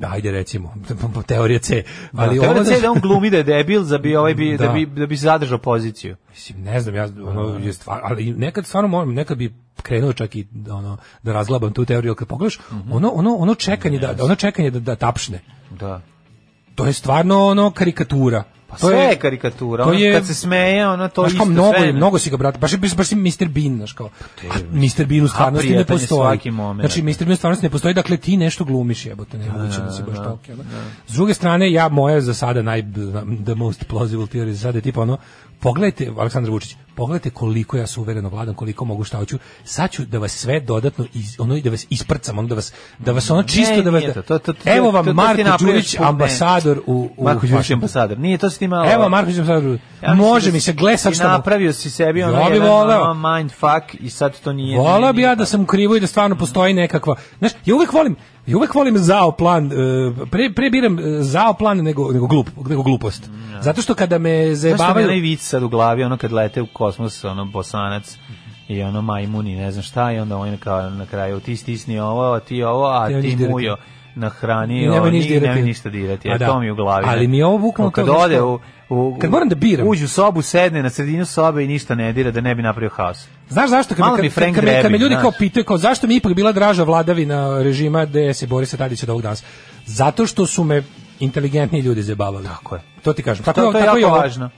S7: Ajde recimo, teorija C. Ali
S6: Ali
S7: ovo
S6: ovo
S7: da-
S6: da on glumi da je debil za bi ovaj bi da,
S7: Da.
S6: bi da bi zadržao poziciju.
S7: Mislim, ne znam, ja ono je stvar, ali nekad stvarno moram, nekad bi krenuo čak i ono da razglabam tu teoriju, ali kad pogledaš,
S6: Mhm.
S7: ono ono ono čekanje da ono čekanje da da tapšne.
S6: Da.
S7: To je stvarno ono karikatura.
S6: Pa
S7: to
S6: sve je karikatura.
S7: to
S6: ono,
S7: je-
S6: kad se smeje, ono to
S7: Znaš
S6: isto
S7: kao, mnogo,
S6: sve. Pa
S7: je, mnogo si ga brate, baš je baš, baš je Mr. Bean, znaš kao. A Mr. Bean u stvarnosti ne
S6: prijatan je
S7: postoji.
S6: svaki momenat.
S7: Znači Mr. Bean u stvarnosti ne postoji, dakle ti nešto glumiš, jebote, ne moguće da si baš toliki, ono. S druge strane, ja moja za sada naj the most plausible theory za sada je tipa ono Pogledajte, Aleksandar Vučić, pogledajte koliko ja suvereno vladam, koliko mogu šta hoću. Sad ću da vas sve dodatno, iz, ono, da vas isprcam, ono da vas, da vas ono čisto
S6: Ne,
S7: da vas...
S6: nije to, to- to- to-
S7: Evo
S6: to-
S7: vam
S6: to ti
S7: Marko
S6: napraviš
S7: Đurić,
S6: put, ne.
S7: ambasador u... u
S6: Marko Đurić je
S7: Washingtonu.
S6: ambasador. Nije to si ti malo.
S7: Evo Marko Đurić,
S6: Ja mislim
S7: može
S6: da
S7: mi
S6: si-
S7: se glesa
S6: ti
S7: što mu-
S6: napravio si sebi ono
S7: Ja bi
S6: jedan
S7: voleo.
S6: ono, mindfuck i sad to nije.
S7: Volao
S6: nije-
S7: bi ja da sam u krivu i da stvarno postoji nekakva. Znaš, ja uvek volim, ja uvek volim zao plan, e, pre, pre biram e, zao plan nego, nego, glup, nego glupost. Zato što kada me
S6: Znaš šta mi je onaj
S7: zajebavaju...
S6: vic sad u glavi, ono kad lete u kosmos, ono bosanac i ono majmuni, ne znam šta, i onda on kao na kraju, ti stisni ovo, a ti ovo, a
S7: I nemoj
S6: ti
S7: ništa dirati.
S6: mujo
S7: I
S6: nahranio,
S7: nemoj
S6: nemoj
S7: ništa
S6: ništa,
S7: dirati.
S6: nemoj ništa dirati,
S7: A
S6: a
S7: da.
S6: to mi je u glavi.
S7: Ali mi je ovo bukvalno
S6: Kad
S7: to, znaš
S6: ode
S7: kao-
S6: u, u,
S7: kad moram da biram.
S6: Uđu u sobu, sedne na sredinu sobe i ništa ne dira da ne bi napravio haos.
S7: Znaš zašto? Kad, me-
S6: Malo
S7: kad,
S6: mi
S7: kad,
S6: Frank
S7: kad, me- kad me
S6: Drebin,
S7: ljudi kao
S6: znaš.
S7: pitaju kao zašto mi je ipak bila draža vladavina režima DS i Borisa Tadića do ovog danas. Zato što su me inteligentni ljudi zajebavali. Tako je. To ti kažem. Tako,
S6: To, to je
S7: tako i
S6: jako
S7: ovo.
S6: važno.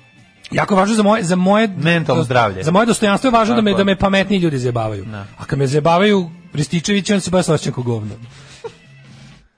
S7: Jako je važno za moje za moje
S6: Mentalno zdravlje.
S7: Za moje dostojanstvo je važno da me
S6: Tako je.
S7: da me pametni ljudi zajebavaju. A kad me zajebavaju Rističević, on se baš osjeća kao govno.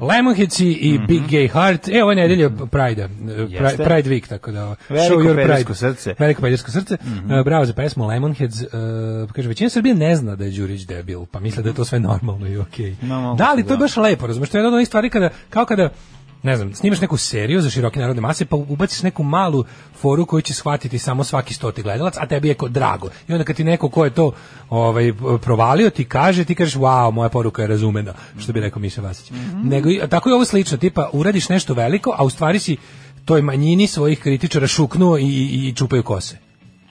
S7: Lemonheads i i Big Gay Heart. E, ovo je nedelje Pride-a. Pride,
S6: Mhm. Jeste.
S7: Pride Week, tako da...
S6: Veliko pedersko srce. Mhm.
S7: Veliko pedersko srce. E, bravo za pesmu Lemonheads. E, kaže, većina Srbije ne zna da je Đurić debil, pa misle da je to sve normalno i okej.
S6: Ma, moguće,
S7: Da, ali to je
S6: da.
S7: baš lepo, razumiješ? To je jedna od onih stvari kada, kao kada ne znam, snimaš neku seriju za široke narodne mase, pa ubaciš neku malu foru koju će shvatiti samo svaki stoti gledalac, a tebi je ko drago. I onda kad ti neko ko je to ovaj, provalio, ti kaže, ti kažeš, wow, moja poruka je razumena, što bi rekao Miša Vasić.
S6: Mhm.
S7: Nego, i- tako je ovo slično, tipa, uradiš nešto veliko, a u stvari si toj manjini svojih kritičara šuknuo i, i, i čupaju kose.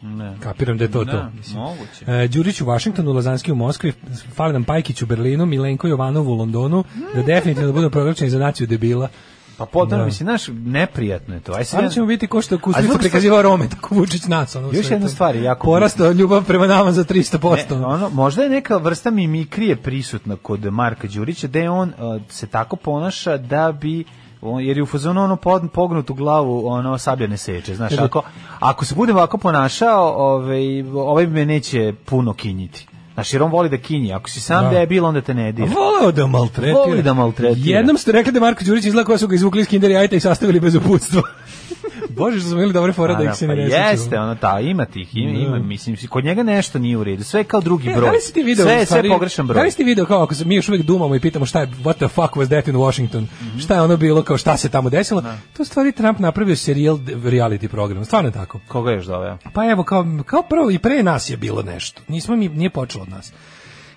S6: Ne.
S7: Kapiram da je to to.
S6: Da, moguće.
S7: E, Đurić u Vašingtonu, Lazanski u Moskvi, fali nam Pajkić u Berlinu, Milenko Jovanov u Londonu, da definitivno budu proglašeni za naciju debila.
S6: Pa potom,
S7: Da.
S6: mislim, znaš, neprijatno je to. Aj sad,
S7: Sada ćemo biti ko što je
S6: A
S7: Kusnica
S6: druga stvar-
S7: prikazivao Rome, tako Vučić nas. Ono, u
S6: Još
S7: svetu.
S6: jedna stvar je jako
S7: Porastao ljubav prema nama za
S6: Ne,
S7: 300%.
S6: ono, možda je neka vrsta mimikrije prisutna kod Marka Đurića, da je on uh, se tako ponaša da bi on- jer je u fazonu ono pod, pognutu glavu ono sablja ne seče, znaš,
S7: Jel je-
S6: ako, ako se bude ovako ponašao ovaj, ovaj me neće puno kinjiti znaš, jer on voli da kinji ako si sam
S7: Da.
S6: debil, onda te ne
S7: A
S6: dira
S7: Voleo da maltretira.
S6: Voli da maltretira.
S7: Jednom ste rekli da Marko Đurić izgleda koja su ga izvukli iz kinder jajta i sastavili bez uputstva. Bože što smo imali dobre fora
S6: A,
S7: da
S6: da,
S7: ih se
S6: pa
S7: ne nesećamo.
S6: jeste, ono, ta, ima tih, ima, ima, mislim, kod njega nešto nije u redu, sve je kao drugi
S7: E,
S6: broj.
S7: Da li si ti video,
S6: sve,
S7: u
S6: je- sve
S7: stvari,
S6: je pogrešan broj.
S7: Da li si ti video kao ako se mi još uvijek dumamo i pitamo šta je what the fuck was that in Washington?
S6: Mhm.
S7: Šta je ono bilo kao šta se tamo desilo? To u stvari Trump napravio serijal d- reality program. Stvarno je tako.
S6: Koga još doveo?
S7: Pa evo kao kao prvo i pre nas je bilo nešto. Nismo mi nije počelo od nas.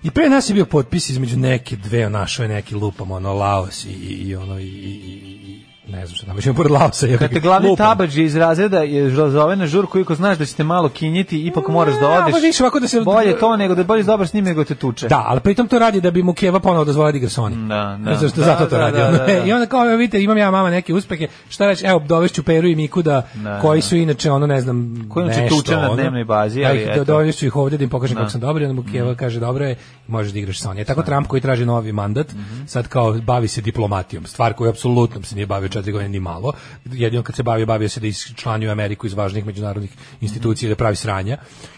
S7: I pre nas je bio potpis između neke dve, našo je neki lupam, ono, Laos i, i, i ono, i, i, i- i- ne znam šta, tamo ćemo pored Laosa. jebi
S6: Kad te
S7: ga,
S6: glavni
S7: lupam.
S6: tabađi iz razreda je žo- zove na žurku, iako znaš da ćete malo kinjiti, ipak moraš da
S7: Ne,
S6: odeš.
S7: može više ovako da se-
S6: Bolje to nego da bolje dobar s njim nego te tuče.
S7: Da, ali pritom to radi da bi mu Keva ponovo dozvolila da igra Sony.
S6: Da, da.
S7: Zato, što,
S6: Da,
S7: zato to
S6: da,
S7: radi.
S6: da,
S7: ono.
S6: da, da.
S7: I onda kao, evo vidite, imam ja mama neke uspehe, šta reći, evo, dovešću Peru i Miku da,
S6: Da,
S7: koji
S6: da.
S7: su inače, ono, ne znam,
S6: Koji inače
S7: nešto,
S6: tuče na
S7: ono.
S6: dnevnoj bazi,
S7: Da
S6: ali
S7: ih-
S6: eto.
S7: dovešću ih ovdje da im pokažem kako sam dobar, i onda mu Keva kaže, dobro je, možeš da igraš
S6: Mhm.
S7: Sony. E, tako Trump koji traži novi mandat, sad kao bavi se diplomatijom, stvar koju apsolutno se nije bavio 24 godine ni malo. Jedino kad se bavio, bavio se da isčlanjuje Ameriku iz važnih međunarodnih
S6: Mhm.
S7: institucija, da pravi sranja.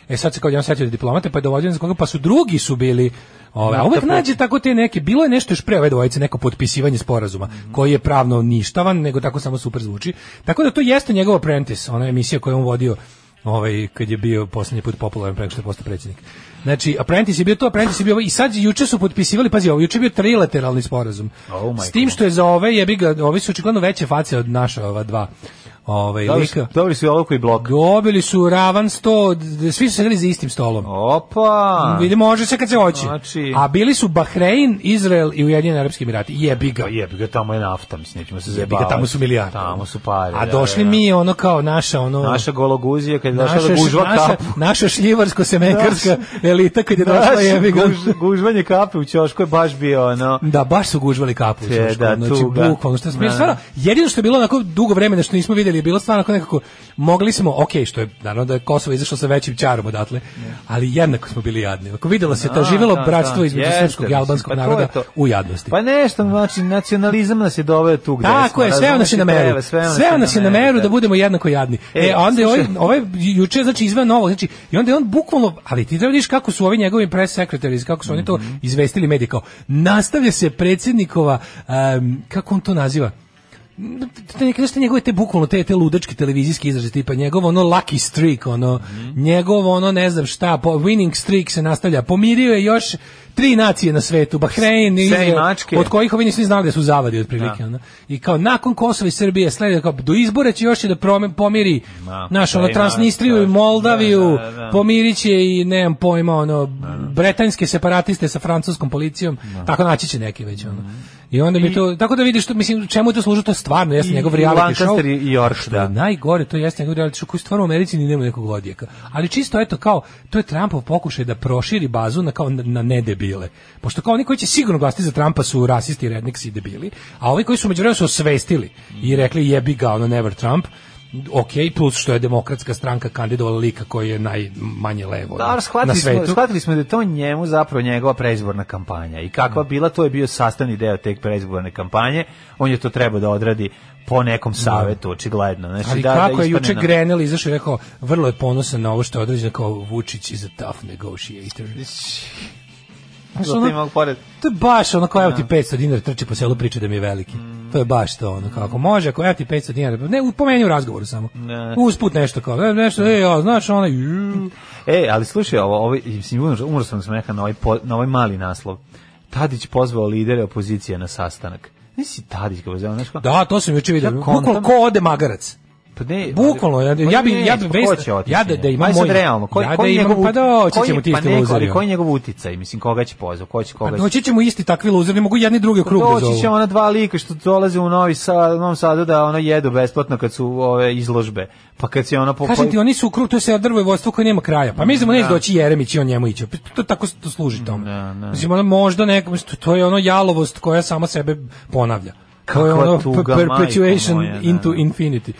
S7: E sad se kao jedan setio da je diplomata, pa je dovodio za koga, pa su drugi su bili Ove, a uvek nađe tako te neke, bilo je nešto još pre ove dvojice, neko potpisivanje sporazuma,
S6: Mhm.
S7: koji je pravno ništavan, nego tako samo super zvuči. Tako da to jeste njegov apprentice, ona emisija koju je on vodio ovaj, kad je bio posljednji put popularan preko što je postao predsjednik. Znači, Apprentice je bio to, Apprentice je bio ovo, i sad juče su potpisivali, pazi, ovo juče je bio trilateralni sporazum.
S6: Oh my
S7: S tim što je za ove, jebi ga, ovi su očigledno veće face od naša ova dva. Ovaj,
S6: Dobili
S7: lika.
S6: su, dobili su i olovku i blok.
S7: Dobili su ravan sto, d- svi su sedeli za istim stolom.
S6: Opa!
S7: Vidi, može se kad se hoće.
S6: Znači-
S7: A bili su Bahrein, Izrael i Ujedinjeni Arapski Emirati. Jebi ga.
S6: Pa jebi ga, tamo je nafta, mislim, nećemo se
S7: Jebi ga,
S6: zabavati.
S7: tamo su milijarde.
S6: Tamo su pare.
S7: A
S6: da, da,
S7: došli
S6: da.
S7: mi ono kao naša ono
S6: Naša gologuzija, kad je došla
S7: naša,
S6: da ono, gužva
S7: naša,
S6: kapu.
S7: naša šljivarsko semekarska elita kad je došla
S6: Naše
S7: jebi ga.
S6: guž- gužvanje kape u ćošku je baš bio ono...
S7: Da, baš su gužvali kapu. u
S6: Te,
S7: ćošku,
S6: da,
S7: znači,
S6: tuga.
S7: bukvalno, što smo bili
S6: Da.
S7: stvarno, jedino što je bilo onako dugo vremena što nismo vidjeli je bilo stvarno onako nekako, mogli smo, ok, što je, naravno da je Kosovo izašlo sa većim čarom odatle, ali jednako smo bili jadni. Ako vidjelo se, to
S6: Da,
S7: živelo
S6: da,
S7: bratstvo
S6: da,
S7: između
S6: jeste,
S7: srpskog i
S6: mislim,
S7: albanskog
S6: pa to je
S7: naroda
S6: to.
S7: u jadnosti.
S6: Pa nešto, znači, nacionalizam nas je doveo tu gde
S7: Tako je, sve
S6: razumeš,
S7: nas je na
S6: i to
S7: meru.
S6: je, Sve nas,
S7: Sve nas je na meru da budemo jednako jadni.
S6: E,
S7: E, a onda je ovaj,
S6: slušaj.
S7: ovaj juče znači izveo novo, znači i onda je on bukvalno, ali ti da vidiš kako su ovi njegovi press secretaries, kako su oni
S6: Mhm.
S7: to izvestili medije kao nastavlja se predsjednikova em, kako on to naziva? te neke znaš, te njegove te bukvalno te te ludačke televizijske izraze tipa njegov ono lucky streak ono njegov ono ne znam šta po, winning streak se nastavlja pomirio je još tri nacije na svetu Bahrein i
S6: Pse i
S7: Izrael,
S6: mačke.
S7: od kojih ovi nisu ni znali da su zavadi otprilike ono. i kao nakon Kosova i Srbije slede kao do izbora će još i da prome, pomiri
S6: Ma,
S7: naš
S6: pse i
S7: ono
S6: mačke,
S7: Transnistriju i
S6: da,
S7: Moldaviju
S6: da, da.
S7: pomirit će i nemam pojma ono bretanske separatiste sa francuskom policijom tako naći će neki već ono i onda mi to tako da vidiš to mislim čemu to služi to je stvarno jeste
S6: I-
S7: njegov
S6: i
S7: reality
S6: Lancaster
S7: show
S6: i York,
S7: što
S6: da.
S7: je najgore to jeste njegov reality show koji stvarno u Americi ni nema nekog odjeka ali čisto eto kao to je Trumpov pokušaj da proširi bazu na kao na, na nedebile pošto kao oni koji će sigurno glasati za Trumpa su rasisti redniks i debili a ovi koji su međuvremenu se osvestili i rekli jebi ga ono never Trump ok, plus što je demokratska stranka kandidovala lika koji je najmanje levo
S6: Da, Pa, ali shvatili
S7: na
S6: smo,
S7: svetu.
S6: shvatili smo da je to njemu zapravo njegova predizborna kampanja i kakva bila, to je bio sastavni deo te predizborne kampanje, on je to trebao da odradi po nekom savetu, očigledno. Znači,
S7: Ali
S6: da, da
S7: kako je
S6: ispadne
S7: juče
S6: na-
S7: Grenell izašao i rekao, vrlo je ponosan na ovo što je određeno kao Vučić is a tough negotiator. Znaš,
S6: Zato
S7: ono-
S6: ima ovog pored.
S7: to je baš ono kao evo ti 500 dinara trči po selu priča da mi je veliki.
S6: Mm.
S7: To je baš to ono kako može, ako evo ti 500 dinara, ne u- pomeni u razgovoru samo.
S6: Ne.
S7: Usput nešto kao, e, nešto, e, ja, znaš, ona,
S6: E, ali slušaj, ovo, ovo mislim, umro, umro sam da sam rekao na ovaj, po- na ovaj mali naslov. Tadić pozvao lidere opozicije na sastanak. Nisi Tadić kako je zvao, znaš kao-
S7: da, to sam juče vidio.
S6: Ja
S7: Bukvalno
S6: kontam-
S7: ko ode magarac.
S6: Pa ne,
S7: Bukvalno, ja,
S6: ma
S7: ja bi,
S6: ne,
S7: ja bi
S6: pa ko
S7: vest-
S6: će otići
S7: ja da, da
S6: njega?
S7: imam
S6: Ajde sad
S7: moj,
S6: realno, ko,
S7: ja
S6: ko
S7: da
S6: je
S7: imam,
S6: njegov,
S7: pa da, oći
S6: ko je-
S7: ćemo ti
S6: pa
S7: isto
S6: neko,
S7: luzeri,
S6: ali
S7: ono.
S6: Koji je njegov uticaj, mislim, koga će pozvati, ko će koga
S7: Pa doći ćemo isti takvi luzeri, ne mogu jedni druge krug da
S6: Doći će
S7: zovu.
S6: ona dva lika što dolaze u Novi Sad, u Novom Sadu da ono jedu besplatno kad su ove izložbe. Pa kad se ono po
S7: Kažem ti, oni su u krug, to se drvo i vodstvo koje nema kraja. Pa mi znamo neće
S6: Da. Mm,
S7: doći Jeremić i on njemu ići. Pa To tako s- to služi tome.
S6: Da, da.
S7: Mislim, ono možda neko, to- to je ono jalovost koja sama sebe ponavlja. To je
S6: Kakva
S7: ono
S6: tuga,
S7: per- perpetuation
S6: majko moja, da,
S7: into
S6: da.
S7: infinity.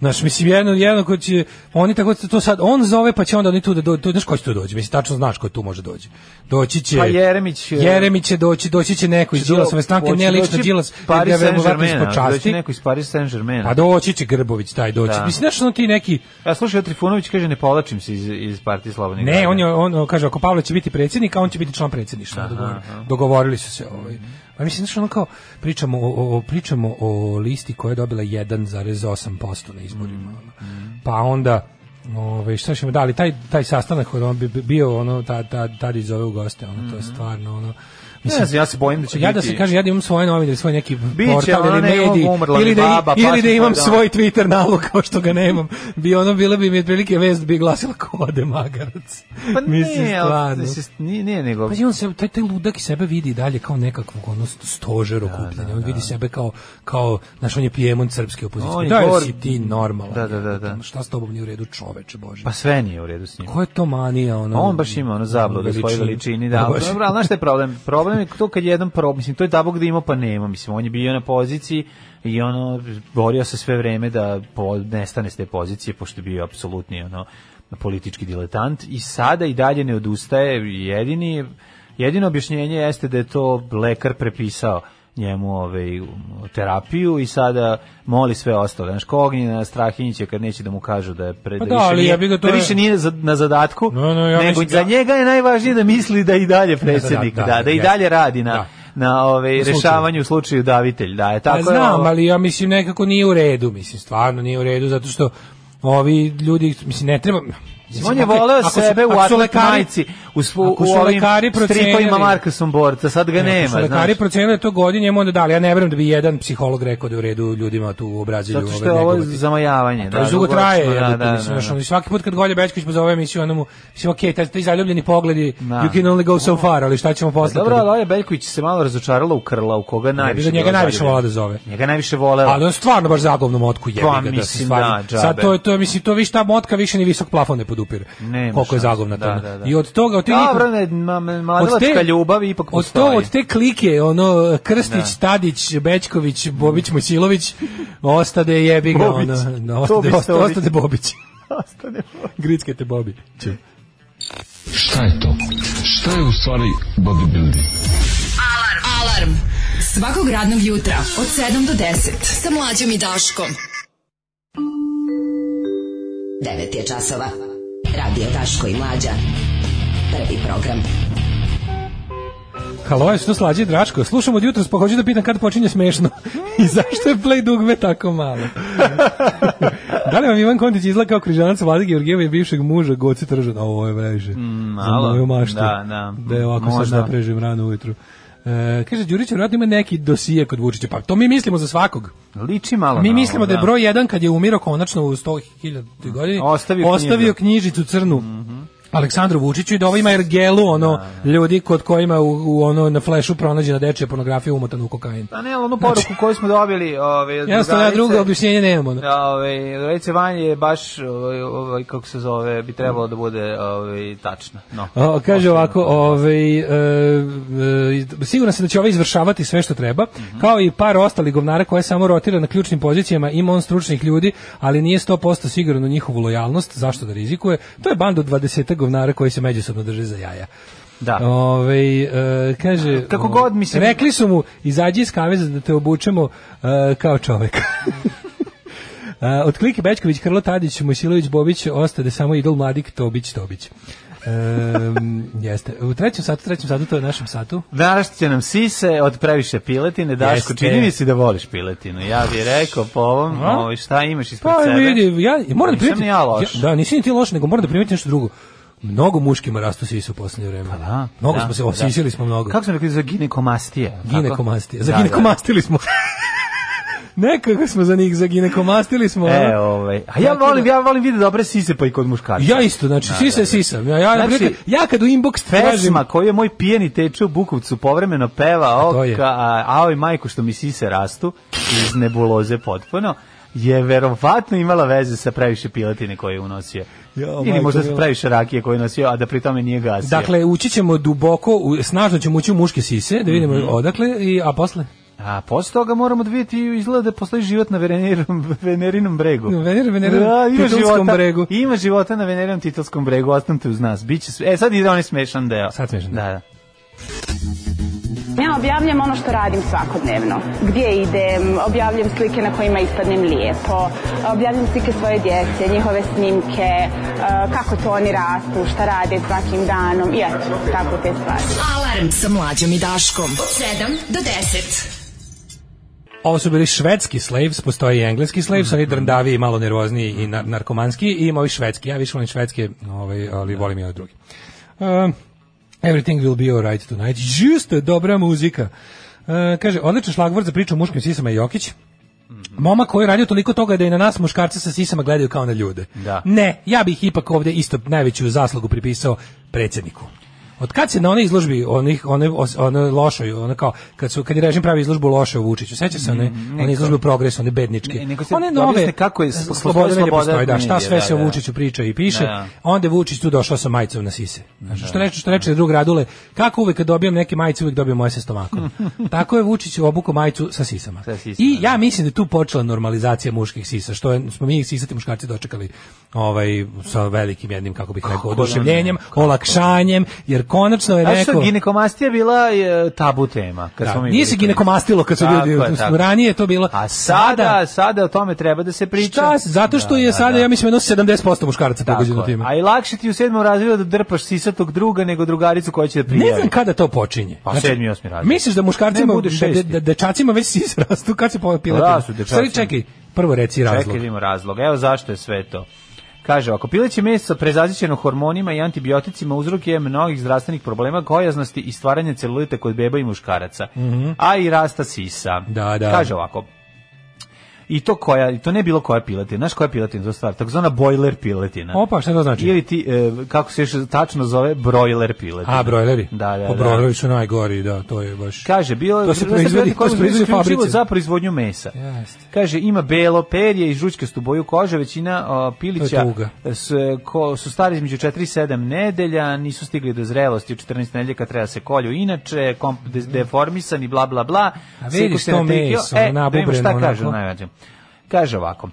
S7: Znaš, mislim, jedno, jedno ko će, oni tako to sad, on zove, pa će onda oni tu da dođe, to, znaš ko će tu dođe, mislim, tačno znaš ko tu može dođe. Doći će...
S6: Pa Jeremić, e,
S7: Jeremić će doći, doći će neko iz
S6: Hoće
S7: Đilasove stranke,
S6: doći
S7: ne lično Đilas,
S6: Paris
S7: jer ga je verovatno
S6: Saint-Germaina,
S7: ispod
S6: doći
S7: časti.
S6: neko iz Paris Saint-Germaina.
S7: Pa doći će Grbović taj doći.
S6: Da.
S7: Mislim, znaš, ono ti neki,
S6: Ja slušaj, Trifunović kaže ne povlačim se iz, iz partije Slobodnih
S7: Ne,
S6: građana.
S7: on je on kaže ako Pavle će biti predsjednik, a on će biti član predsjedništva. dogovor- Dogovorili su se ovaj. Pa mislim znači ono kao pričamo o, o- o- pričamo o listi koja je dobila 1,8% na izborima. ono. Pa onda Ove, šta ćemo, da, ali taj, taj sastanak koji on bi bi- bio, ono, ta, ta, tad zove u goste, ono, to je stvarno, ono,
S6: Ne znam, ja se bojim da će
S7: ja
S6: biti...
S7: da se kaže ja da imam svoje novine ili svoj neki
S6: Biće,
S7: portal
S6: ona
S7: ili
S6: ne,
S7: medij
S6: ovo umrla
S7: ili
S6: mi
S7: da, i-
S6: baba,
S7: ili
S6: pa
S7: da
S6: ću
S7: imam
S6: to da-
S7: svoj Twitter nalog kao što ga nemam bi ono bila bi mi otprilike vest bi glasila ko ode magarac
S6: Pa ne,
S7: mislim stvarno
S6: Nije, nije nego...
S7: pa on se taj, taj ludak i sebe vidi dalje kao nekakvog ono stožer okupljanja on vidi sebe kao kao naš on je pijemon
S6: On
S7: srpske opozicije
S6: je
S7: da
S6: gor-
S7: si ti normalan
S6: Da, da, da, da.
S7: šta s tobom nije u redu čoveče bože
S6: Pa sve nije u redu s njim.
S7: ko je to manija ono
S6: On baš ima ono zabludu svoje veličini, da.
S7: baš.
S6: Dobro, ali znaš šta je problem? Problem je to kad jedan pro, mislim, to je dabo gde ima pa nema, mislim, on je bio na poziciji i ono, borio se sve vreme da po, nestane s te pozicije, pošto je bio apsolutni, ono, politički diletant i sada i dalje ne odustaje jedini, jedino objašnjenje jeste da je to lekar prepisao njemu ovaj, terapiju i sada moli sve ostale. Znaš, ko Ognjena Strahinjića kad neće da mu kažu da je pre,
S7: Pa
S6: da
S7: da,
S6: više
S7: ali
S6: nije,
S7: jebi ga, to
S6: da
S7: je-
S6: više nije za- na zadatku,
S7: no, ja
S6: nego
S7: mislim
S6: za
S7: da-
S6: njega je najvažnije da misli da je i dalje predsjednik, da,
S7: da,
S6: da,
S7: da,
S6: i
S7: jeste.
S6: dalje radi na, na ovaj,
S7: Na slučaju.
S6: rešavanju u slučaju davitelj. Da, je, tako
S7: Pa
S6: je ono.
S7: znam,
S6: ovo.
S7: ali ja mislim nekako nije u redu, mislim stvarno nije u redu zato što ovi ljudi mislim ne treba
S6: Mislim, on je voleo sebe u
S7: ako su
S6: Atlet
S7: lekari-
S6: majici, u, svu,
S7: ako
S6: u
S7: su
S6: ovim
S7: lekari
S6: stripovima
S7: procenili-
S6: Marka Somborca, sad ga
S7: Ne,
S6: nema.
S7: ako su
S6: znaš.
S7: lekari procenili to godin, njemu onda dali. Ja ne verujem da bi jedan psiholog rekao da je u redu ljudima tu u Braziliju.
S6: Zato što je ovo zamajavanje.
S7: To je dugo traje, jebote, mislim, znaš, ono, i svaki put kad Golja Bečković pozove emisiju, ono mu, mislim, okej, taj, taj zaljubljeni pogledi, you can only go so far, ali šta ćemo posle?
S6: Pa Dobro,
S7: kad-
S6: ali Olja Beljković se malo razočarala u krla, u koga
S7: bi
S6: najviše...
S7: da njega
S6: bila
S7: najviše
S6: zaljubljena.
S7: volala da zove.
S6: Njega najviše volela.
S7: Ali on stvarno baš zagovno motku jebi
S6: Pa,
S7: ga, da se
S6: mislim,
S7: stvari.
S6: da,
S7: Sad
S6: džabe.
S7: to je to mislim to više ta motka više ni visok plafon ne podupire.
S6: Nema
S7: Koliko je
S6: šanse,
S7: zagovna
S6: da,
S7: to.
S6: da, da.
S7: I od toga od tih
S6: Dobro, ne, ma- ma- mladalačka ljubav ipak
S7: od to
S6: postoji.
S7: od te klike ono Krstić,
S6: Da. Mm.
S7: Tadić, Bečković, Bobić, Mojsilović ostade jebi ga
S6: Bobić.
S7: ono, no,
S6: Tobić,
S7: ostade, ostade,
S6: Tobić.
S7: ostade Bobić. Gricke te Bobi.
S11: Šta je to? Šta je u stvari bodybuilding?
S5: Alarm. Alarm. Svakog radnog jutra od 7 do 10 sa mlađom i Daškom.
S9: 9 je časova. Radio Daško i Mlađa. Prvi program.
S7: Halo, jesu to slađe i Draško? Slušam od jutros, pa hoću da pitam kad počinje smešno. I zašto je play dugme tako malo? da li vam Ivan Kontić izgleda kao križanac Vlade Georgijeva i bivšeg muža Goci Tržana? Ovo je previše.
S6: malo.
S7: Za moju maštu.
S6: Mm, Da, da.
S7: Da je ovako
S6: Možda.
S7: sad naprežim rano ujutru. E, kaže, Đurić vjerojatno ima neki dosije kod Vučića. Pa to mi mislimo za svakog.
S6: Liči malo
S7: Mi
S6: na
S7: mislimo
S6: ovo,
S7: da je broj jedan kad je umirao konačno u 100.000 godini
S6: Ostavio Mhm.
S7: knjižicu crnu Aleksandru Vučiću i da ovo ima ergelu ono ljudi kod kojima u, u ono na flešu pronađena dečija pornografija umotana u kokain.
S6: Pa ne, ali onu poruku koju smo dobili... Ove, od
S7: Znači- Jednostavno ja
S6: drugarice-
S7: drugo objašnjenje nemamo. ono.
S6: Da, ovaj Rece Vanje je baš ovaj, ovaj, kako se zove, bi trebalo da bude ovaj tačna. No.
S7: O, kaže ovako, ovaj, e, e, siguran sam da će ovaj izvršavati sve što treba, kao i par ostalih govnara koje samo rotira na ključnim pozicijama, ima on stručnih ljudi, ali nije 100% siguran u njihovu lojalnost, zašto da rizikuje, to je band od 20 govnara koji se međusobno drže za jaja.
S6: Da.
S7: Ovaj, e, kaže,
S6: Kako god, mislim-
S7: Rekli su mu, izađi iz kaveza da te obučemo e, kao čovek. E, od klike Bečković, Krlo Tadić, Mojsilović, Bobić, ostade samo idol mladik Tobić, Tobić. Em, jeste. U trećem satu, trećem satu, to je u našem satu.
S6: Danas će nam sise od previše piletine. Daško,
S7: Jeste.
S6: čini mi se da voliš piletinu. Ja bih rekao po ovom,
S7: A?
S6: ovaj, šta imaš ispred
S7: Pa
S6: sebe?
S7: vidi, ja moram da
S6: Nisam
S7: primetim.
S6: ni ja loš.
S7: da, nisi ni ti loš, nego moram da primetim nešto drugo. Mnogo muškima rastu sise u posljednje vreme.
S6: Pa Da,
S7: mnogo
S6: da,
S7: smo se
S6: da.
S7: osisili smo mnogo.
S6: Kako smo rekli za ginekomastije? tako?
S7: Ginekomastija. Za
S6: Da, da.
S7: ginekomastili smo. Nekako smo za njih, za ginekomastili smo. ono.
S6: E, ovaj. A ja
S7: Tako
S6: volim,
S7: da-
S6: ja volim vidjeti dobre sise pa i kod muškarca.
S7: Ja isto, znači, sisa je sisa. Ja, ja,
S6: Znači,
S7: znači, ja kad u inbox tražim...
S6: Pesma koju je moj pijeni teče u Bukovcu povremeno peva
S7: to je.
S6: oka, a, aoj majko što mi sise rastu iz nebuloze potpuno je verovatno imala veze sa previše piletine koje je unosio.
S7: Jo,
S6: Ili
S7: majko
S6: možda sa
S7: mila.
S6: previše rakije koje je nosio, a da pri tome nije gasio.
S7: Dakle, ući ćemo duboko, u- snažno ćemo ući u muške sise, da vidimo
S6: Mhm.
S7: odakle, i, a posle?
S6: a posle toga moramo da vidjeti izgleda da postoji život na Venerinom, Venerinom bregu.
S7: Na Vener- Venerinom Titulskom bregu.
S6: Ima života na Venerinom Titulskom bregu, ostanite uz nas. Biće, sve- e, sad ide onaj smešan deo. Sad smešan deo. Da, da.
S12: Ja objavljam ono što radim svakodnevno. Gdje idem, objavljam slike na kojima ispadnem lijepo, objavljam slike svoje djece, njihove snimke, eh, kako to oni rastu, šta rade svakim danom i eto, tako te stvari.
S5: Alarm sa mlađom i Daškom od 7 do 10.
S7: Ovo su bili švedski slaves, postoji i engleski
S6: Mhm.
S7: slaves, oni drndavi i malo nervozniji i nar- narkomanski, i ima ovi švedski. Ja više volim švedske, ovaj, ali volim i ove drugi. Um, everything will be alright tonight. Just dobra muzika. E, kaže, odličan šlagvord za priču o muškim sisama je Jokić.
S6: Mhm.
S7: Momak koji je radio toliko toga da i na nas muškarce sa sisama gledaju kao na ljude.
S6: Da.
S7: Ne, ja bih ipak ovdje isto najveću zaslugu pripisao predsjedniku. Od kad se na one izložbi, onih, one, os- one lošoj, ono kao, kad, su, kad je režim pravi izložbu lošoj u Vučiću, sećaš se one, one izložbe u progresu, one bedničke.
S6: Mhm, Ne, nego se
S7: one
S6: objasne kako je slo-
S7: slobode
S6: sloboda
S7: ne postoji, da,
S6: medija,
S7: šta sve
S6: da,
S7: se o
S6: da.
S7: Vučiću priča i piše,
S6: Da, da.
S7: onda je Vučić tu došao sa majicom na sise. Znaš, što reče, što reče drug Radule, kako uvek kad dobijem neke majice, uvek dobijem moje sa stomakom. Tako je Vučić obuko majicu sa sisama. I ja mislim da je tu počela normalizacija muških sisa, što je, smo mi sisati muškarci dočekali ovaj, sa velikim jednim, kako bih rekao, oduševljenjem, olakšanjem, jer konačno je
S6: Znaš što,
S7: neko...
S6: ginekomastija bila je tabu tema. Kad
S7: Da,
S6: smo mi
S7: nije
S6: bili
S7: se
S6: klinci.
S7: ginekomastilo kad su
S6: Tako
S7: ljudi-
S6: je, tako.
S7: ranije je to bilo.
S6: A sada, sada o tome treba da se priča.
S7: Šta, zato što je sada, ja mislim, jedno 70% muškaraca
S6: Tako
S7: pogođeno
S6: je.
S7: time.
S6: A i lakše ti u sedmom razredu da drpaš sisatog druga nego drugaricu koja će da prijavi.
S7: Ne znam kada to počinje.
S6: Pa
S7: Znači,
S6: sedmi, osmi razred.
S7: Misliš da muškarcima,
S6: Ne, bude
S7: da,
S6: šesti.
S7: da, da dečacima već si rastu kad se popila?
S6: Rastu dečacima.
S7: čekaj, prvo reci razlog.
S6: Čekaj, vidimo razlog. Evo zašto je sve to. Kaže, ako pileće meso prezazićeno hormonima i antibioticima uzrok je mnogih zdravstvenih problema, gojaznosti i stvaranje celulita kod beba i muškaraca,
S7: Mhm.
S6: a i rasta sisa.
S7: Da, da.
S6: Kaže ovako, i to koja, i to ne bilo koja piletina, znaš koja je piletina za stvar, takozvana bojler piletina.
S7: Opa, šta to znači?
S6: Ili ti, e, kako se još tačno zove, brojler piletina.
S7: A, brojleri?
S6: Da, da,
S7: Pa,
S6: da.
S7: brojleri su najgori, da, to je baš...
S6: Kaže, bilo
S7: To se proizvodi- to se proizvodi u
S6: isključivo
S7: fabrici.
S6: za proizvodnju mesa.
S7: Jeste.
S6: Kaže, ima belo perje i žućkastu boju kože, većina o,
S7: To je
S6: pilića
S7: tuga.
S6: s, ko, su stari između 4 i 7 nedelja, nisu stigli do zrelosti, u 14 nedelja kad treba se kolju, inače, kom, de, deformisani, bla, bla, bla.
S7: Mhm. A
S6: Seku
S7: vidiš
S6: se
S7: to
S6: na tri kilo.
S7: meso,
S6: E, da vidimo
S7: nabubreno
S6: šta kaže,
S7: onako.
S6: najvađe. Kaže ovako,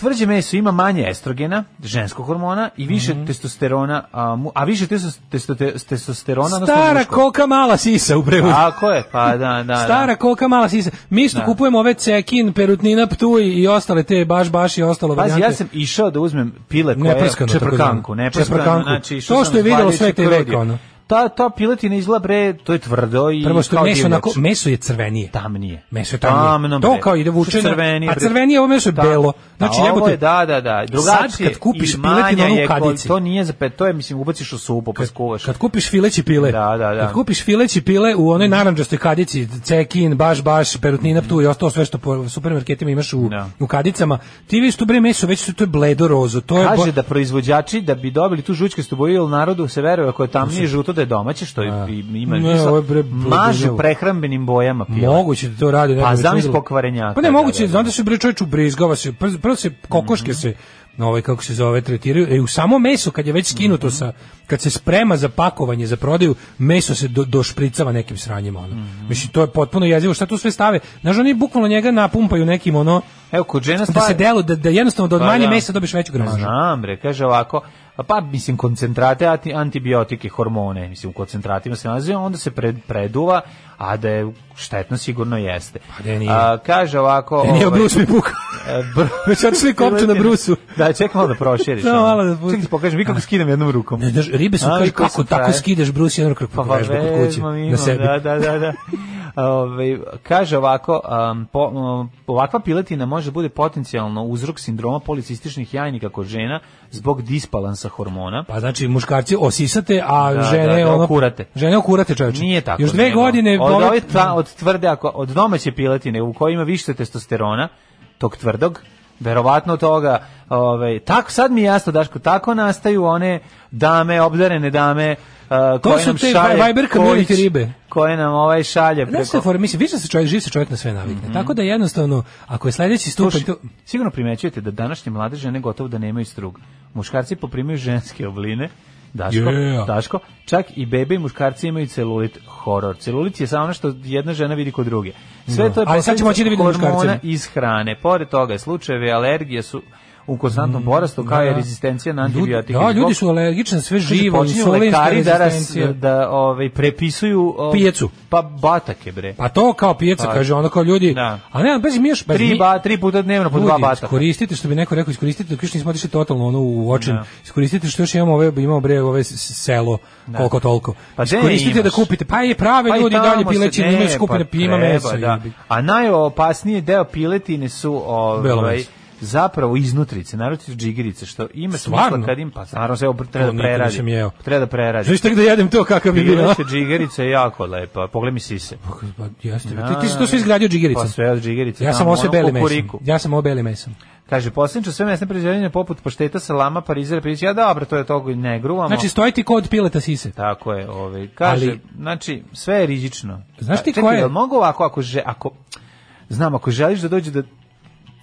S6: Tvrđe meso ima manje estrogena, ženskog hormona i više
S7: Mhm.
S6: testosterona, a, mu- a više testo- testo- testosterona odnosno
S7: Stara
S6: muškog.
S7: koka mala sisa u prevodu.
S6: Tako je, pa da, da.
S7: Stara koka mala sisa. Mi što
S6: Da.
S7: kupujemo ove cekin, perutnina, ptuj i ostale te baš baš i ostalo
S6: da. Pazi, ja
S7: varijante.
S6: sam išao da uzmem pile koje
S7: Neprskano, tako
S6: čeprkanku,
S7: zvano.
S6: neprskanu,
S7: Čeprkanku.
S6: znači
S7: To
S6: sam
S7: što je videlo sve te
S6: zvaljujući
S7: veka, ono.
S6: Ta, ta piletina izgleda bre, to je tvrdo i
S7: Prvo što je
S6: kao
S7: meso,
S6: divljač.
S7: onako, meso je crvenije.
S6: Tamnije.
S7: Meso je tamnije.
S6: Tamno,
S7: to
S6: bre.
S7: kao ide vučeno.
S6: Što crvenije,
S7: a
S6: bre.
S7: crvenije ovo meso je
S6: Da.
S7: belo. Znači,
S6: A ovo
S7: jebote,
S6: je, da, da, da. Drugačije.
S7: Sad kad kupiš
S6: i manja
S7: piletinu ono
S6: je
S7: u
S6: ko-
S7: kadici.
S6: To nije za pet, to je, mislim, ubaciš u supu, pa skuvaš.
S7: Kad kupiš fileći pile,
S6: Da, da, Mm. da.
S7: kad kupiš fileći pile u onoj narandžastoj kadici, cekin, baš, baš, perutnina, ptu i ostalo sve što po supermarketima imaš u, u kadicama, ti vidiš tu bre meso, već su to je bledo rozo, to je
S6: Kaže
S7: bo-
S6: da proizvođači da bi dobili tu žućkastu boju ili narodu se veruje ako je tamnije žuto da je domaće što je, i- ima
S7: Ne,
S6: smisla,
S7: ovo je bre-
S6: mažu prehrambenim bojama pile.
S7: Moguće da to radi. ne
S6: Pa
S7: znam,
S6: zamisli
S7: čudilo.
S6: pokvarenjaka,
S7: Pa
S6: da,
S7: ne, moguće,
S6: da, Mhm. da.
S7: znam da se bre čovječ ubrizgava se, prvo- prvo se kokoške se, na ovaj, kako se zove, tretiraju, e, u samo meso, kad je već skinuto
S6: Mhm.
S7: sa, kad se sprema za pakovanje, za prodaju, meso se do, došpricava nekim sranjima, ono.
S6: Mhm.
S7: Mislim, to je potpuno jezivo, šta tu sve stave? Znaš, oni bukvalno njega napumpaju nekim, ono,
S6: Evo, kod žena
S7: da
S6: stvar-
S7: se delu, da, da jednostavno da od
S6: Pa
S7: manje
S6: da.
S7: mesa dobiš veću gramažu.
S6: Znam, bre, kaže ovako, pa mislim koncentrate, anti- antibiotike, hormone, mislim u koncentratima se nalazi, onda se pred, preduva, a da je štetno sigurno jeste.
S7: Pa da nije.
S6: A, kaže ovako...
S7: E, nije,
S6: ovaj,
S7: Bruce mi puka.
S6: e, br-
S7: Već otišli kopče na Brusu.
S6: Da, čekaj malo da proširiš.
S7: Da,
S6: ono.
S7: malo da-
S6: Čekaj ti pokažem, vi kako skinem jednom rukom. Pa,
S7: Ne, znaš, ribe su,
S6: A,
S7: kaže,
S6: vi koji
S7: kako
S6: su
S7: tako
S6: frajer.
S7: skideš Bruce jednu kako vežba kod kuće,
S6: vezma mi
S7: na
S6: imam,
S7: sebi.
S6: Da, da, da, da. Ove, kaže ovako, um, po, um, ovakva piletina može da bude potencijalno uzrok sindroma policističnih jajnika kod žena zbog disbalansa hormona.
S7: Pa znači muškarci osisate, a
S6: Da,
S7: žene
S6: da, da,
S7: ono
S6: okurate.
S7: Žene okurate čoveče.
S6: Nije tako.
S7: Još dve
S6: nego
S7: godine
S6: od,
S7: ove-
S6: ove, ta- od tvrde ako od domaće piletine u kojoj ima više testosterona, tog tvrdog, verovatno toga, ovaj tako sad mi je jasno Daško, tako nastaju one dame, obdarene dame Uh,
S7: To
S6: koje
S7: su
S6: nam
S7: te
S6: šalje
S7: Viber
S6: Kojić,
S7: community ribe.
S6: koje nam ovaj šalje
S7: Znaš šta je fora? mislim, više se čovjek, živ se čovjek na sve navikne. Tako da jednostavno, ako je sljedeći stupanj...
S6: Mhm. Slušaj,
S7: Pa To...
S6: sigurno primećujete da današnje mlade žene gotovo da nemaju strug. Muškarci poprimaju ženske obline, Daško,
S7: Yeah.
S6: Daško, čak i bebe i muškarci imaju celulit horor. Celulit je samo ono što jedna žena vidi kod druge. Sve
S7: Da.
S6: to je
S7: Ali sad ćemo moći da vidimo
S6: posledica hormona
S7: muškarce.
S6: iz hrane. Pored toga, slučajevi alergije su u konstantnom porastu, kao i
S7: Mm, da.
S6: rezistencija na
S7: Ljudi-
S6: antibiotike.
S7: da,
S6: Zbog-
S7: ljudi su alergični na sve
S6: Kaže,
S7: živo,
S6: počinju
S7: insulinska
S6: lekari da, ras,
S7: rezistencija.
S6: da ovaj, prepisuju... ovaj,
S7: Pijecu.
S6: Pa batake, bre.
S7: Pa to kao pijaca,
S6: Pa-
S7: kaže ono kao ljudi.
S6: Da.
S7: A ne, pazi, mi još... pazi,
S6: Tri,
S7: mi-
S6: ba, tri puta dnevno po dva
S7: Ljudi,
S6: bataka.
S7: Iskoristite što bi neko rekao, iskoristite dok još nismo otišli totalno ono u očin.
S6: Da.
S7: Iskoristite što još imamo ove imamo bre ove s- s- selo koliko toliko.
S6: Pa gde
S7: iskoristite da
S6: imaš?
S7: kupite. Pa i prave
S6: i
S7: ljudi i dalje
S6: tamo se-
S7: pileći
S6: ne,
S7: imaju skupine
S6: pa
S7: ima
S6: treba,
S7: mesa.
S6: da.
S7: jebi.
S6: A najopasniji deo piletine su
S7: Belo
S6: ovaj
S7: meso.
S6: zapravo iznutrice, naročito džigerice, što ima smisla
S7: Stvarno?
S6: kad im pa naravno se ovo
S7: To
S6: treba da
S7: nikad
S6: preradi.
S7: nisam jeo.
S6: Treba da preradi.
S7: Znaš tek da jedem to kakav bi bio.
S6: Pileće džigerica je jako lepa. Pogledaj mi sise.
S7: Pa jeste. Ti, ti si to sve izgradio džigerica.
S6: Pa sve od džigerice.
S7: Ja sam
S6: tamo,
S7: ovo sve
S6: ono,
S7: belim mesom.
S6: kukuriku.
S7: Ja sam ovo belim mesom.
S6: Kaže, posljednično sve mesne proizvodnje poput pašteta, salama, parizera, pirića. Ja dobro, to je toga i ne gruvamo.
S7: Znači stoji ti kod pileta sise.
S6: Tako je, ovaj kaže,
S7: Ali-
S6: znači sve je rizično.
S7: Znaš ti
S6: A, čekaj,
S7: koje-
S6: jel mogu ovako ako že ako znam ako želiš da dođe da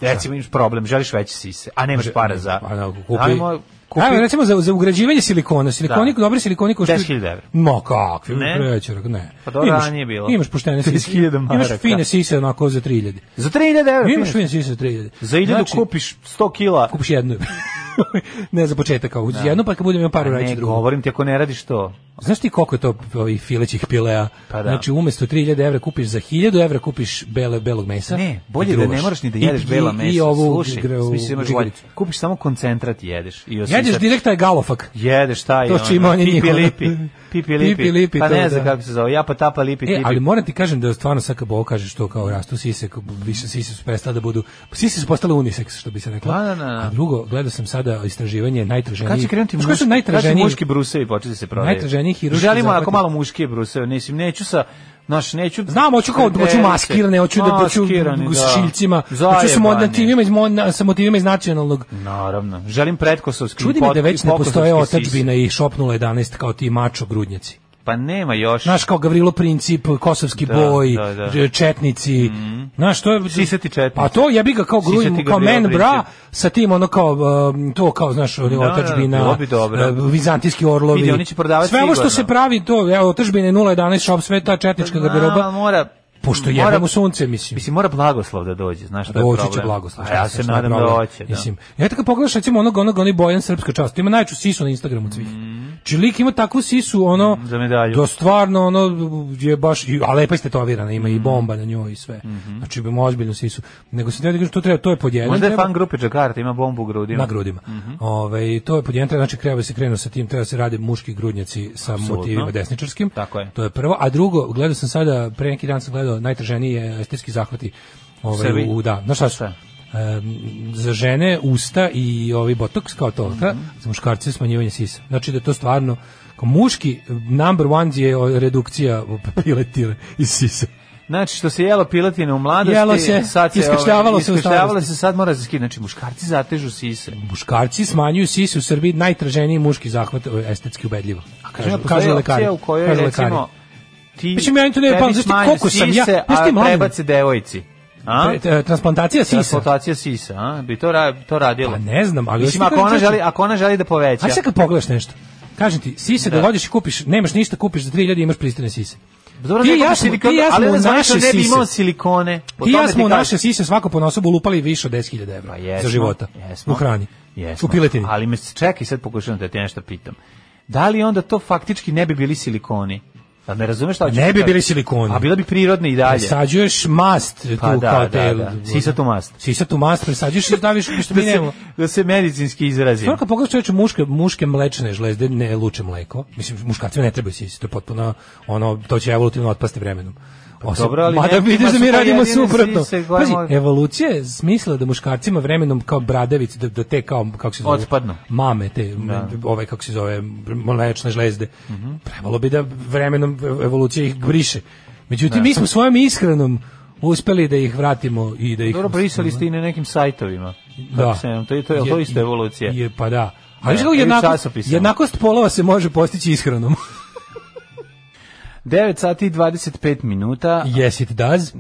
S6: recimo imaš problem, želiš veće sise, a nemaš para za.
S7: Pa da, kupi.
S6: Ajmo, kupi
S7: Ajmo, recimo za, za ugrađivanje silikona. Silikonik,
S6: Da.
S7: dobri silikonik košta...
S6: 10.000 evra.
S7: Ma kakvi,
S6: Ne?
S7: ne? Prećerak, ne.
S6: Pa dobro,
S7: Imaš-
S6: ranije je bilo.
S7: Imaš poštene sise.
S6: 30.000 maraka.
S7: Imaš fine sise onako za 3000.
S6: Za 3000 evra.
S7: Imaš
S6: fine.
S7: fine sise za 3000.
S6: Za 1000
S7: Znači,
S6: kupiš 100 kila.
S7: Kupiš jednu. ne za početak, kao uz jednu pa kad budem imao paru
S6: A ne,
S7: reći drugu.
S6: govorim ti ako ne radiš to.
S7: Znaš ti koliko je to ovih filećih pilea?
S6: Pa da.
S7: Znači umesto 3000 evra kupiš za 1000 evra kupiš bele, belog mesa.
S6: Ne,
S7: i
S6: bolje da ne
S7: druvaš.
S6: moraš ni da
S7: I-
S6: jedeš
S7: i-
S6: bela mesa.
S7: I ovu
S6: Slušaj,
S7: gre- u
S6: mislim, imaš
S7: žigalicu.
S6: bolje. Kupiš samo koncentrat i jedeš. I osisaš.
S7: Jedeš direkt taj galofak.
S6: Jedeš taj
S7: To s čime
S6: ono,
S7: on je
S6: pipi
S7: njihov.
S6: lipi. Pipi lipi.
S7: Pipi lipi,
S6: pa
S7: to
S6: ne
S7: da.
S6: znam kako se zove. Ja pa tapa lipi
S7: E,
S6: tipi.
S7: ali moram ti kažem da stvarno sad kad Bovo kaže što kao rastu sise, kao više sise su prestale da budu, sise su postale unisex, što bi se reklo.
S6: Da, da, da, da.
S7: A drugo, gledao sam sada istraživanje najtraženiji.
S6: Kad će krenuti
S7: Znaš
S6: muški,
S7: koji su
S6: kad će
S7: najtraženiji?
S6: muški brusevi početi da se prodaju?
S7: Najtraženiji hiruški
S6: Želimo
S7: zahvati.
S6: ako malo muške bruseve, mislim, neću sa Naš, neću...
S7: Znam, hoću kao hoću maskirane, hoću da hoću
S6: Maskirani,
S7: s
S6: da.
S7: šiljcima, hoću sa
S6: Zajebani.
S7: motivima iz mon- sa motivima iz nacionalnog.
S6: Naravno. Želim pretkosovski
S7: Čudi me da već ne postoje
S6: otadžbine.
S7: otadžbina i šopnula 11 kao ti mačo grudnjaci.
S6: Pa nema još.
S7: Znaš, kao Gavrilo Princip, Kosovski
S6: Da,
S7: boj,
S6: da, da. Mhm.
S7: ž- četnici, znaš, to je...
S6: Sisati četnici.
S7: A to jebi ga kao
S6: Sisati
S7: grudnju, kao
S6: Gavrilo
S7: men bra,
S6: Princip.
S7: sa tim ono kao, um, to kao, znaš, ono,
S6: Da, da, da, bilo
S7: otačbina,
S6: bi dobro.
S7: vizantijski orlovi.
S6: Vidi, oni će prodavati
S7: Sve ovo što
S6: sigurno.
S7: se pravi, to, evo, otačbina je 011, šop, sve ta četnička
S6: A,
S7: garderoba,
S6: mora
S7: pošto
S6: mora-
S7: jebemo sunce, mislim.
S6: Mislim, mora blagoslov da dođe, znaš šta je problem.
S7: Doći će blagoslov.
S6: A ja se nadam da hoće. Da.
S7: Mislim, ja tako pogledaš recimo onog onog onaj Bojan srpska čast. Ima najču sisu na Instagramu od svih. Mm. lik ima takvu sisu ono
S6: Mhm. Za medalju.
S7: do stvarno ono je baš i a lepa je tetovirana, ima i
S6: Mhm.
S7: bomba na njoj i sve. Znači ima ozbiljnu sisu. Nego se ne kaže to treba to je pod jedan.
S6: Možda je
S7: treba-
S6: fan grupe Jakarta, ima bombu u grudima. Mhm.
S7: na grudima. Ovaj to je pod jedan, treba- znači treba da se krenu sa tim, treba da se rade muški grudnjaci sa
S6: Apsolutno.
S7: motivima desničarskim.
S6: Tako je.
S7: To je prvo, a drugo, gledao sam sada pre neki dan sam gledao najtraženiji je estetski zahvati ovaj
S6: Srbiji?
S7: u, u- da, znaš šta su?
S6: Šta?
S7: Em, za žene usta i ovi botoks kao to,
S6: Mhm.
S7: ka? za muškarce smanjivanje sisa. Znači da je to stvarno kao muški number one je o, redukcija piletile iz sisa.
S6: Znači, što se jelo piletine u mladosti,
S7: Jelo se,
S6: sad se,
S7: iskašljavalo
S6: ovaj,
S7: se u
S6: iskašljavalo
S7: starosti.
S6: se, sad mora se skinuti. Znači, muškarci zatežu sise.
S7: Muškarci smanjuju sise u Srbiji najtraženiji muški zahvat e, estetski ubedljivo. A
S6: Kažu, kažu lekari. Znači, U kojoj,
S7: kažu
S6: recimo,
S7: lekari.
S6: ti,
S7: Mislim, ja to ne
S6: tebi
S7: pamtim, znaš ti
S6: smanje
S7: koliko sam ja-
S6: sise,
S7: znaš ti,
S6: a
S7: mladen?
S6: prebace devojci. A?
S7: Pre- te- Transplantacija sisa.
S6: Transplantacija sisa, a? Bi to, ra, to radilo.
S7: Pa ne znam, ali
S6: Mislim,
S7: hoćeš ti
S6: ako ona,
S7: kažem,
S6: želi,
S7: čekaj.
S6: ako ona želi da poveća.
S7: Ajde sad kad pogledaš nešto. Kažem ti, sise da, dođeš i kupiš, nemaš ništa, kupiš za 3000 i imaš pristojne sise.
S6: Dobro,
S7: ti i
S6: neko
S7: ja
S6: bi
S7: smo-
S6: silikon-
S7: ti i ja
S6: ali
S7: smo
S6: onda
S7: u
S6: znači da
S7: naše
S6: ne bi
S7: sise.
S6: imao silikone. Po
S7: Ti i ja
S6: tome ti
S7: smo u
S6: kažem.
S7: naše sise svako po nosu ulupali više od 10.000 evra
S6: Pa Jesmo,
S7: za života.
S6: Jesmo.
S7: U hrani.
S6: Jesmo.
S7: U piletini.
S6: Ali me čekaj, sad pokušavam da te nešto pitam. Da li onda to faktički ne bi bili silikoni? Da me razumeš šta hoću
S7: Pa Ne bi
S6: pitati?
S7: bili silikoni.
S6: A bila bi prirodni i dalje.
S7: Presađuješ mast tu
S6: Pa da,
S7: kao
S6: da,
S7: te...
S6: da. Sisatu mast.
S7: Sisatu mast presađuješ i daviš što
S6: Da
S7: mi
S6: se,
S7: nemamo.
S6: da se medicinski izrazim.
S7: Stvarno kad pogledaš čoveče muške, muške mlečne žlezde ne luče mleko. Mislim, muškarcima ne trebaju sisi, to je potpuno, ono, to će evolutivno otpasti vremenom. Osim,
S6: Pa dobro, ali
S7: mada
S6: nekima
S7: vidiš da
S6: su to
S7: mi radimo
S6: jedine
S7: suprotno.
S6: sise koje
S7: Pazi,
S6: može-
S7: evolucija je smislila da muškarcima vremenom kao bradavici, da, da te kao, kako se zove,
S6: Otpadnu.
S7: mame, te, ove, kako se zove, mlečne žlezde,
S6: Mhm.
S7: trebalo bi da vremenom evolucija ih briše. Međutim, mi smo svojom ishranom uspeli da ih vratimo i da ih...
S6: Dobro, brisali ste i na nekim sajtovima.
S7: Da.
S6: Kako se nam To, je- to, je, to je isto evolucija.
S7: Je, pa da. Ali
S6: Da, ono.
S7: što kako
S6: i u
S7: jednakost,
S6: časopisima.
S7: jednakost polova se može postići ishranom.
S6: 9 sati i 25 minuta.
S7: yes it does.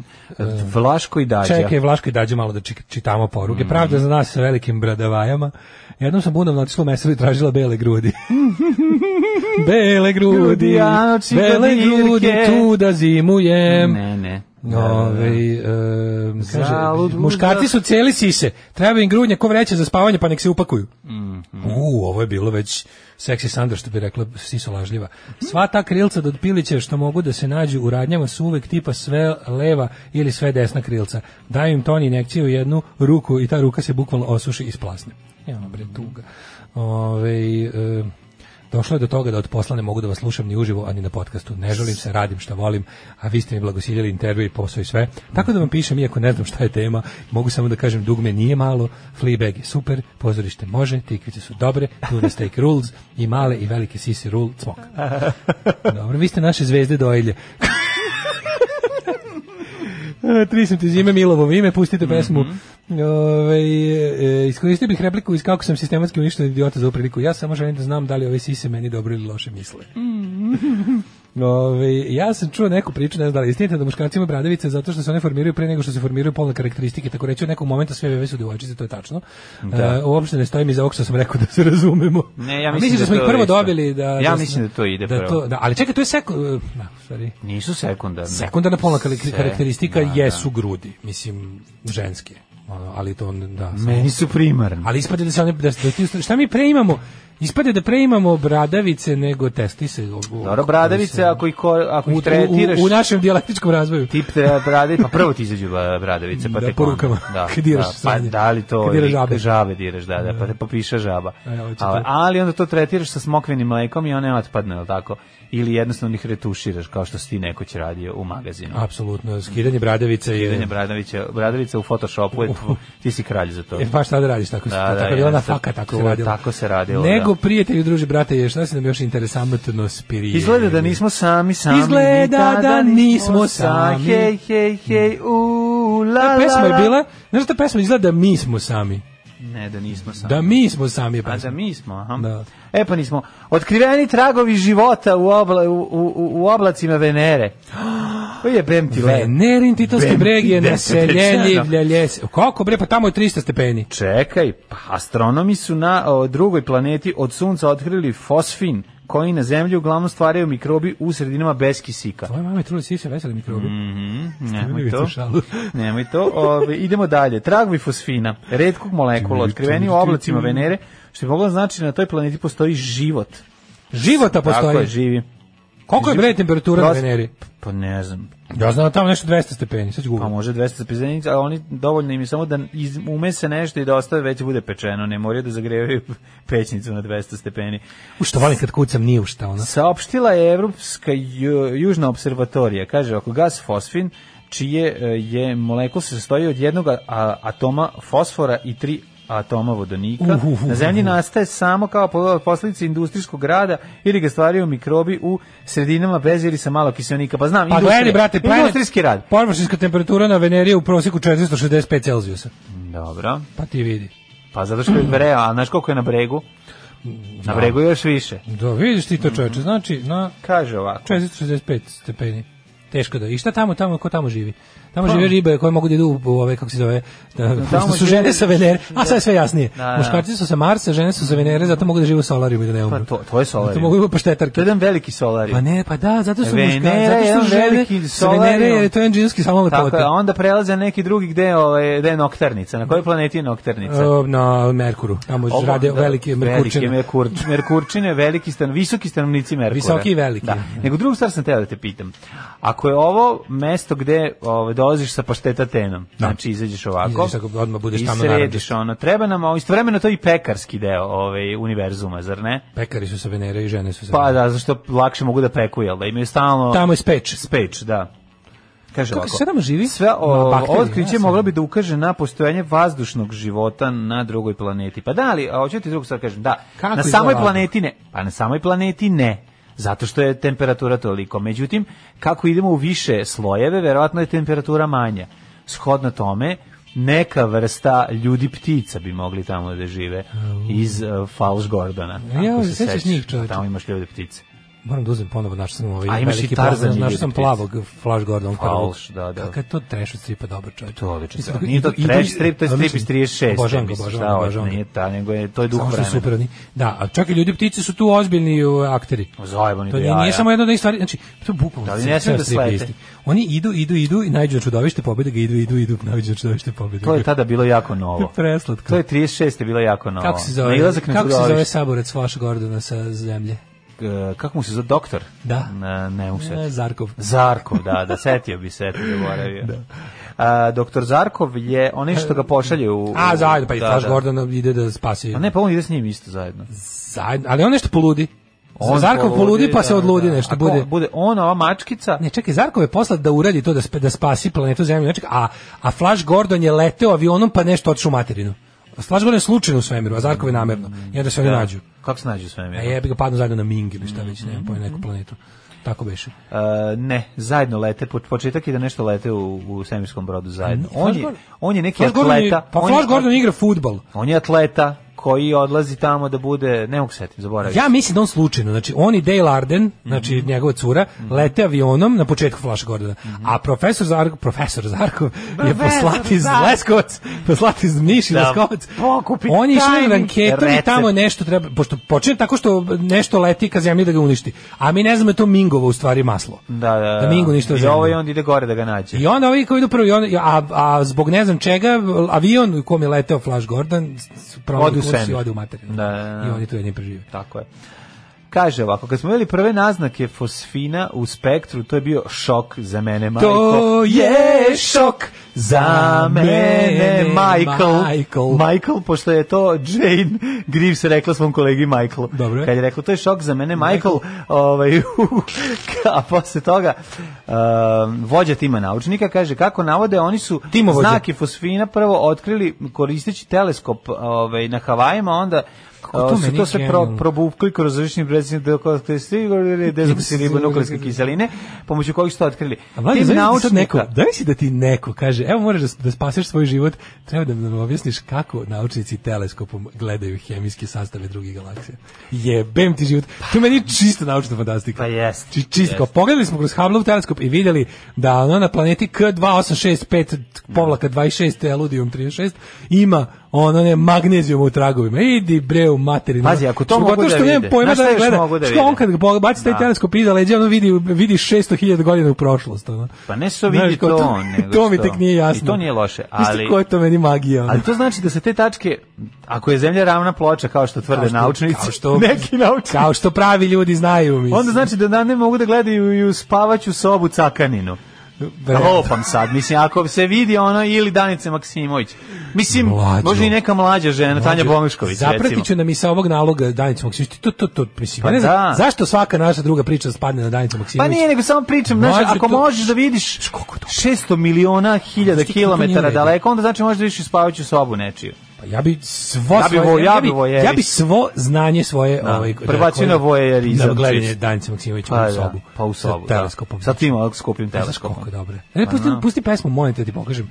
S6: Vlaško i Dađa.
S7: Čekaj, Vlaško i dađe malo da čik- čitamo
S6: Mm.
S7: poruge. Pravda za nas sa velikim bradavajama. Jednom sam bunom otišla u meselu i tražila bele grudi. bele grudi,
S6: a oči
S7: bele
S6: kodirke.
S7: grudi, tu da zimujem.
S6: Ne, ne.
S7: Ove, e, kaže,
S6: Zalud,
S7: muškarci su cijeli sise, treba im grudnja ko vreće za spavanje, pa nek se upakuju. U, ovo je bilo već seksi Sandra, što bi rekla siso lažljiva. Sva ta krilca do pilića što mogu da se nađu u radnjama su uvek tipa sve leva ili sve desna krilca. Daju im toni injekciju u jednu ruku i ta ruka se bukvalno osuši i splasne. Ja, bre, tuga. Ove, e, Došlo je do toga da od posla ne mogu da vas slušam ni uživo, ani na podcastu. Ne želim se, radim šta volim, a vi ste mi blagosiljeli intervju i posao i sve. Tako da vam pišem, iako ne znam šta je tema, mogu samo da kažem dugme nije malo, Fleabag je super, pozorište može, tikvice su dobre, tuna steak rules i male i velike sisi rule cmok. Dobro, vi ste naše zvezde doilje. E, Tri sam ti zime Milovo ime, pustite pesmu.
S6: Mhm.
S7: Ovaj, e, iskoristio bih repliku iz kako sam sistematski uništio idiota za ovu priliku. Ja samo želim da znam da li ove sise meni dobro ili loše misle.
S6: Mhm.
S7: Ove, ja sam čuo neku priču, ne znam da li je istinita, da muškarci imaju bradavice zato što se one formiraju pre nego što se formiraju polne karakteristike, tako reći u nekog momenta sve bebe su devojčice, to je tačno.
S6: Da.
S7: E, uopšte ne stojim iza ovog što sam rekao da se razumemo.
S6: Ne, ja
S7: A
S6: mislim
S7: misliš
S6: da
S7: da, smo
S6: to
S7: ih prvo
S6: isto.
S7: dobili da...
S6: Ja mislim da to ide
S7: da
S6: prvo.
S7: to- da, ali čekaj, to je seko... e, Na, sorry.
S6: Nisu sekundarne.
S7: Sekundarna polna kar-
S6: Se-
S7: karakteristika
S6: da, da.
S7: jesu grudi, mislim, ženske. Ono, ali to on, da.
S6: Meni su primarni.
S7: Ali ispade da se one, da, da ti, šta mi preimamo? Ispade da preimamo bradavice nego testise.
S6: Dobro, bradavice, ako ih, ko- ako
S7: U- u-
S6: ih tretiraš...
S7: u našem dijalektičkom razvoju.
S6: Tip te bradavice, pa prvo ti izađu ba- bradavice, pa
S7: Da,
S6: tek
S7: po
S6: onda.
S7: rukama.
S6: Da,
S7: Kad diraš
S6: da, pa
S7: sranje.
S6: da li to...
S7: Kad diraš
S6: ili
S7: žabe.
S6: Žabe diraš, da, da, pa te popiše žaba.
S7: E, ovo će to.
S6: Ali, ali onda to tretiraš sa smokvenim mlekom i one otpadne, jel tako? Ili jednostavno ih retuširaš, kao što si ti nekoć radio u magazinu.
S7: Apsolutno, skidanje bradavica je...
S6: Skidanje Bradavića, Bradavica u Photoshopu, je, tvo- ti si kralj za to.
S7: E, baš šta da radiš, tako, se-
S6: Da, da,
S7: tako je bila na
S6: jeste.
S7: faka, tako
S6: To
S7: se
S6: je
S7: radilo.
S6: tako se radilo,
S7: Nego,
S6: da.
S7: prijatelji, druži, brate, je, šta se nam još interesantno spirije?
S6: Izgleda da nismo sami, sami.
S7: Izgleda
S6: ni
S7: da
S6: tada
S7: nismo sami.
S6: Hej, hej, hej, u, la,
S7: Ta
S6: la,
S7: pesma je
S6: la.
S7: bila, znaš ta pesma izgleda da mi smo sami.
S6: Ne, da nismo sami.
S7: Da mi smo sami je
S6: A da
S7: pesma.
S6: Pa mi smo, aha.
S7: Da.
S6: E pa nismo. Otkriveni tragovi života u, obla, u, u, u oblacima Venere. To je bem ti le.
S7: Venerin titanski
S6: Bem,
S7: breg je
S6: idem se
S7: naseljenljiv
S6: rečeno.
S7: ljeljes. Koliko bre, pa tamo je 300 stepeni.
S6: Čekaj, pa astronomi su na o, drugoj planeti od sunca otkrili fosfin koji na zemlji uglavnom stvaraju mikrobi u sredinama bez kisika.
S7: Tvoje mame trule sise vesele mikrobi.
S6: Mhm,
S7: Stavili
S6: nemoj
S7: vi tu
S6: to.
S7: šalu.
S6: Nemoj to. Ove, idemo dalje. Tragovi fosfina, retkog molekula, otkriveni u oblacima Venere, što je moglo znači na toj planeti postoji život.
S7: Života
S6: Tako je,
S7: Pa postoji.
S6: živi.
S7: Koliko je bre temperatura na
S6: Prost-
S7: Veneri?
S6: Pa ne znam.
S7: Ja znam da tamo nešto 200 stepeni, sad
S6: Pa
S7: ću googlat.
S6: može 200 stepenica, ali oni dovoljno im je samo da iz, ume se nešto i da ostave već bude pečeno. Ne moraju da zagrevaju pećnicu na 200 stepeni.
S7: U što volim kad kucam, nije u šta ono. ona.
S6: Saopštila je Evropska ju- južna observatorija, kaže, ako gas fosfin, čije e, je molekul se sastoji od jednog a- atoma fosfora i tri atoma vodonika.
S7: Uhuhu.
S6: Na zemlji nastaje samo kao po- posljedica industrijskog rada ili ga stvaraju mikrobi u sredinama bez ili sa malo kiselnika. Pa znam,
S7: Pa
S6: industrija.
S7: gledaj, brate, planet,
S6: industrijski rad.
S7: površinska temperatura na Veneri je u prosjeku 465 Celzijusa.
S6: Dobro.
S7: Pa ti vidi.
S6: Pa zato što je breo, a znaš koliko je na bregu? Na bregu je još više.
S7: Da, vidiš ti to čoveče, znači na
S6: Kaže ovako.
S7: 465 stepeni. Teško da. I šta tamo, tamo, ko tamo živi? Tamo žive ribe koje mogu da idu u ove, kako se zove, da, pošto su
S6: Pa- žive-
S7: žene sa Venere, a sad je sve jasnije.
S6: Da, da.
S7: Muškarci su sa Marsa, žene su sa Venere, zato mogu da žive u solarijumu i da ne
S6: Pa
S7: umru.
S6: to, to je solarium.
S7: Zato mogu da idu paštetarke.
S6: To je jedan veliki solarium.
S7: Pa ne, pa da, zato su
S6: Venera
S7: muškarci,
S6: je
S7: zato
S6: jedan
S7: su žene
S6: veliki
S7: sa Venere,
S6: solarium.
S7: jer je to enđinski samo
S6: Tako
S7: lepota.
S6: je, a onda prelaze na neki drugi gde je, ovaj, gde je noktarnica. Na kojoj planeti je noktarnica?
S7: E, Na Merkuru, tamo
S6: Ovo,
S7: rade
S6: da,
S7: velike
S6: Velike
S7: Merkurčine.
S6: Merkurč- Merkurčine, veliki stan, visoki stanovnici Merkura.
S7: Visoki i veliki.
S6: Da. Nego drugu stvar sam teo da te pitam. Ako je ovo mesto gde ovaj, dolaziš sa pašteta tenom, znači izađeš ovako,
S7: Izađeš ako odmah budeš
S6: i
S7: tamno
S6: središ ono, treba nam, a istovremeno to je i pekarski deo ovaj, univerzuma, zar ne?
S7: Pekari su sa Venere i žene su sa
S6: Pa
S7: Venere.
S6: da, zašto lakše mogu da peku, jel da imaju stalno...
S7: Tamo je speč.
S6: Speč, da. Kaže
S7: Kako
S6: ovako,
S7: se tamo živi?
S6: Sve o,
S7: Ma, bakterije,
S6: ovo otkriće
S7: ja sam-
S6: moglo bi da ukaže na postojanje vazdušnog života na drugoj planeti. Pa da, ali, a hoću ti drugu stvar kažem, da.
S7: Kako
S6: na
S7: izgleda
S6: samoj
S7: vazduh?
S6: planeti ne. Pa na samoj planeti ne. Zato što je temperatura toliko. Međutim, kako idemo u više slojeve, verovatno je temperatura manja. Shodno tome, neka vrsta ljudi ptica bi mogli tamo da žive iz uh, Falš Gordona.
S7: Ja,
S6: Ako se
S7: sećaš
S6: sećaš,
S7: njih, čoveče?
S6: Tamo imaš ljude ptice.
S7: Moram da uzem ponovo, našao sam ovaj
S6: A, imaš
S7: veliki
S6: i Tarzan
S7: plavog-
S6: i
S7: našao sam
S6: Ljubitica.
S7: plavog Flash Gordon prvog.
S6: Falš, da, da.
S7: Kakav je to trash stripa dobro čovjek.
S6: To je odlično.
S7: Mislim,
S6: stvar. Nije to
S7: idu- idu-
S6: trash strip, to je strip iz
S7: odlično.
S6: 36.
S7: Obožavam ga,
S6: mislim,
S7: obožavam
S6: šta
S7: ga,
S6: ovo,
S7: obožavam ga.
S6: Nije ta, nego je, to je duh
S7: Samo što
S6: vremena.
S7: su super oni. Da, a čak i ljudi ptice su tu ozbiljni uh, akteri.
S6: Zajebani
S7: To
S6: do
S7: nije,
S6: jaja.
S7: nije samo jedno da stvari, znači to je bukvalno.
S6: Da li
S7: ceo-
S6: ne smiju
S7: ceo
S6: da
S7: strip
S6: slete?
S7: isti. Oni idu, idu, idu i nađu na čudovište, pobede ga, idu, idu, idu, nađu na čudovište, pobede.
S6: To je
S7: ga.
S6: tada bilo jako novo.
S7: Preslatko.
S6: To je 36. je bilo jako novo.
S7: Kako se zove?
S6: Nailazak na
S7: kako se zove
S6: čudovište.
S7: saborac Flash Gordona sa zemlje?
S6: E, Kako mu se zove? Doktor?
S7: Da.
S6: Ne, ne mu se.
S7: E, Zarkov.
S6: Zarkov, da, da, setio bi se, eto, zaboravio. Da. A, doktor Zarkov je onaj što ga pošalje u...
S7: A, zajedno, pa i
S6: da,
S7: Flash
S6: da.
S7: Gordon ide da spasi.
S6: A ne, pa on ide s njim isto zajedno.
S7: Zajedno, ali on nešto poludi.
S6: On
S7: Zarkov poludi, pa
S6: da,
S7: se odludi
S6: da.
S7: nešto.
S6: Ako
S7: Bude,
S6: Bude on, ova mačkica,
S7: Ne, čekaj, Zarkov je poslat da uradi to, da, sp- da spasi planetu Zemlju, nečeg, a, a Flash Gordon je leteo avionom pa nešto otišao u materinu. Flash Gordon je slučajno u svemiru, a Zarkov je namerno. I onda se oni nađu.
S6: kako se nađe u svemiru?
S7: E, jebi ga padnu zajedno na Ming ili šta već, nemam pojma, neku planetu. Tako beše.
S6: Uh, ne, zajedno lete, po- početak je da nešto lete u, u svemirskom brodu zajedno.
S7: Flash
S6: On je,
S7: Gordon-
S6: on je neki
S7: Flash Gordon je-
S6: atleta.
S7: pa
S6: on
S7: Flash
S6: je-
S7: Gordon igra futbol.
S6: On je atleta, koji odlazi tamo da bude, ne mogu setim, zaboravim.
S7: Ja mislim da on slučajno, znači on i Dale Arden, znači
S6: Mhm.
S7: njegova cura, lete avionom na početku Flash Gordona. A profesor Zarkov, profesor Zarkov je
S6: Profesor
S7: poslat iz
S6: Zarkov.
S7: Leskovac, poslat iz Niš i
S6: Da,
S7: Leskovac.
S6: pokupi
S7: On je išao na
S6: tajni
S7: ranketu i
S6: recept.
S7: tamo nešto treba, pošto počinje tako što nešto leti ka zemlji da ga uništi. A mi ne znamo je to Mingovo u stvari maslo.
S6: Da, da, da.
S7: Da Mingo
S6: I
S7: ništa
S6: ovaj
S7: zemlju.
S6: ovo i onda ide gore da ga nađe.
S7: I onda ovi koji idu prvi, on, a, a zbog ne znam čega, avion u kom je leteo Flash Gordon, s- promeni
S6: Ode u
S7: kurs i
S6: svemir.
S7: ode u materiju.
S6: Da, da, da.
S7: I oni tu jedni prežive.
S6: Tako je. Kaže ovako, kad smo imali prve naznake fosfina u spektru, to je bio šok za mene, majko.
S7: To je šok
S6: za mene, Michael. Michael. pošto je to Jane Greaves rekla svom kolegi Michael. Dobro. Kad je rekla, to je šok za mene, Michael. Ovaj, a posle toga, um, vođa tima naučnika kaže, kako navode, oni su
S7: Timovođa.
S6: znake fosfina prvo otkrili koristeći teleskop ovaj, na Havajima, onda
S7: to
S6: o, su
S7: meni
S6: to se pro,
S7: genijalno.
S6: probukli kroz različni predsjednik dezoksiribonukleske kiseline, pomoću kojih su to otkrili.
S7: A mlađe,
S6: Tim
S7: znaš da ti
S6: naučnika-
S7: sad neko, daj si da ti neko kaže, evo moraš da, s- da spaseš svoj život, treba da nam objasniš kako naučnici teleskopom gledaju hemijske sastave drugih galaksija. Jebem ti život. To je meni čista naučna fantastika. Pa
S6: Pa. jest.
S7: Či, čist, kao, pogledali smo kroz Hubbleov teleskop i vidjeli da ono na planeti K2865 povlaka 26 eludijum 36 ima ono ne magnezijum u tragovima. Idi bre u materinu.
S6: Pazi, ako to
S7: Što-
S6: mogu
S7: pogotovo
S6: da
S7: što nemam
S6: vide.
S7: Pojma
S6: Znaš
S7: da
S6: šta još
S7: gleda.
S6: mogu da
S7: Što on
S6: vide?
S7: kad bo- baci taj
S6: Da.
S7: teleskop iza leđa, ono vidi, vidi 600.000 godina u prošlost. Ono.
S6: Pa ne što
S7: Znaš,
S6: vidi
S7: kao
S6: to,
S7: to-
S6: nego
S7: to mi
S6: što-
S7: tek nije jasno.
S6: I to nije loše,
S7: Isto
S6: ali...
S7: ko je to meni magija. ono.
S6: Ali to znači da se te tačke, ako je zemlja ravna ploča, kao što tvrde
S7: Kao što-
S6: naučnici,
S7: kao što-
S6: neki naučnici,
S7: Kao što pravi ljudi znaju, mislim.
S6: onda znači da na- ne mogu da gledaju i u spavaću sobu cakaninu.
S7: E.
S6: Da lopam sad, mislim, ako se vidi ono ili Danice Maksimović. Mislim,
S7: Mlađo.
S6: možda i neka mlađa žena, Tanja Bomišković, recimo.
S7: Zapratit ću nam i sa ovog naloga Danicu Maksimović. To, to, to, mislim,
S6: Pa
S7: ja ne znam,
S6: da.
S7: zašto svaka naša druga priča spadne na Danicu
S6: Pa
S7: Maksimović?
S6: nije, nego samo pričam, znaš,
S7: Mlađo,
S6: ako
S7: to-
S6: možeš da vidiš 600 miliona hiljada
S7: Znaš ti kako to nije u
S6: kilometara
S7: redu?
S6: daleko, onda znači možeš da vidiš i spavaću sobu nečiju.
S7: Pa ja bi svo
S6: Ja bi
S7: svoje-
S6: vo- ja bi
S7: ja, bi,
S6: vojerist.
S7: ja bi svo znanje svoje
S6: Da,
S7: ovaj
S6: prebacio na
S7: koje-
S6: vojerizam,
S7: Na gledanje
S6: čist.
S7: Danice Maksimović
S6: Pa
S7: u
S6: da,
S7: sobu.
S6: pa u
S7: Sa
S6: sobu, da.
S7: teleskopom.
S6: Sa tim skupim
S7: Znaš
S6: teleskopom.
S7: koliko je dobro. E,
S6: Pa
S7: pusti,
S6: da.
S7: pusti pesmu, molim te da ti pokažem.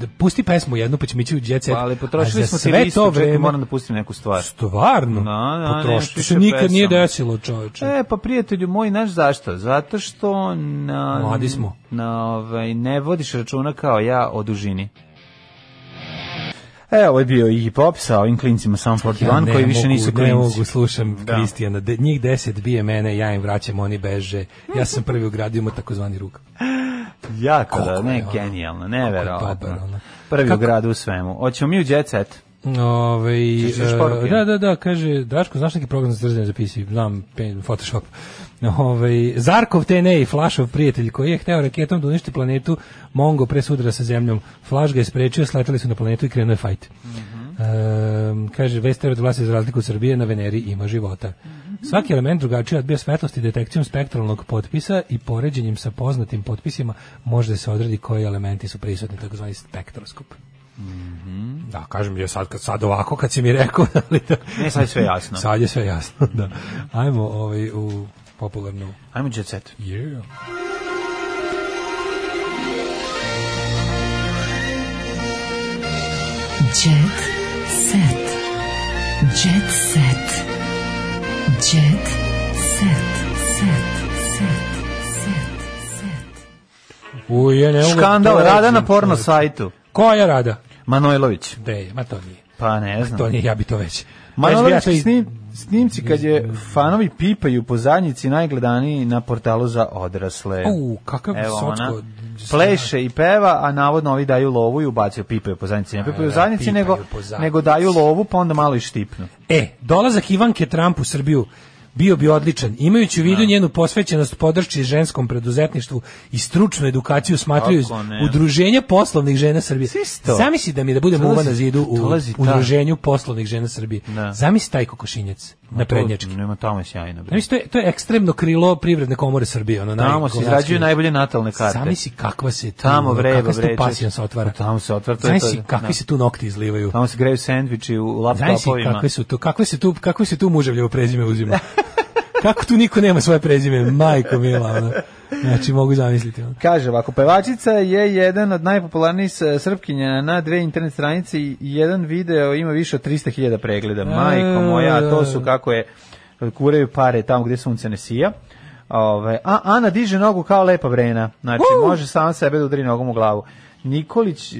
S7: Da pusti pesmu jednu, pa ćemo ići u jet set.
S6: Pa, ali
S7: A
S6: potrošili
S7: za
S6: smo ti
S7: sve
S6: listu,
S7: to
S6: čekaj,
S7: vreme-
S6: moram da pustim neku stvar.
S7: Stvarno?
S6: Da, da,
S7: Potrošili,
S6: nešto
S7: to se
S6: više
S7: nikad nije
S6: pesama.
S7: desilo, čoveče.
S6: E, pa prijatelju moj, znaš zašto? Zato što na...
S7: Mladi smo.
S6: Na, ovaj, ne vodiš računa kao ja o dužini. E, ovo je bio i pop sa ovim klincima Sam 41
S7: ne
S6: koji više
S7: mogu,
S6: nisu klinci.
S7: Ne mogu, slušam
S6: Da.
S7: Kristijana. De, njih deset bije mene, ja im vraćam, oni beže. Ja sam prvi ugradio mu takozvani ruk.
S6: Jako, da,
S7: Koliko je
S6: ne,
S7: ono?
S6: genijalno,
S7: Kako je dobar, ono.
S6: neverovatno. Prvi u
S7: Kako-
S6: gradu u svemu. Hoćemo mi u Jet Set.
S7: Ovaj,
S6: Češ- češ
S7: e,
S6: poruke?
S7: da, da, da, kaže, Daško, znaš neki program za trzanje za PC? Znam, pen- Photoshop. Ovaj, Zarkov TNA i Flašov prijatelj koji je hteo raketom da uništi planetu Mongo pre sudara sa zemljom. Flaš ga je sprečio, sletali su na planetu i krenuo je fajt. Ehm, kaže, Vester od vlasi za razliku od Srbije na Veneri ima života. Svaki element drugačije odbija svetlosti detekcijom spektralnog potpisa i poređenjem sa poznatim potpisima može da se odredi koji elementi su prisutni, takozvani spektroskop. Da, kažem je sad, kad- sad ovako kad si mi rekao, ali da...
S6: Ne, sad je sve jasno.
S7: Sad je sve jasno, da. Ajmo ovaj, u popularnu...
S6: Ajmo Jet Set.
S7: Yeah.
S5: Jet set. Jet set. Jet set. Set. Set. Set. Set.
S7: U, je, ne, mogu-
S6: Škandal,
S7: to je-
S6: rada na porno sajtu.
S7: Ko je rada?
S6: Manojlović.
S7: Gde je? Ma to nije.
S6: Pa ne znam. znači
S7: To nije, ja bi to već. Već bi ja
S6: Manojlović
S7: to i-
S6: snim, snimci kad je fanovi pipaju po zadnjici najgledaniji na portalu za odrasle.
S7: U, kakav socko-
S6: Pleše i peva, a navodno ovi daju lovu i ubacuju pipaju po zadnjici. Ne pipaju po
S7: da,
S6: zadnjici,
S7: pipaju
S6: nego,
S7: po zadnjici.
S6: nego daju lovu, pa onda malo i štipnu.
S7: E, dolazak Ivanke Trump u Srbiju bio bi odličan. Imajući u vidu njenu posvećenost podršci ženskom preduzetništvu i stručnu edukaciju smatraju
S6: Kako ne?
S7: udruženje poslovnih žena Srbije.
S6: to.
S7: Zamisli da mi da bude muva
S6: Dolazi-
S7: na zidu u
S6: dolazi ta-
S7: udruženju poslovnih žena Srbije.
S6: Da.
S7: Zamisli taj kokošinjac na prednjački.
S6: To, nema tamo je sjajno. bre.
S7: Zamisli, to je, to je ekstremno krilo privredne komore Srbije. Ono,
S6: Tamo se
S7: najgomladskije.
S6: izrađuju najbolje natalne karte.
S7: Zamisli kakva se tu,
S6: Tamo vreba
S7: kakva se tu
S6: vreće.
S7: pasijans otvara.
S6: Tamo se otvara, to je
S7: Zamisli
S6: to-
S7: kakvi
S6: da.
S7: se tu nokti izlivaju.
S6: Tamo se greju sendviči u
S7: Znaš si
S6: laptopovima.
S7: kakve su tu, kakve se tu, kakve se tu muževljevo prezime uzima. Kako tu niko nema svoje prezime? Majko mila, ono. Znači, mogu zamisliti. Ono.
S6: Kaže ovako, pevačica je jedan od najpopularnijih s- srpkinja na dve internet stranice i jedan video ima više od 300.000 pregleda. Majko moja, a to su kako je kuraju pare tamo gdje sunce ne sija. Ove, a Ana diže nogu kao lepa brena. Znači, može sama sebe da udari nogom u glavu. Nikolić e,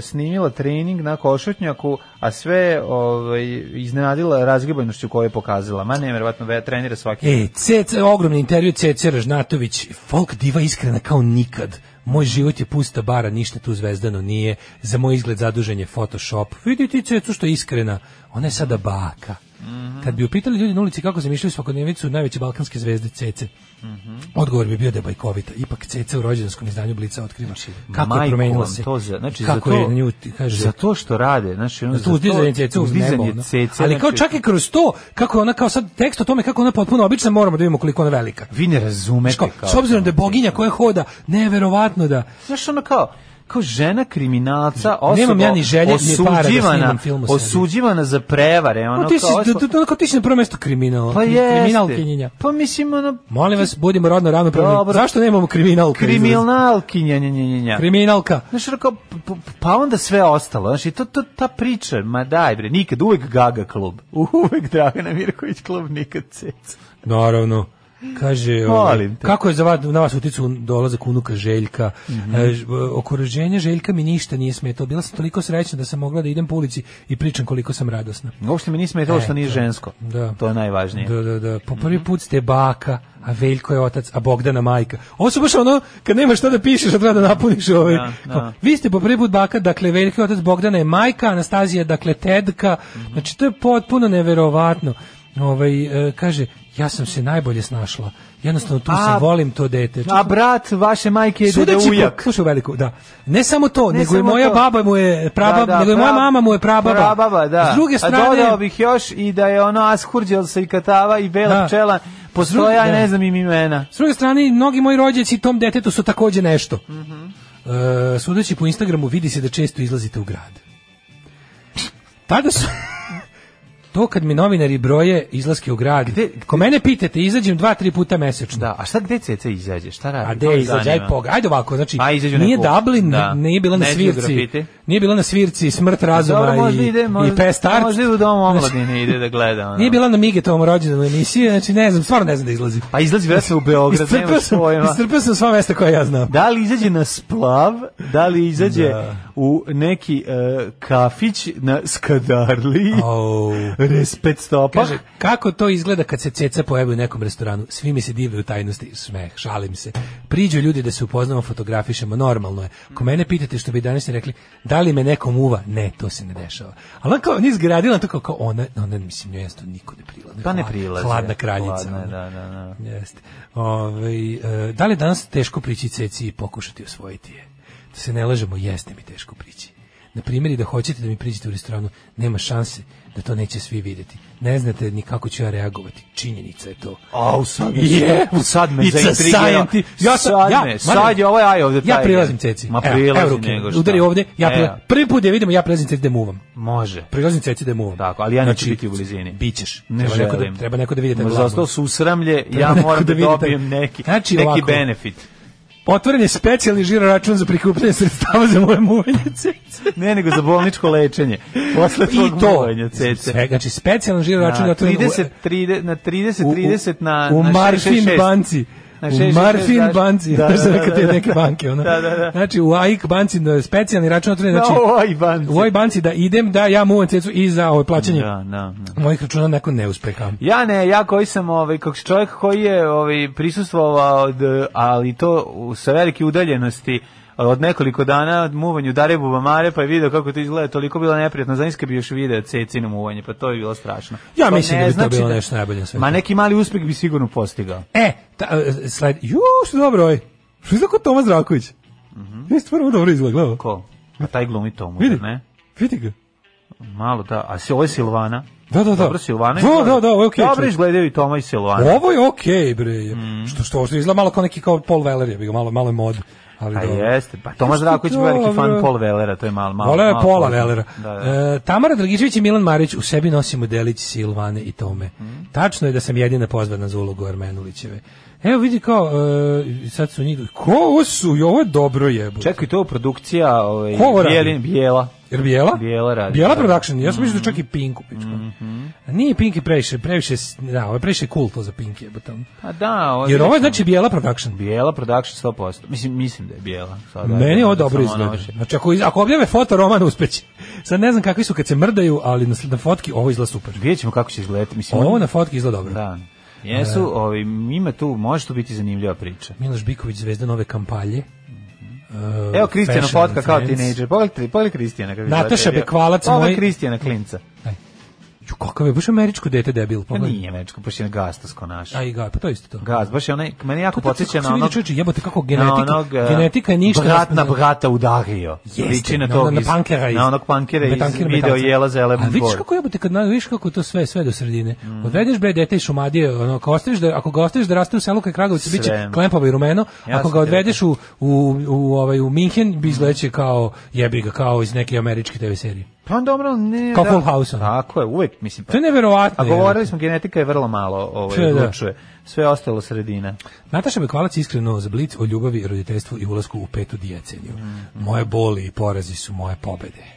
S6: snimila trening na košutnjaku, a sve ovaj, iznenadila razgibanošću koju je pokazala. Ma ne, verovatno, ve- trenira svaki
S7: E, CC, ogromni intervju CC Ražnatović, folk diva iskrena kao nikad. Moj život je pusta bara, ništa tu zvezdano nije. Za moj izgled zadužen je Photoshop. Vidi ti Cecu što je iskrena. Ona je sada baka.
S6: Mhm.
S7: Kad bi upitali ljudi na ulici kako zamišljaju svakodnevicu najveće balkanske zvezde CC,
S6: Mhm.
S7: odgovor bi bio da je bajkovita. Ipak CC u rođendanskom izdanju Blica otkriva kako je
S6: Majku
S7: promenila
S6: Znači, vam
S7: se.
S6: To za, znači,
S7: kako
S6: za to,
S7: je na nju, ti kaže,
S6: za to što rade, znači, ono,
S7: za to uzdizanje cece uz nebo.
S6: uzdizanje
S7: ono.
S6: cece,
S7: Ali kao
S6: znači,
S7: čak i kroz to, kako je ona kao sad tekst o tome kako je ona potpuno obična, moramo da vidimo koliko je ona velika.
S6: Vi ne razumete
S7: Znaš
S6: kao
S7: kao. S obzirom da je boginja koja hoda, neverovatno da...
S6: Znaš ono kao, kao žena kriminalca, osoba
S7: Nemam ja ni želje, ni para da
S6: osuđivana,
S7: snimam film o sebi.
S6: osuđivana za prevare, ono
S7: Ono ti si,
S6: kao...
S7: da- da- ono kao ti si na prvo mesto kriminal.
S6: Pa jeste.
S7: Kriminalkinjenja.
S6: Pa mislim, ono...
S7: Molim vas, budimo rodno ravnopravni.
S6: Dobro.
S7: Zašto nemamo kriminal?
S6: Kriminalkinja, nja, nja, nja, nja.
S7: Kriminalka.
S6: Znaš, ono kao, p- p- pa onda sve ostalo. Znaš, i to, to, ta priča, ma daj bre, nikad, uvek Gaga klub. Uvek Dragana Mirković klub, nikad ceca.
S7: Naravno. Kaže,
S6: Molim
S7: ovaj,
S6: te.
S7: kako je za vas, na vas uticu dolazak unuka Željka?
S6: Mhm.
S7: E, ž- okruženje Željka mi ništa nije smetalo. Bila sam toliko srećna da sam mogla da idem po ulici i pričam koliko sam radosna.
S6: Uopšte mi nismo je to što
S7: Eto.
S6: nije žensko.
S7: Da.
S6: To je najvažnije. Mhm.
S7: Da, da, da. Po prvi put ste baka, a Veljko je otac, a Bogdana majka. Ovo su baš ono, kad nemaš šta da pišeš, a treba da napuniš ovaj.
S6: Da, da.
S7: Kao, Vi ste po prvi put baka, dakle Veljko je otac, Bogdana je majka, Anastazija je dakle tetka.
S6: Mhm.
S7: Znači to je potpuno neverovatno. Ovaj, e, kaže, ja sam se najbolje snašla. Jednostavno tu
S6: A-
S7: se volim to dete.
S6: A brat vaše majke je deda
S7: Sudeći po,
S6: ujak.
S7: slušaj veliku, da. Ne samo to,
S6: Ne
S7: nego i
S6: samo
S7: moja
S6: to.
S7: baba mu je prababa,
S6: Da, da,
S7: nego i moja
S6: pra-
S7: mama mu je prababa.
S6: Prababa, da.
S7: S druge
S6: A dodao
S7: strane,
S6: bih još i da je ono Askurđel sa Ikatava i Bela
S7: Da.
S6: pčela. Postoje,
S7: S druge-
S6: ja ne
S7: da.
S6: znam im imena.
S7: S druge strane, mnogi moji rođaci tom detetu su takođe nešto.
S6: Mhm.
S7: E, sudeći po Instagramu, vidi se da često izlazite u grad. Tada su... to kad mi novinari broje izlaske u grad, ko mene pitate, izađem dva, tri puta mesečno.
S6: Da, a šta gde ceca izađe? Šta radi?
S7: A
S6: To
S7: de
S6: me
S7: izađe, aj
S6: zanima.
S7: poga. Ajde ovako, znači,
S6: A, izađu
S7: nije
S6: neku-
S7: Dublin,
S6: da.
S7: nije bila na
S6: Neće
S7: svirci,
S6: grafite.
S7: nije bila na svirci smrt razuma
S6: Dobro, možda
S7: i,
S6: ide, možda,
S7: i pest art.
S6: možda ide u dom
S7: Znači,
S6: omladine, ide da gleda. Ono.
S7: Nije bila na Migetovom rođendanu emisiji, znači ne znam, stvarno ne znam da izlazi.
S6: A izlazi već Pa u Beograd,
S7: Istrpio
S6: nemaš
S7: sam,
S6: pojma.
S7: istrpio sam sva mesta koja ja znam.
S6: Da li izađe na splav, da li izađe
S7: Da.
S6: u neki e, kafić na Skadarli,
S7: Au.
S6: res pet stopah.
S7: Kaže, kako to izgleda kad se ceca pojavi u nekom restoranu? Svi mi se divljaju u tajnosti, smeh, šalim se. Priđu ljudi da se upoznamo, fotografišemo, normalno je. Ako mene pitate što bi danas rekli, da li me neko muva? Ne, to se ne dešava. Ali ona kao, nije zgradila, to kao, kao ona, ona, mislim, njoj jednostavno niko ne prilazi.
S6: Pa ne
S7: Hla-
S6: prilazi.
S7: Hladna kraljica.
S6: Hladna je,
S7: ono.
S6: da, da, da.
S7: Jeste. Ovaj, e, da li je danas teško prići ceci i pokušati osvojiti je? Da se ne lažemo, jeste mi teško prići. Na primjer, i da hoćete da mi priđete u restoranu, nema šanse da to neće svi vidjeti. Ne znate ni kako ću ja reagovati. Činjenica je to.
S6: Au, sad me,
S7: Je.
S6: sad me
S7: It's a
S6: zaintrigirao.
S7: scienti- Ja sam-
S6: sad,
S7: ja,
S6: me,
S7: Marjan,
S6: sad je ovaj aj ovde.
S7: Ja
S6: taj.
S7: prilazim ceci.
S6: Ma
S7: Evo,
S6: prilazi
S7: evo ruke.
S6: nego šta.
S7: Udari ovde, ja
S6: Evo,
S7: prilazim. Prvi put je vidimo, ja prilazim ceci da muvam.
S6: Može.
S7: Prilazim ceci da muvam.
S6: Tako, ali ja neću biti u blizini.
S7: Bićeš.
S6: Ne
S7: treba neko
S6: želim.
S7: da, treba neko da vidi taj
S6: Možda
S7: glavni.
S6: ostao su usramlje,
S7: Treba
S6: ja
S7: neko
S6: moram
S7: da
S6: da,
S7: vidi taj-
S6: dobijem neki,
S7: Znači,
S6: neki
S7: ovako.
S6: benefit.
S7: Otvoren je specijalni žiro račun za prikupljanje sredstava za moje muvanje cece.
S6: Ne, nego za bolničko lečenje. Posle tvog
S7: I to.
S6: muvanja cece.
S7: Sve, znači, specijalan žiro račun je
S6: na
S7: otvoren
S6: 30, 30, na 30, 30 na,
S7: u
S6: na
S7: Marfin
S6: 666.
S7: banci.
S6: Na
S7: u
S6: 666,
S7: Marfin
S6: znaš-
S7: banci,
S6: Da,
S7: znaš
S6: da,
S7: neka
S6: da,
S7: te
S6: da.
S7: neke banke, ono.
S6: Da, da, da.
S7: Znači, u AIK banci, no, specijalni račun otvoren, znači,
S6: Na ovaj ovoj banci.
S7: u ovoj banci da idem, da ja muvam cecu i za ovo plaćanje
S6: Da, Pa da, da.
S7: mojih računa nakon neuspeha.
S6: Ja ne, ja koji sam ovaj kako čovjek koji je ovaj prisustvovao od, ali to u- sa velike udaljenosti od nekoliko dana od muvanju Dare Bubamare pa je video kako to izgleda, toliko bilo neprijatno, za njega bi još video cecino muvanje, pa to bi bilo strašno.
S7: Ja
S6: To
S7: mislim
S6: ne
S7: da bi to
S6: znači
S7: bilo nešto najbolje na svetu.
S6: Ma neki mali uspjeh bi sigurno postigao.
S7: E, ta, e, slajd, ju, što dobro, oj. Što izgleda kod Toma Zdravković? Mhm. Mm stvarno dobro izgleda, gledaj.
S6: Ko? A taj glumi tomu,
S7: Vidi.
S6: ne?
S7: Vidi ga.
S6: Malo da, a si ovo je Silvana.
S7: Da, da, da.
S6: Dobro Silvana.
S7: Da, da, da, ovo je okej,
S6: Dobro Mm.
S7: čovječe.
S6: izgledaju i Toma i Silvana.
S7: Ovo je okej, bre. Što što što izgleda malo kao neki kao Paul Weller, je bi ga malo malo je mod. Ali
S6: A
S7: dobro.
S6: jeste, pa Tomaš Draković je veliki
S7: dobro.
S6: fan Paul Velera, to je malo malo.
S7: Voleo je
S6: malo
S7: pola
S6: poznat.
S7: Velera.
S6: Da, da.
S7: E, Tamara Dragičević i Milan Marić u sebi nosimo delić Silvane i Tome.
S6: Mm.
S7: Tačno je da sam jedina pozvana za ulogu Armenulićeve. Evo vidi kao, e, sad su njih... Ko ovo su? I Ovo je dobro jebo.
S6: Čekaj, to je produkcija ovaj,
S7: Ko ovo radi?
S6: Bijelin, Bijela.
S7: Jer Bijela?
S6: Bijela radi.
S7: Bijela
S6: da. Mm-hmm.
S7: Production, ja sam mislio da čak i Pink u pičku. Nije Pink i previše, previše, s- da, ovo je previše cool to za Pink jebote.
S6: A Pa da, ovo
S7: Jer ovo je znači Bijela Production.
S6: Bijela Production 100%. Mislim, mislim da je Bijela. Sada,
S7: Meni je ovo dobro
S6: Samo ono
S7: izgleda.
S6: više.
S7: Znači, ako, iz- ako objave foto, roman uspeće. Sad ne znam kakvi su kad se mrdaju, ali na, sl- na fotki ovo izgleda super.
S6: Vidjet ćemo kako će izgledati. Mislim,
S7: Ovo
S6: oni-
S7: na fotki izgleda dobro.
S6: Da. Jesu, ovaj, ima tu, može tu biti zanimljiva priča.
S7: Miloš Biković, zvezda nove kampalje. Uh,
S6: Mhm. Evo Kristijana
S7: Fashion
S6: fotka kao
S7: Friends.
S6: tinejdžer. Pogledaj, pogledaj Kristijana. kako izgleda.
S7: Nataša Bekvalac,
S6: Ovo
S7: moj-
S6: je Kristijana Klinca.
S7: Ju, Kakav je, baš američko dete debil.
S6: Pa
S7: pogledaj.
S6: nije mečko, baš je gastosko naše.
S7: A i ga, pa to je isto to.
S6: Gaz, baš je onaj, meni jako
S7: To je tako
S6: podsjeća
S7: kako
S6: na
S7: se vidi,
S6: onog...
S7: čoveče, jebote, kako genetika-
S6: na onog, eh,
S7: genetika je ništa
S6: Brat na
S7: nas-
S6: brata udario.
S7: Jeste,
S6: Liči na
S7: na
S6: tog
S7: onog- na
S6: iz-
S7: punkera iz-
S6: Na onog punkera iz
S7: Betankir
S6: video
S7: Metalca.
S6: jela za
S7: A
S6: Element
S7: vidiš
S6: Boy.
S7: kako jebote kad na- vidiš kako je to sve sve do sredine.
S6: Mm.
S7: Odvedeš bre dete iz šumadije, ono ako ostaviš da ako ga ostaviš da raste u selu kraj Kragovica
S6: Sve.
S7: biće klempavo i rumeno,
S6: Ja
S7: ako
S6: sam
S7: ga
S6: ti
S7: odvedeš u u u ovaj u Minhen bi izleće kao jebi ga kao iz neke američke TV serije.
S6: Pa dobro, ne...
S7: Kao
S6: da.
S7: Full House. ono.
S6: Tako je, uvek, mislim. Pa,
S7: To je
S6: a
S7: neverovatno.
S6: govorili smo, genetika je vrlo malo
S7: Sve,
S6: ovaj,
S7: da.
S6: odlučuje. Sve je ostalo sredina.
S7: Nataša Bekvalac iskreno za blic o ljubavi, roditeljstvu i ulasku u petu djecenju.
S6: Mm.
S7: Moje boli i porazi su moje pobede.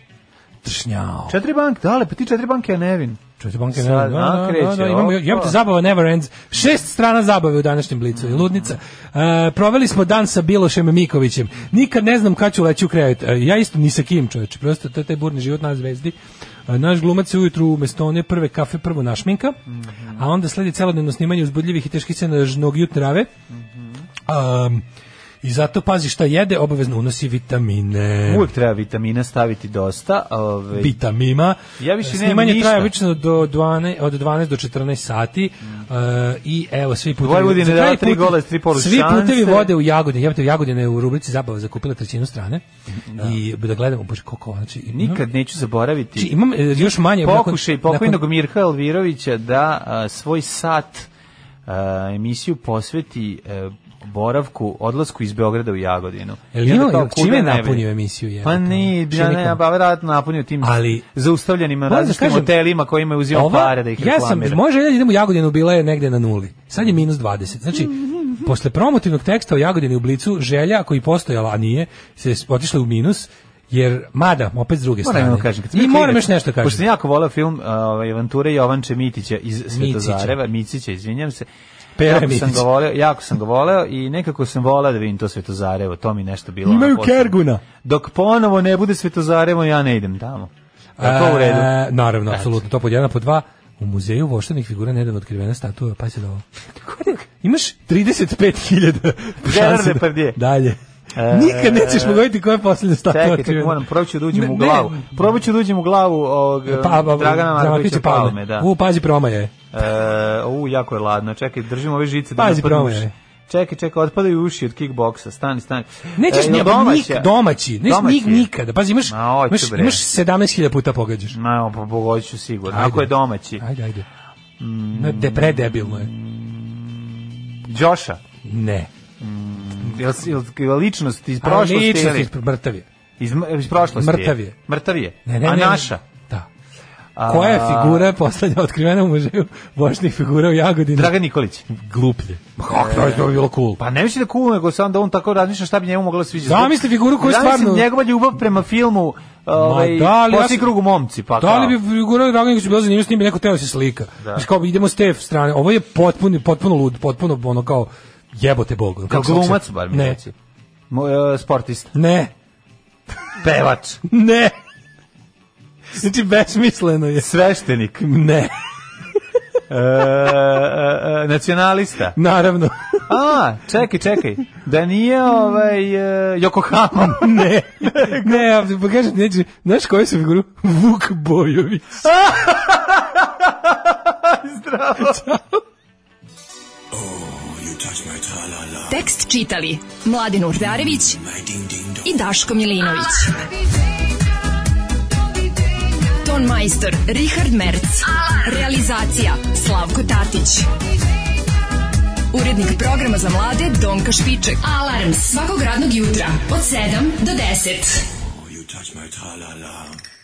S7: Tršnjao.
S6: Četiri banke, dale, pa ti četiri banke je nevin.
S7: Čujete banke ne,
S6: Sad,
S7: da, da,
S6: a,
S7: da,
S6: kreće,
S7: da, imamo,
S6: opa.
S7: jebate, zabava never ends. Šest strana zabave u današnjem blicu i ludnica. E, proveli smo dan sa Bilošem Mikovićem. Nikad ne znam kad ću leći u krevet. E, ja isto ni sa kim, čoveče. Prosto to je taj burni život nas zvezdi. E, naš glumac se ujutru umesto one prve kafe prvo našminka, a onda sledi celodnevno snimanje uzbudljivih i teških scena žnog jutrave. Um, I zato pazi šta jede, obavezno unosi vitamine.
S6: Uvek treba vitamina staviti dosta. ovaj, Ove,
S7: Bitamima.
S6: Ja više nemam
S7: Snimanje
S6: ništa.
S7: traje obično do 12, od 12 do 14 sati. E, I evo, svi putevi...
S6: Vojvodina
S7: za
S6: dala
S7: kraj
S6: tri
S7: pute-
S6: gola iz tri polu
S7: Svi putevi
S6: šanse.
S7: vode u Jagodinu. Jebate, Jagodina je u rubrici zabava zakupila trećinu strane. I da gledamo, bože, koliko ona... Znači,
S6: Nikad neću zaboraviti.
S7: Znači, imam e, još manje... nakon-
S6: pokušaj pokojnog
S7: nakon-
S6: Mirka Elvirovića da a, svoj sat a, emisiju posveti e, boravku, odlasku iz Beograda u Jagodinu.
S7: Jel
S6: I onda
S7: ima-
S6: kao,
S7: jel E, ono, čime
S6: kuda ne bi?
S7: napunio emisiju, jebote?
S6: Pa ni, ja ne,
S7: Čime?
S6: pa verovatno napunio tim
S7: Ali-
S6: zaustavljenim
S7: Moram da
S6: različitim
S7: kažem,
S6: hotelima kojima je uzimao
S7: Ova-
S6: pare da ih
S7: ja sam,
S6: reklamira.
S7: moja želja da idem u Jagodinu bila je negde na nuli. Sad je minus 20. Znači, posle promotivnog teksta o Jagodini u Blicu, želja koja je postojala, a nije, se s- otišla u minus, jer, mada, opet s druge
S6: Moram
S7: strane.
S6: jedno Pa kažem, kad sam
S7: I
S6: bio
S7: moram
S6: klinac,
S7: još nešto
S6: Pošto sam
S7: kažem.
S6: jako volao film ovaj Avanture Jovanče Mitića iz Svetozareva, Micića, izvinjam se.
S7: Pere
S6: jako sam
S7: Mitić.
S6: ga voleo, jako sam ga voleo i nekako sam voleo da vidim to Svetozarevo, to mi nešto bilo.
S7: Imaju
S6: ono posebno.
S7: Kerguna.
S6: Dok ponovo ne bude Svetozarevo, ja ne idem tamo. Je to u redu? Znači.
S7: E, naravno, apsolutno, to pod jedan, pod dva. U muzeju voštenih figura nedavno otkrivena statua, pa se da ovo. Imaš 35.000
S6: Gerard
S7: šanse da-
S6: Depardieu.
S7: Dalje.
S6: E,
S7: Nikad nećeš pogoditi koja je posljednja statua.
S6: Čekaj, čekaj,
S7: otkrivena.
S6: moram, probat ću da uđem
S7: Ne,
S6: u
S7: ne,
S6: glavu. Probat ću da uđem u glavu ovog eh,
S7: Pa, pa,
S6: Dragana Markovića Palme, da.
S7: U, pazi, proma je.
S6: E, u, jako je ladno. Čekaj, držimo ove žice da
S7: Pazi,
S6: ne otpadnu
S7: promene.
S6: uši. Čekaj, čekaj, otpadaju uši od kickboksa. Stani, stani.
S7: Nećeš
S6: E,
S7: ni
S6: jel
S7: domaći,
S6: domaća?
S7: domaći, nećeš
S6: Domaći
S7: nik,
S6: je.
S7: nikada. Pazi, imaš,
S6: Ma, hoću,
S7: imaš,
S6: bre.
S7: imaš 17.000 puta pogađaš.
S6: Ma, pa pogodit ću sigurno.
S7: Ajde.
S6: Ako je domaći.
S7: Ajde, ajde. Ne, de, predebilno je.
S6: Đoša.
S7: Ne.
S6: Jel, jel, jel ličnost iz
S7: A
S6: prošlosti?
S7: ličnost
S6: ili-
S7: iz mrtav je.
S6: Iz, m- iz prošlosti.
S7: Mrtav je.
S6: Mrtav je.
S7: Ne, ne,
S6: A
S7: ne, ne.
S6: naša?
S7: Da.
S6: A,
S7: Koja je figura poslednja otkrivena u muzeju vošnih figura u Jagodini?
S6: Dragan Nikolić.
S7: Gluplje. Ma kako to je to bilo cool.
S6: Pa ne mislim da cool, nego sam da on tako razmišlja šta bi njemu moglo sviđati.
S7: Zamisli figuru koju
S6: Zamisli
S7: stvarno-
S6: njegova ljubav prema filmu ovaj,
S7: Ma da, ali ja
S6: Poslije
S7: sam-
S6: krugu momci. Pa
S7: da li
S6: kao.
S7: bi figura Dragan su bila zanimljiva s njim bi neko teo da se slika.
S6: Da.
S7: Znači kao idemo s te strane. Ovo je potpuno, potpuno lud, potpuno ono kao jebote bog. ono,
S6: Kao glumac, bar mi
S7: Ne.
S6: reci. Mo- e, sportista.
S7: Ne.
S6: Pevač.
S7: Ne. Znači, besmisleno je.
S6: Sveštenik.
S7: Ne,
S6: E, e, e, nacionalista.
S7: naravno.
S6: A, čekaj, čekaj. Da nije ovaj e, Yokohama.
S7: Ne, ne, a pa kažem, ti, neću, znaš koju su figuru? Vuk Bojović.
S5: Tekst čitali Mladin Urdarević i Daško Milinović. Ton majstor Richard Merc. Realizacija Slavko Tatić. Urednik programa za mlade Donka Špiček. Alarms svakog radnog jutra od 7 do 10.
S4: You touch my tra-la-la.